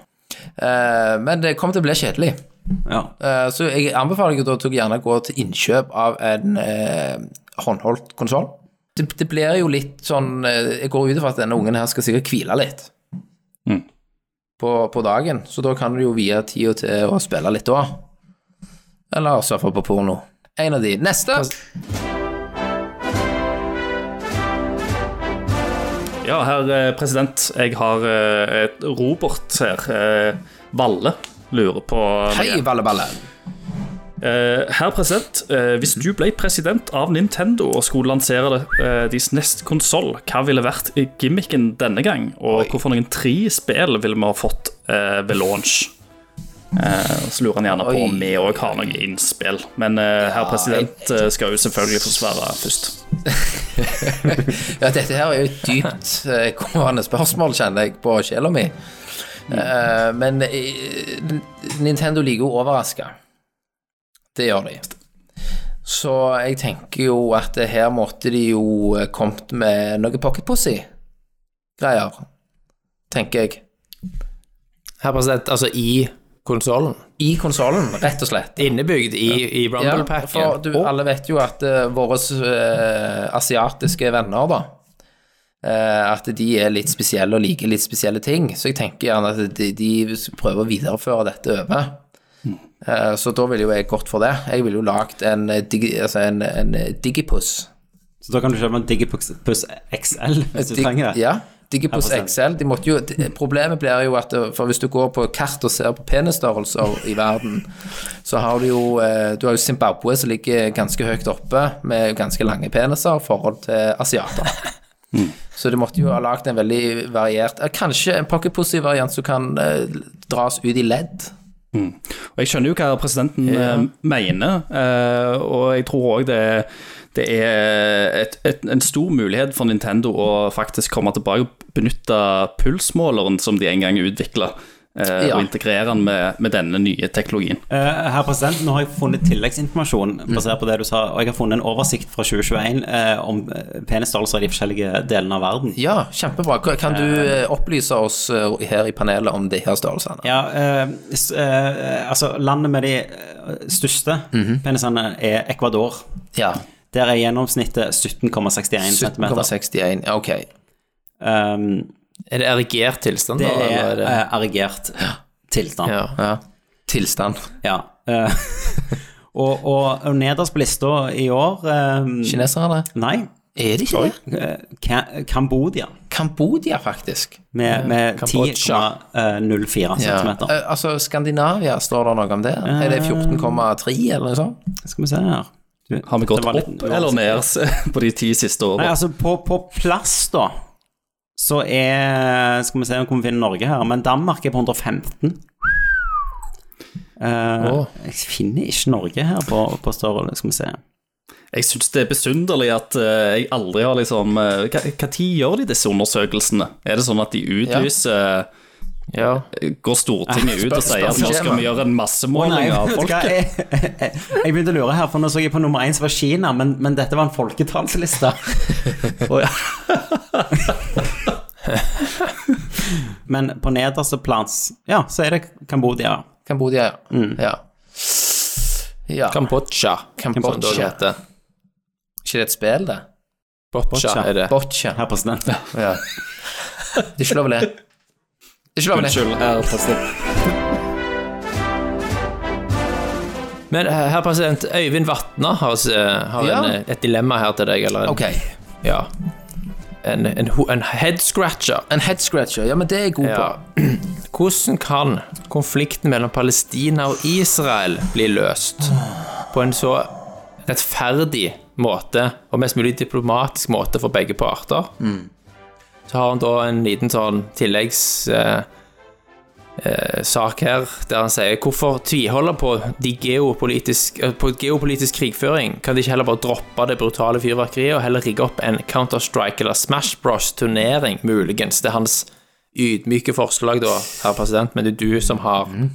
Speaker 6: Eh, men det kommer til å bli kjedelig.
Speaker 5: ja.
Speaker 6: Eh, Så jeg anbefaler deg da til å gjerne gå til innkjøp av en eh, håndholdt konsoll. Det, det blir jo litt sånn eh, Jeg går ut ifra at denne ungen her skal sikkert hvile litt
Speaker 7: Mm.
Speaker 6: på, på dagen, så da kan du jo vie tida til å spille litt da. Eller surfe på porno. En av de. Neste!
Speaker 7: Ja, herr eh, president, jeg har eh, et Robert her. eh, Valle lurer på
Speaker 6: Hei, Valleballe.
Speaker 7: Eh, Herr president, eh, hvis du ble president av Nintendo og skulle lansere det, eh, deres neste konsoll, hva ville vært gimmicken denne gang? Og hvorfor noen tre spill ville vi ha fått eh, ved launch? Eh, så lurer han gjerne på om
Speaker 6: Oi.
Speaker 7: vi òg har noen innspill. Men eh, herr president eh, skal jo selvfølgelig få svare først.
Speaker 6: Ja, dette her er jo et dypt eh, kommende spørsmål, kjenner jeg, på sjela mi. Eh, men eh, Nintendo liker jo å overraske. Det gjør de. Så jeg tenker jo at det her måtte de jo eh, kommet med noe pocketpussy-greier, tenker jeg.
Speaker 8: Her, president, altså i konsollen.
Speaker 6: I konsollen, rett og slett.
Speaker 8: Innebygd i, i
Speaker 6: Ja,
Speaker 8: Rumble-packen.
Speaker 6: for du, alle vet jo at eh, våre eh, asiatiske venner, da eh, At de er litt spesielle og liker litt spesielle ting. Så jeg tenker gjerne at de, de prøver å videreføre dette over. Eh, så da ville jo jeg gått for det. Jeg ville jo lagd en, eh, digi, altså en, en eh, digipuss.
Speaker 5: Så da kan du kjøpe en Digipus XL hvis du
Speaker 6: Dig-
Speaker 5: trenger det.
Speaker 6: Ja. Digipus
Speaker 5: 100%.
Speaker 6: XL. De måtte jo, de, problemet blir jo at eh, for hvis du går på kart og ser på penisstørrelser i verden, så har du jo eh, Du har jo Zimbabwe som ligger ganske høyt oppe med ganske lange peniser i forhold til asiater. Så de måtte jo ha lagd en veldig variert eh, Kanskje en pocketpussy-variant som kan eh, dras ut i ledd.
Speaker 7: Og jeg skjønner jo hva presidenten eh, mener, eh, og jeg tror òg det, det er et, et, en stor mulighet for Nintendo å faktisk komme tilbake og benytte pulsmåleren som de en gang utvikla, eh,
Speaker 6: Ja.
Speaker 7: og integrere den med, med denne nye teknologien.
Speaker 5: Eh, Herr president, nå har jeg funnet tilleggsinformasjon basert på det du sa, og jeg har funnet en oversikt fra 2021 eh, om eh, penisstørrelser i de forskjellige delene av verden.
Speaker 6: Ja, kjempebra. Kan- Kan du eh, opplyse oss eh, her i panelet om de her størrelsene?
Speaker 5: Ja, eh, s- eh, altså landet med de eh, største
Speaker 8: Mhm.
Speaker 5: penisene er Ecuador.
Speaker 6: Ja.
Speaker 5: Der er gjennomsnittet 17,61 cm.
Speaker 6: 17,61. Ja, ok.
Speaker 8: Er det erigert tilstand,
Speaker 5: Ehm, det
Speaker 8: da? eller
Speaker 5: er
Speaker 8: er det-
Speaker 5: eh, erigert tilstand.
Speaker 8: Ja.
Speaker 6: Ja. Tilstand.
Speaker 5: Ja. eh, og, og, og nederst på lista i år eh,
Speaker 6: Kineserne?
Speaker 5: Nei,
Speaker 6: Er de ikke det?
Speaker 5: eh, Ka Kambodia.
Speaker 6: Kambodia, faktisk.
Speaker 5: Med, med
Speaker 8: Kambodsja.
Speaker 5: 10,04 cm.
Speaker 6: Eh, altså, Skandinavia, står det noe om det? Er
Speaker 8: Eh.
Speaker 6: det 14,3 eller noe sånt?
Speaker 5: Skal vi se her Du-
Speaker 7: Har vi gått
Speaker 5: det var litt
Speaker 7: opp eller ned på de ti siste
Speaker 5: Nei,
Speaker 7: årene?
Speaker 5: altså, på, på plass, da, så er Skal vi se om vi finner Norge her, men Danmark er på 115. Eh,
Speaker 8: Åh.
Speaker 5: Jeg finner ikke Norge her på, på størrelse, skal vi se.
Speaker 7: Jeg syns det er besynderlig at eh, jeg aldri har liksom eh, hva- hva tid gjør de disse undersøkelsene? Er det sånn at de utlyser eh,
Speaker 8: ja.
Speaker 7: Går Stortinget
Speaker 5: Ah,
Speaker 7: ut og sier at nå skal vi gjøre en massemåling av
Speaker 5: vet du hva,
Speaker 7: folket?
Speaker 5: jeg, jeg, jeg begynte å lure her, for nå så jeg på nummer én som var Kina, men, men dette var en folketallsliste.
Speaker 7: Å, ja.
Speaker 5: Men på nederste plass, ja, så er det Kambodia.
Speaker 6: Kambodia, ja.
Speaker 8: Mm.
Speaker 6: ja. Ja,
Speaker 8: Kambodsja. som det også
Speaker 6: Kambodsja.
Speaker 8: heter.
Speaker 6: ikke det et spill, det?
Speaker 8: Boccia er det.
Speaker 6: Boccia.
Speaker 5: Herr president.
Speaker 6: Ja. Det er ikke lov å le. Det er ikke lov å le.
Speaker 7: Unnskyld, herr president.
Speaker 8: Men eh, herr president, Øyvind Vatna har, eh, har
Speaker 6: Ja.
Speaker 8: en, eh, et dilemma her til deg, eller en,
Speaker 6: Ok.
Speaker 8: ja. en, en, ho- en head scratcher.
Speaker 6: En head scratcher, ja, men det er jeg god
Speaker 8: Ja.
Speaker 6: på.
Speaker 8: Hvordan kan konflikten mellom Palestina og Israel bli løst på en så rettferdig måte og mest mulig diplomatisk måte for begge parter? Så har han da en liten sånn tilleggssak eh, sak her, der han sier hvorfor tviholder på, de geopolitisk, eh, på geopolitisk krigføring? Kan de ikke heller bare droppe det brutale fyrverkeriet og heller rigge opp en Counter-Strike eller Smash Bros-turnering, muligens? Det er hans ydmyke forslag, da, herr president, men det er du som har
Speaker 6: Mm.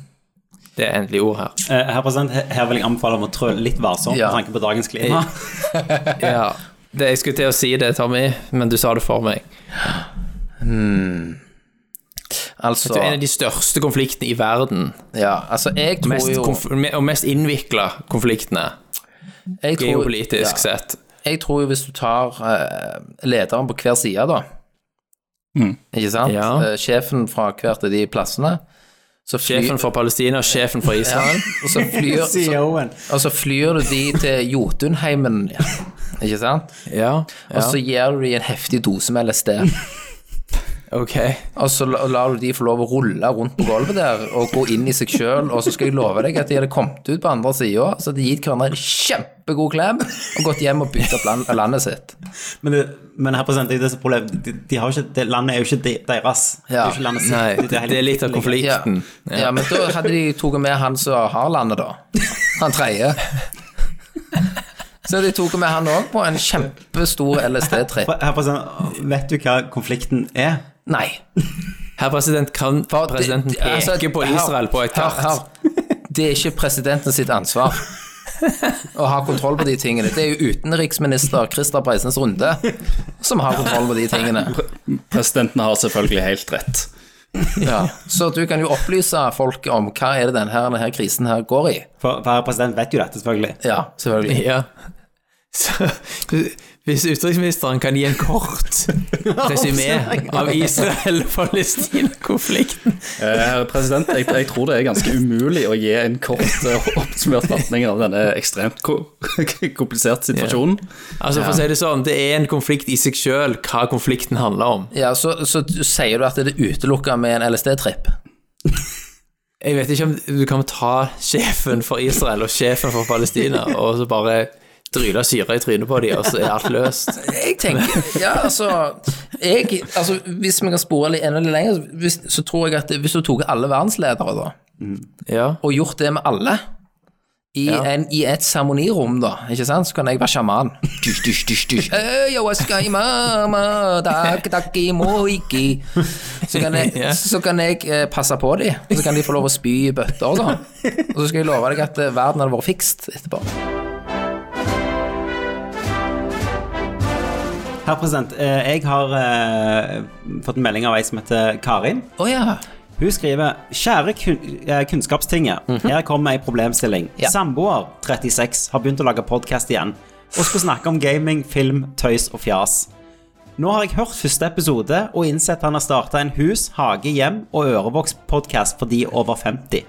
Speaker 8: det endelige ord her.
Speaker 5: Eh, Herr president, he- her vil jeg anbefale om å trå litt varsomt
Speaker 6: Ja.
Speaker 5: med tanke på dagens klima.
Speaker 8: Ja, det, Jeg skulle til å si det, Tommy, men du sa det for meg.
Speaker 6: Altså,
Speaker 8: Det er en av de største konfliktene i verden.
Speaker 6: ja, altså, jeg tror
Speaker 8: Mest
Speaker 6: jo
Speaker 8: konf me- og mest innvikla konfliktene,
Speaker 6: jeg tror-
Speaker 8: geopolitisk
Speaker 6: ja.
Speaker 8: sett.
Speaker 6: Jeg tror jo hvis du tar eh, lederen på hver side, da Ikke sant?
Speaker 8: Mm. Ja.
Speaker 6: Eh, sjefen fra hvert av de plassene. Så flyr,
Speaker 8: Sjefen for Palestina og sjefen for Israel.
Speaker 6: og så flyr, så,
Speaker 5: CEO-en.
Speaker 6: og så Altså, flyr du de til Jotunheimen, ikke sant?
Speaker 8: Ja,
Speaker 6: Og
Speaker 8: ja.
Speaker 6: så gir du de en heftig dose med LSD.
Speaker 8: ok.
Speaker 6: Og så la- lar du de få lov å rulle rundt på gulvet der og gå inn i seg sjøl. Og så skal jeg love deg at de hadde kommet ut på andre sida, så hadde de gitt hverandre en kjempegod klem og gått hjem og bygd opp land, landet sitt.
Speaker 5: Men, det, men herr president, det er det som er problemet. De, de har jo ikke, det landet er jo ikke de, deres. det er
Speaker 6: Ja.
Speaker 5: jo ikke landet sitt.
Speaker 8: Nei, det, det er litt av
Speaker 6: Ja.
Speaker 8: konflikten.
Speaker 6: ja. men da hadde de tatt med han som har landet, da. Han tredje. Så de tok med han òg på en kjempestor LSD-tripp.
Speaker 5: Herr president, vet du hva konflikten er?
Speaker 6: Nei.
Speaker 8: Herr president, kan
Speaker 6: for det-
Speaker 8: presidenten
Speaker 6: det- altså,
Speaker 8: peke på
Speaker 6: hør,
Speaker 8: Israel på et
Speaker 6: hør,
Speaker 8: kart?
Speaker 6: hør. Det er ikke presidenten sitt ansvar. å ha kontroll på de tingene. Det er jo utenriksminister Christer Breisens Runde som har kontroll på de tingene.
Speaker 7: Presidenten har selvfølgelig helt rett.
Speaker 6: Ja. Så du kan jo opplyse folk om hva er det denne, her, denne her krisen her går i.
Speaker 5: For, for herr president vet jo dette, selvfølgelig.
Speaker 6: Ja, selvfølgelig.
Speaker 8: Ja. Så, hvis utenriksministeren kan gi en kort resymé av Israel-Palestina-konflikten
Speaker 7: Eh, herre president, jeg, jeg tror det er ganske umulig å gi en kort eh, oppsummert fatning av denne ekstremt ko kompliserte situasjonen.
Speaker 8: Altså For å si det sånn, det er en konflikt i seg sjøl hva konflikten handler om.
Speaker 6: Ja, så, så du- sier du at det er utelukka med en LSD-tripp.
Speaker 8: Jeg vet ikke om du kan ta sjefen for Israel og sjefen for Palestina og så bare dryle syre i trynet på dem, og så er alt løst.
Speaker 6: Jeg tenker Ja, altså, jeg, altså Hvis vi kan spore litt enda litt lenger, hvis, så tror jeg at hvis du tok alle verdensledere, da,
Speaker 8: Ja.
Speaker 6: og gjort det med alle i, en, i et seremonirom, da, ikke sant, så kan jeg være sjaman. Dysj, dysj, dysj, dysj. «Øy, jeg skal i mamma, takk, takk, i moiki. Så kan jeg,
Speaker 8: Ja.
Speaker 6: så kan jeg eh, passe på dem, og så kan de få lov å spy i bøtter, da. Og så skal jeg love deg at eh, verden hadde vært fikst etterpå.
Speaker 5: Herr president, eh, jeg har eh, fått en melding av ei som heter Karin.
Speaker 6: Å ja.
Speaker 5: Hun skriver Kjære kun eh, Kunnskapstinget, her kommer ei problemstilling.
Speaker 6: Ja.
Speaker 5: Samboer 36 har begynt å lage podkast igjen og skulle snakke om gaming, film, tøys og fjas. Nå har jeg hørt første episode og innsett han har starta en hus, hage, hjem og ørevokspodkast for de over 50.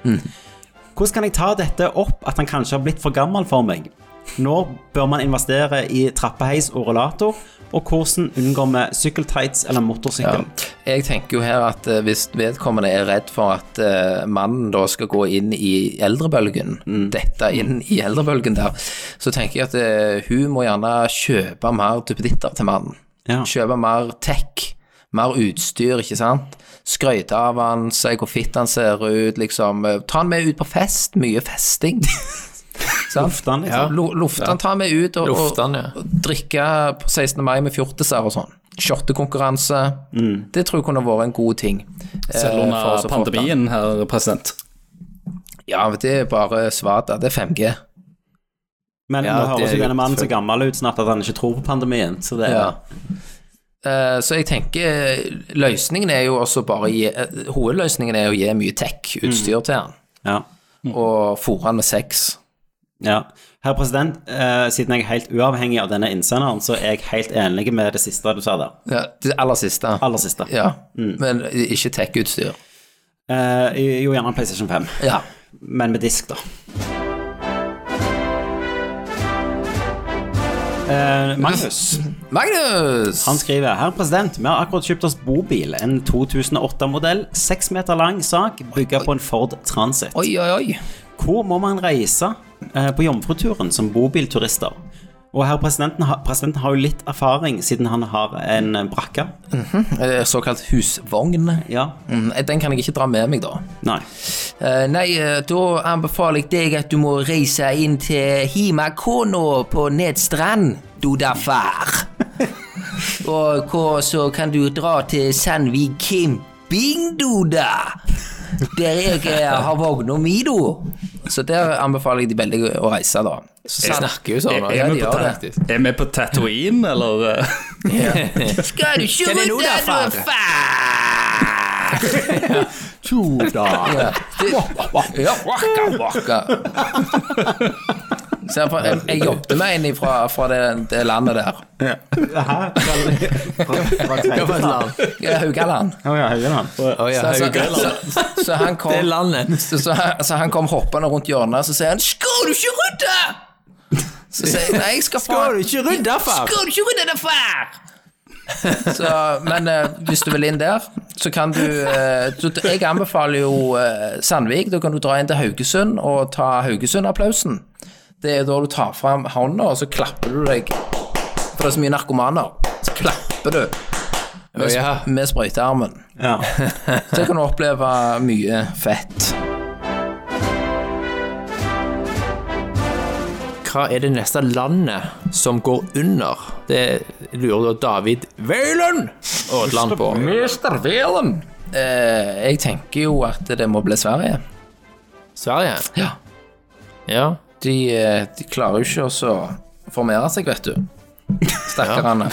Speaker 5: Hvordan kan jeg ta dette opp at han kanskje har blitt for gammel for meg? Når bør man investere i trappeheis og rullator? Og hvordan unngår vi sykkeltights eller motorsykkel?
Speaker 6: Jeg tenker jo her at eh, hvis vedkommende er redd for at eh, mannen da skal gå inn i eldrebølgen,
Speaker 5: Mm.
Speaker 6: dette inn i eldrebølgen der, så tenker jeg at eh, hun må gjerne kjøpe mer duppeditter til mannen.
Speaker 5: Ja.
Speaker 6: Kjøpe mer tech, mer utstyr, ikke sant. Skryte av han, si hvor fitt han ser ut, liksom. eh, Ta han med ut på fest, mye festing. Sant?
Speaker 5: Lufte han, liksom.
Speaker 6: Ja, lo- Lufte han, ta han med ut og,
Speaker 8: Lufte han, ja.
Speaker 6: og, og drikke på 16. mai med fjortiser og sånn. Shottekonkurranse. Det tror jeg kunne vært en god ting. eh,
Speaker 7: Selv
Speaker 6: for oss
Speaker 7: under
Speaker 6: å få til.
Speaker 7: pandemien, herr president.
Speaker 6: Ja, men det er bare svada. Det er 5G.
Speaker 5: Men
Speaker 8: Ja, det
Speaker 5: nå høres
Speaker 8: er
Speaker 5: jo
Speaker 8: jo
Speaker 5: denne mannen så gammel ut snart at han ikke tror på pandemien. Så det er
Speaker 6: Ja. Eh, Så jeg tenker eh, løsningen er jo også bare å gi eh, Hovedløsningen er å gi mye tech-utstyr til han,
Speaker 5: ja.
Speaker 6: og fôre han med sex.
Speaker 5: ja. Herr president, eh, siden jeg er helt uavhengig av denne innsenderen, så er jeg helt enig med det siste du sa der.
Speaker 6: Ja, det aller siste.
Speaker 5: Aller siste.
Speaker 6: Ja, Mm. men ikke tech-utstyr.
Speaker 5: Eh, jo, gjerne en PlayStation 5,
Speaker 6: Ja.
Speaker 5: men med disk, da. Eh, Magnus
Speaker 6: Magnus!
Speaker 5: han skriver Herr president, vi har akkurat kjøpt oss bobil. En 2008-modell, seks meter lang sak, bygget på en Ford Transit.
Speaker 6: Oi, oi, oi.
Speaker 5: Hvor må man reise eh, på jomfruturen som bobilturister? Og herr presidenten, ha, presidenten har jo litt erfaring siden han har en eh, brakke.
Speaker 6: Eh, Såkalt husvogn.
Speaker 5: Ja,
Speaker 6: Mm, Den kan jeg ikke dra med meg, da.
Speaker 5: nei.
Speaker 6: Eh, nei, eh, da anbefaler jeg deg at du må reise inn til Himakono på Nedstrand, Dodafar. Og hva- så kan du dra til Sandvik Kimping, Doda. Der jeg eh, har vogna mi, da. Så der anbefaler jeg de veldig å reise, da. Så
Speaker 8: Jeg
Speaker 6: sant-
Speaker 8: snakker jo sånn.
Speaker 6: Ja, ja,
Speaker 8: altså.
Speaker 6: de gjør det.
Speaker 8: faktisk.
Speaker 7: Er vi på Tatooine, eller? eh?
Speaker 6: Skal du se
Speaker 8: Kan jeg nå da, far?
Speaker 6: far? Ja. Det- Ja, waka, waka. Så jeg, jeg, jeg jobbet med en fra, fra det, det landet der.
Speaker 5: Hæ?
Speaker 8: Hva for et land?
Speaker 6: Ja, Haugaland.
Speaker 5: Å ja, Høyland.
Speaker 8: Å ja,
Speaker 6: Så, så,
Speaker 8: Haugaland.
Speaker 6: så, så han kom
Speaker 8: Det er landet.
Speaker 6: så, så, han- så han kom hoppende rundt hjørnet, så sier han 'Skal du ikke rydde?' Så sier jeg 'Nei, jeg skal faen
Speaker 8: Skal du ikke rydde, far?
Speaker 6: Skal du ikke rydde det, far?' Så, men eh, hvis du vil inn der, så kan du eh, så, Jeg anbefaler jo eh, Sandvik. Da kan du dra inn til Haugesund og ta Haugesund-applausen. Det er da du tar fram hånda, og så klapper du deg. For det er så mye narkomaner. Så klapper du med,
Speaker 8: Å, ja.
Speaker 6: sp- med sprøytearmen.
Speaker 5: Ja.
Speaker 6: Så kan du oppleve mye fett.
Speaker 8: Hva er det neste landet som går under? Det lurer da David Veiland Aadland på.
Speaker 6: Mester Velen! Eh, jeg tenker jo at det må bli Sverige.
Speaker 8: Sverige?
Speaker 6: Ja.
Speaker 8: Ja.
Speaker 6: De, eh, de klarer jo ikke å så formere seg, vet du. Stakkarene.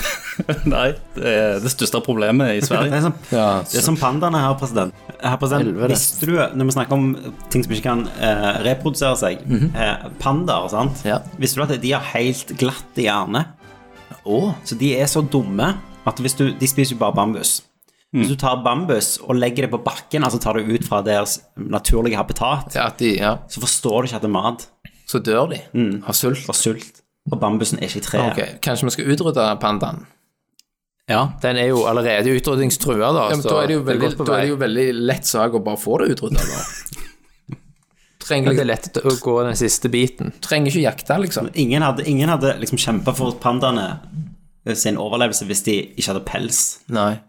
Speaker 7: Nei, det er det største problemet i
Speaker 5: Det
Speaker 7: Sverige.
Speaker 5: er som,
Speaker 6: Ja,
Speaker 5: det er som pandaene her, president. Herr president,
Speaker 6: Helvete.
Speaker 5: visste du, når vi snakker om ting som ikke kan eh, reprodusere seg, eh, pandaer, sant?
Speaker 6: Mhm. Ja.
Speaker 5: Visste du at de har helt glatt hjerne?
Speaker 6: Å,
Speaker 5: Så de er så dumme at hvis du, de spiser jo bare bambus.
Speaker 6: Mm.
Speaker 5: Hvis du tar bambus og legger det på bakken, altså tar det ut fra deres naturlige habitat,
Speaker 6: til at de, ja,
Speaker 5: så forstår du ikke at det er mat.
Speaker 6: så dør de av sult.
Speaker 5: Og sult. Og bambusen er ikke i treet.
Speaker 6: Ok, Kanskje vi skal utrydde pandaen?
Speaker 5: Ja.
Speaker 8: Den er jo allerede utrydningstrua, da.
Speaker 6: Ja, men
Speaker 8: så
Speaker 6: da er det jo
Speaker 8: det
Speaker 6: veldig,
Speaker 8: godt på
Speaker 6: da er
Speaker 8: vei.
Speaker 6: det jo veldig lett sak å bare få det utrydda. da. Trenger,
Speaker 8: Det er
Speaker 6: liksom,
Speaker 8: lett å gå den siste biten.
Speaker 6: trenger ikke jakte, liksom.
Speaker 5: Ingen hadde, ingen hadde liksom kjempa for pandaene eh, sin overlevelse hvis de ikke hadde pels.
Speaker 6: Nei.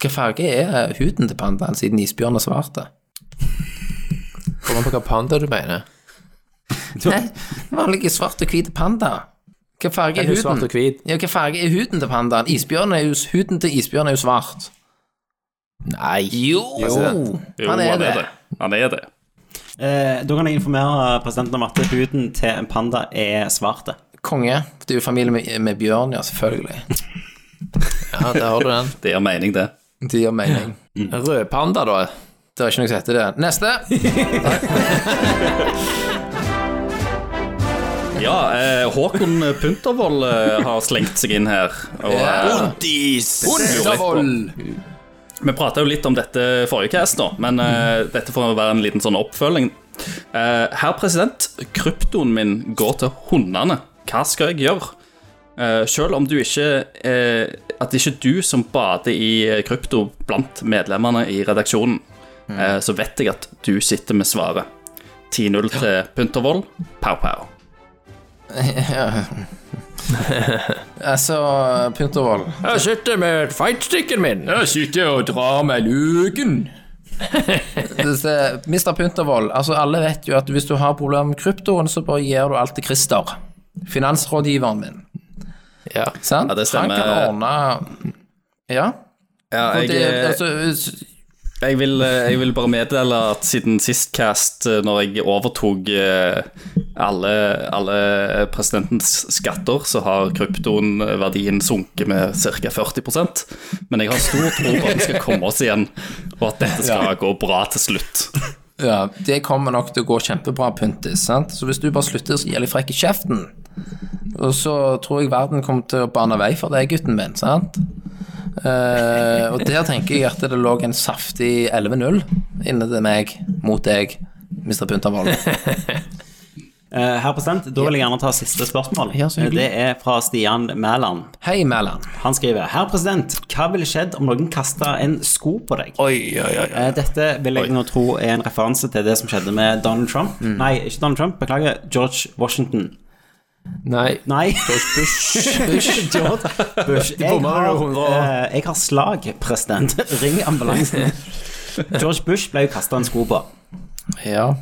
Speaker 6: Hva farge er eh, huden til pandaen, siden isbjørn er svart?
Speaker 8: Kommer an på hva panda du mener.
Speaker 6: Nei, vanlig svart og hvit panda. Hva farge
Speaker 8: Er
Speaker 6: er
Speaker 8: du svart
Speaker 6: huden?
Speaker 8: og hvit?
Speaker 6: Ja, hva farge er huden til pandaen? Isbjørn er jo, huden til isbjørn er jo svart.
Speaker 8: Nei.
Speaker 6: Jo,
Speaker 7: Jo,
Speaker 6: han er det.
Speaker 7: Han er det.
Speaker 5: Eh, da kan jeg informere presidenten om at huden til en panda er svart.
Speaker 6: Konge. Du er jo familie med, med bjørn, ja, selvfølgelig.
Speaker 8: Ja, der har du den.
Speaker 7: Det gir mening, det.
Speaker 6: Det gir mening.
Speaker 8: Rødpanda, da.
Speaker 6: Det er ikke noe som heter det. Neste!
Speaker 7: Ja, eh, Håkon Puntervold eh, har slengt seg inn her. Og, eh,
Speaker 6: Undervold!
Speaker 7: Vi prata jo litt om dette forrige cast, nå, men eh, dette får være en liten sånn oppfølging. Eh, herr president, kryptoen min går til hundene. Hva skal jeg gjøre? Eh, selv om du ikke eh, At det ikke er du som bader i eh, krypto blant medlemmene i redaksjonen, eh, så vet jeg at du sitter med svaret. 10-0 til Puntervold. Pow-pow.
Speaker 6: Altså, Puntervold.
Speaker 8: Jeg sitter med feitstikken min.
Speaker 6: Jeg sitter og drar med luken. Mr. Puntervold, eh, altså alle vet jo at hvis du har problemer med kryptoen, så bare gir du alt til Christer. Finansrådgiveren min.
Speaker 8: Ja.
Speaker 6: Sant?
Speaker 7: Ja, det stemmer.
Speaker 6: Han kan ordne Ja. Og det,
Speaker 7: eh,
Speaker 6: altså,
Speaker 7: Jeg vil, eh, jeg vil bare meddele at siden sist cast, eh, når jeg overtok eh, alle, alle presidentens skatter, så har kryptonverdien sunket med ca. 40 Men jeg har stor tro på at vi skal komme oss igjen, og at dette skal gå bra til slutt.
Speaker 6: ja, det kommer nok til å gå kjempebra, Puntis. Sant? Så hvis du bare slutter å gi litt frekk i kjeften, og så tror jeg verden kommer til å bane vei for deg, gutten min. Sant? Eh, og der tenker jeg at det lå en saftig 11-0 inne til meg mot deg, Mr. Puntervold.
Speaker 5: Eh, herr president, da vil jeg gjerne ta siste spørsmål. Eh,
Speaker 6: Ja, så hyggelig.
Speaker 5: det er fra Stian Mæland.
Speaker 6: Hei, Mæland.
Speaker 5: Han skriver Herr president, hva ville skjedd om noen kasta en sko på deg?
Speaker 7: Oi, oi, oi.
Speaker 5: Eh, Dette vil jeg nå tro er en referanse til det som skjedde med Donald Trump.
Speaker 6: Mm.
Speaker 5: Nei, ikke Donald Trump, beklager. George Washington.
Speaker 8: Nei.
Speaker 5: Nei,
Speaker 6: Bush.
Speaker 5: George Bush. Jeg
Speaker 8: bomma
Speaker 5: har,
Speaker 8: jo 100 år.
Speaker 5: eh, jeg har slag, president. Ring ambulansen. George Bush ble jo kasta en sko på.
Speaker 6: Ja.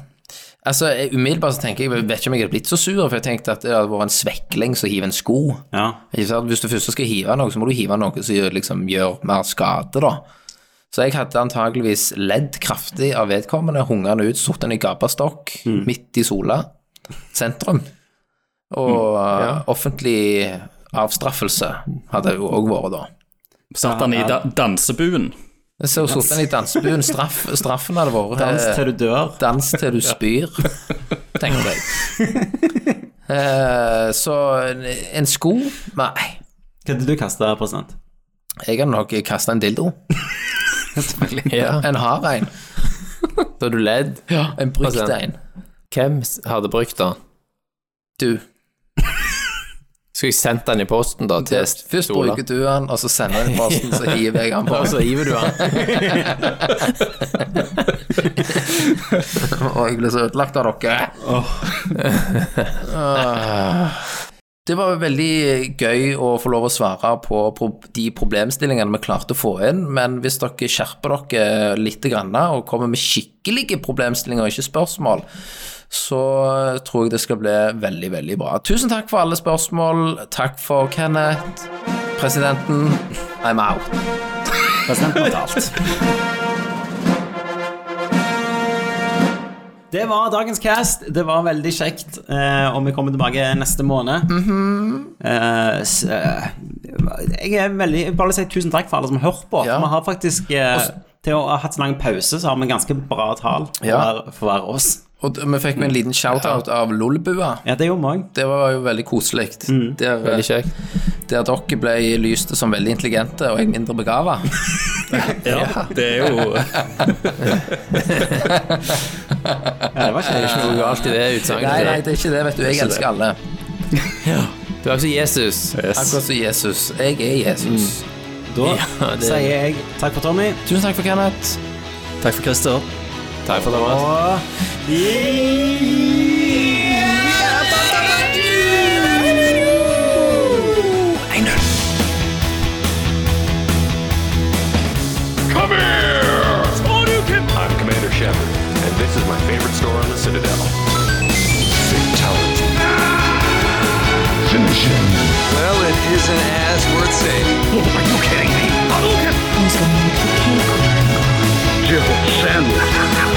Speaker 6: Altså, jeg- umiddelbart så tenker jeg, jeg vet ikke om jeg hadde blitt så sur, for jeg tenkte at det hadde vært en svekling som hiver en sko.
Speaker 5: Ja.
Speaker 6: Ikke sant? Hvis du først skal hive noe, så må du hive noe som gjør, liksom, gjør mer skade, da. Så jeg hadde antakeligvis ledd kraftig av vedkommende, hunget han ut, satt han i gapastokk
Speaker 5: Mm.
Speaker 6: midt i Sola sentrum.
Speaker 5: Mm.
Speaker 6: Og eh, offentlig avstraffelse hadde det jo òg vært, da.
Speaker 7: Satt han i da dansebuen?
Speaker 6: Så satt han i dansebuen, straff, straffen hadde vært
Speaker 5: Dans
Speaker 6: eh,
Speaker 5: til du dør.
Speaker 6: Dans til du spyr, tenker jeg. Eh, så en, en sko Nei,
Speaker 5: Hva hadde du kasta, president?
Speaker 6: jeg hadde nok kasta en dildo.
Speaker 8: Ja.
Speaker 6: En hard en.
Speaker 8: Da er du ledd.
Speaker 6: En brukt
Speaker 8: Altså,
Speaker 6: en.
Speaker 8: Hvem s- hadde brukt den?
Speaker 6: Du.
Speaker 8: Skulle jeg sendt den i posten, da? Til
Speaker 6: Først, først bruker du den, og så sender jeg den posten, så hiver jeg den på.
Speaker 8: Og så hiver du den.
Speaker 6: Og jeg blir så ødelagt av dere. Ah. Det var veldig gøy å få lov å svare på pro- de problemstillingene vi klarte å få inn, men hvis dere skjerper dere litt grann, og kommer med skikkelige problemstillinger og ikke spørsmål, så eh, tror jeg det skal bli veldig, veldig bra. Tusen takk for alle spørsmål. Takk for Kenneth, presidenten. I'm out.
Speaker 5: Presidenten har talt. Det var dagens cast. Det var veldig kjekt. eh, og vi kommer tilbake neste måned. Eh, s- eh, jeg er veldig Jeg vil bare si tusen takk for alle som har hørt på.
Speaker 6: Ja.
Speaker 5: Vi har faktisk eh, Til å ha hatt så lang pause, så har vi ganske bra tall for
Speaker 6: Ja.
Speaker 5: hver- for hver oss.
Speaker 6: Og d- vi fikk jo en liten shout-out av Lolbua.
Speaker 5: Ja, det gjorde vi òg.
Speaker 6: Det var jo veldig koselig. Der, eh,
Speaker 8: Veldig kjekt.
Speaker 6: der dere ble lyst som veldig intelligente og jeg mindre begava.
Speaker 7: Ja, det er jo
Speaker 5: Ja, det var
Speaker 8: Det er
Speaker 5: kjekt.
Speaker 8: ikke noe galt i det
Speaker 6: Nei, nei,
Speaker 8: utsagnet.
Speaker 6: det er ikke det, vet du. Jeg elsker alle.
Speaker 8: Du er altså Jesus.
Speaker 6: Akkurat som Jesus. Jeg er Jesus.
Speaker 5: Da
Speaker 8: Ja, det-
Speaker 5: sier jeg takk for Tommy.
Speaker 6: Tusen takk for Kenneth.
Speaker 7: Takk for Christer.
Speaker 8: Takk for det. Thomas.
Speaker 1: Come here! I'm Commander Shepard, and this is my favorite store on the Citadel. Fatality.
Speaker 2: Finish him.
Speaker 3: Well, it isn't as worth saying.
Speaker 2: Are you kidding me? Hadouken! Jill Sandler.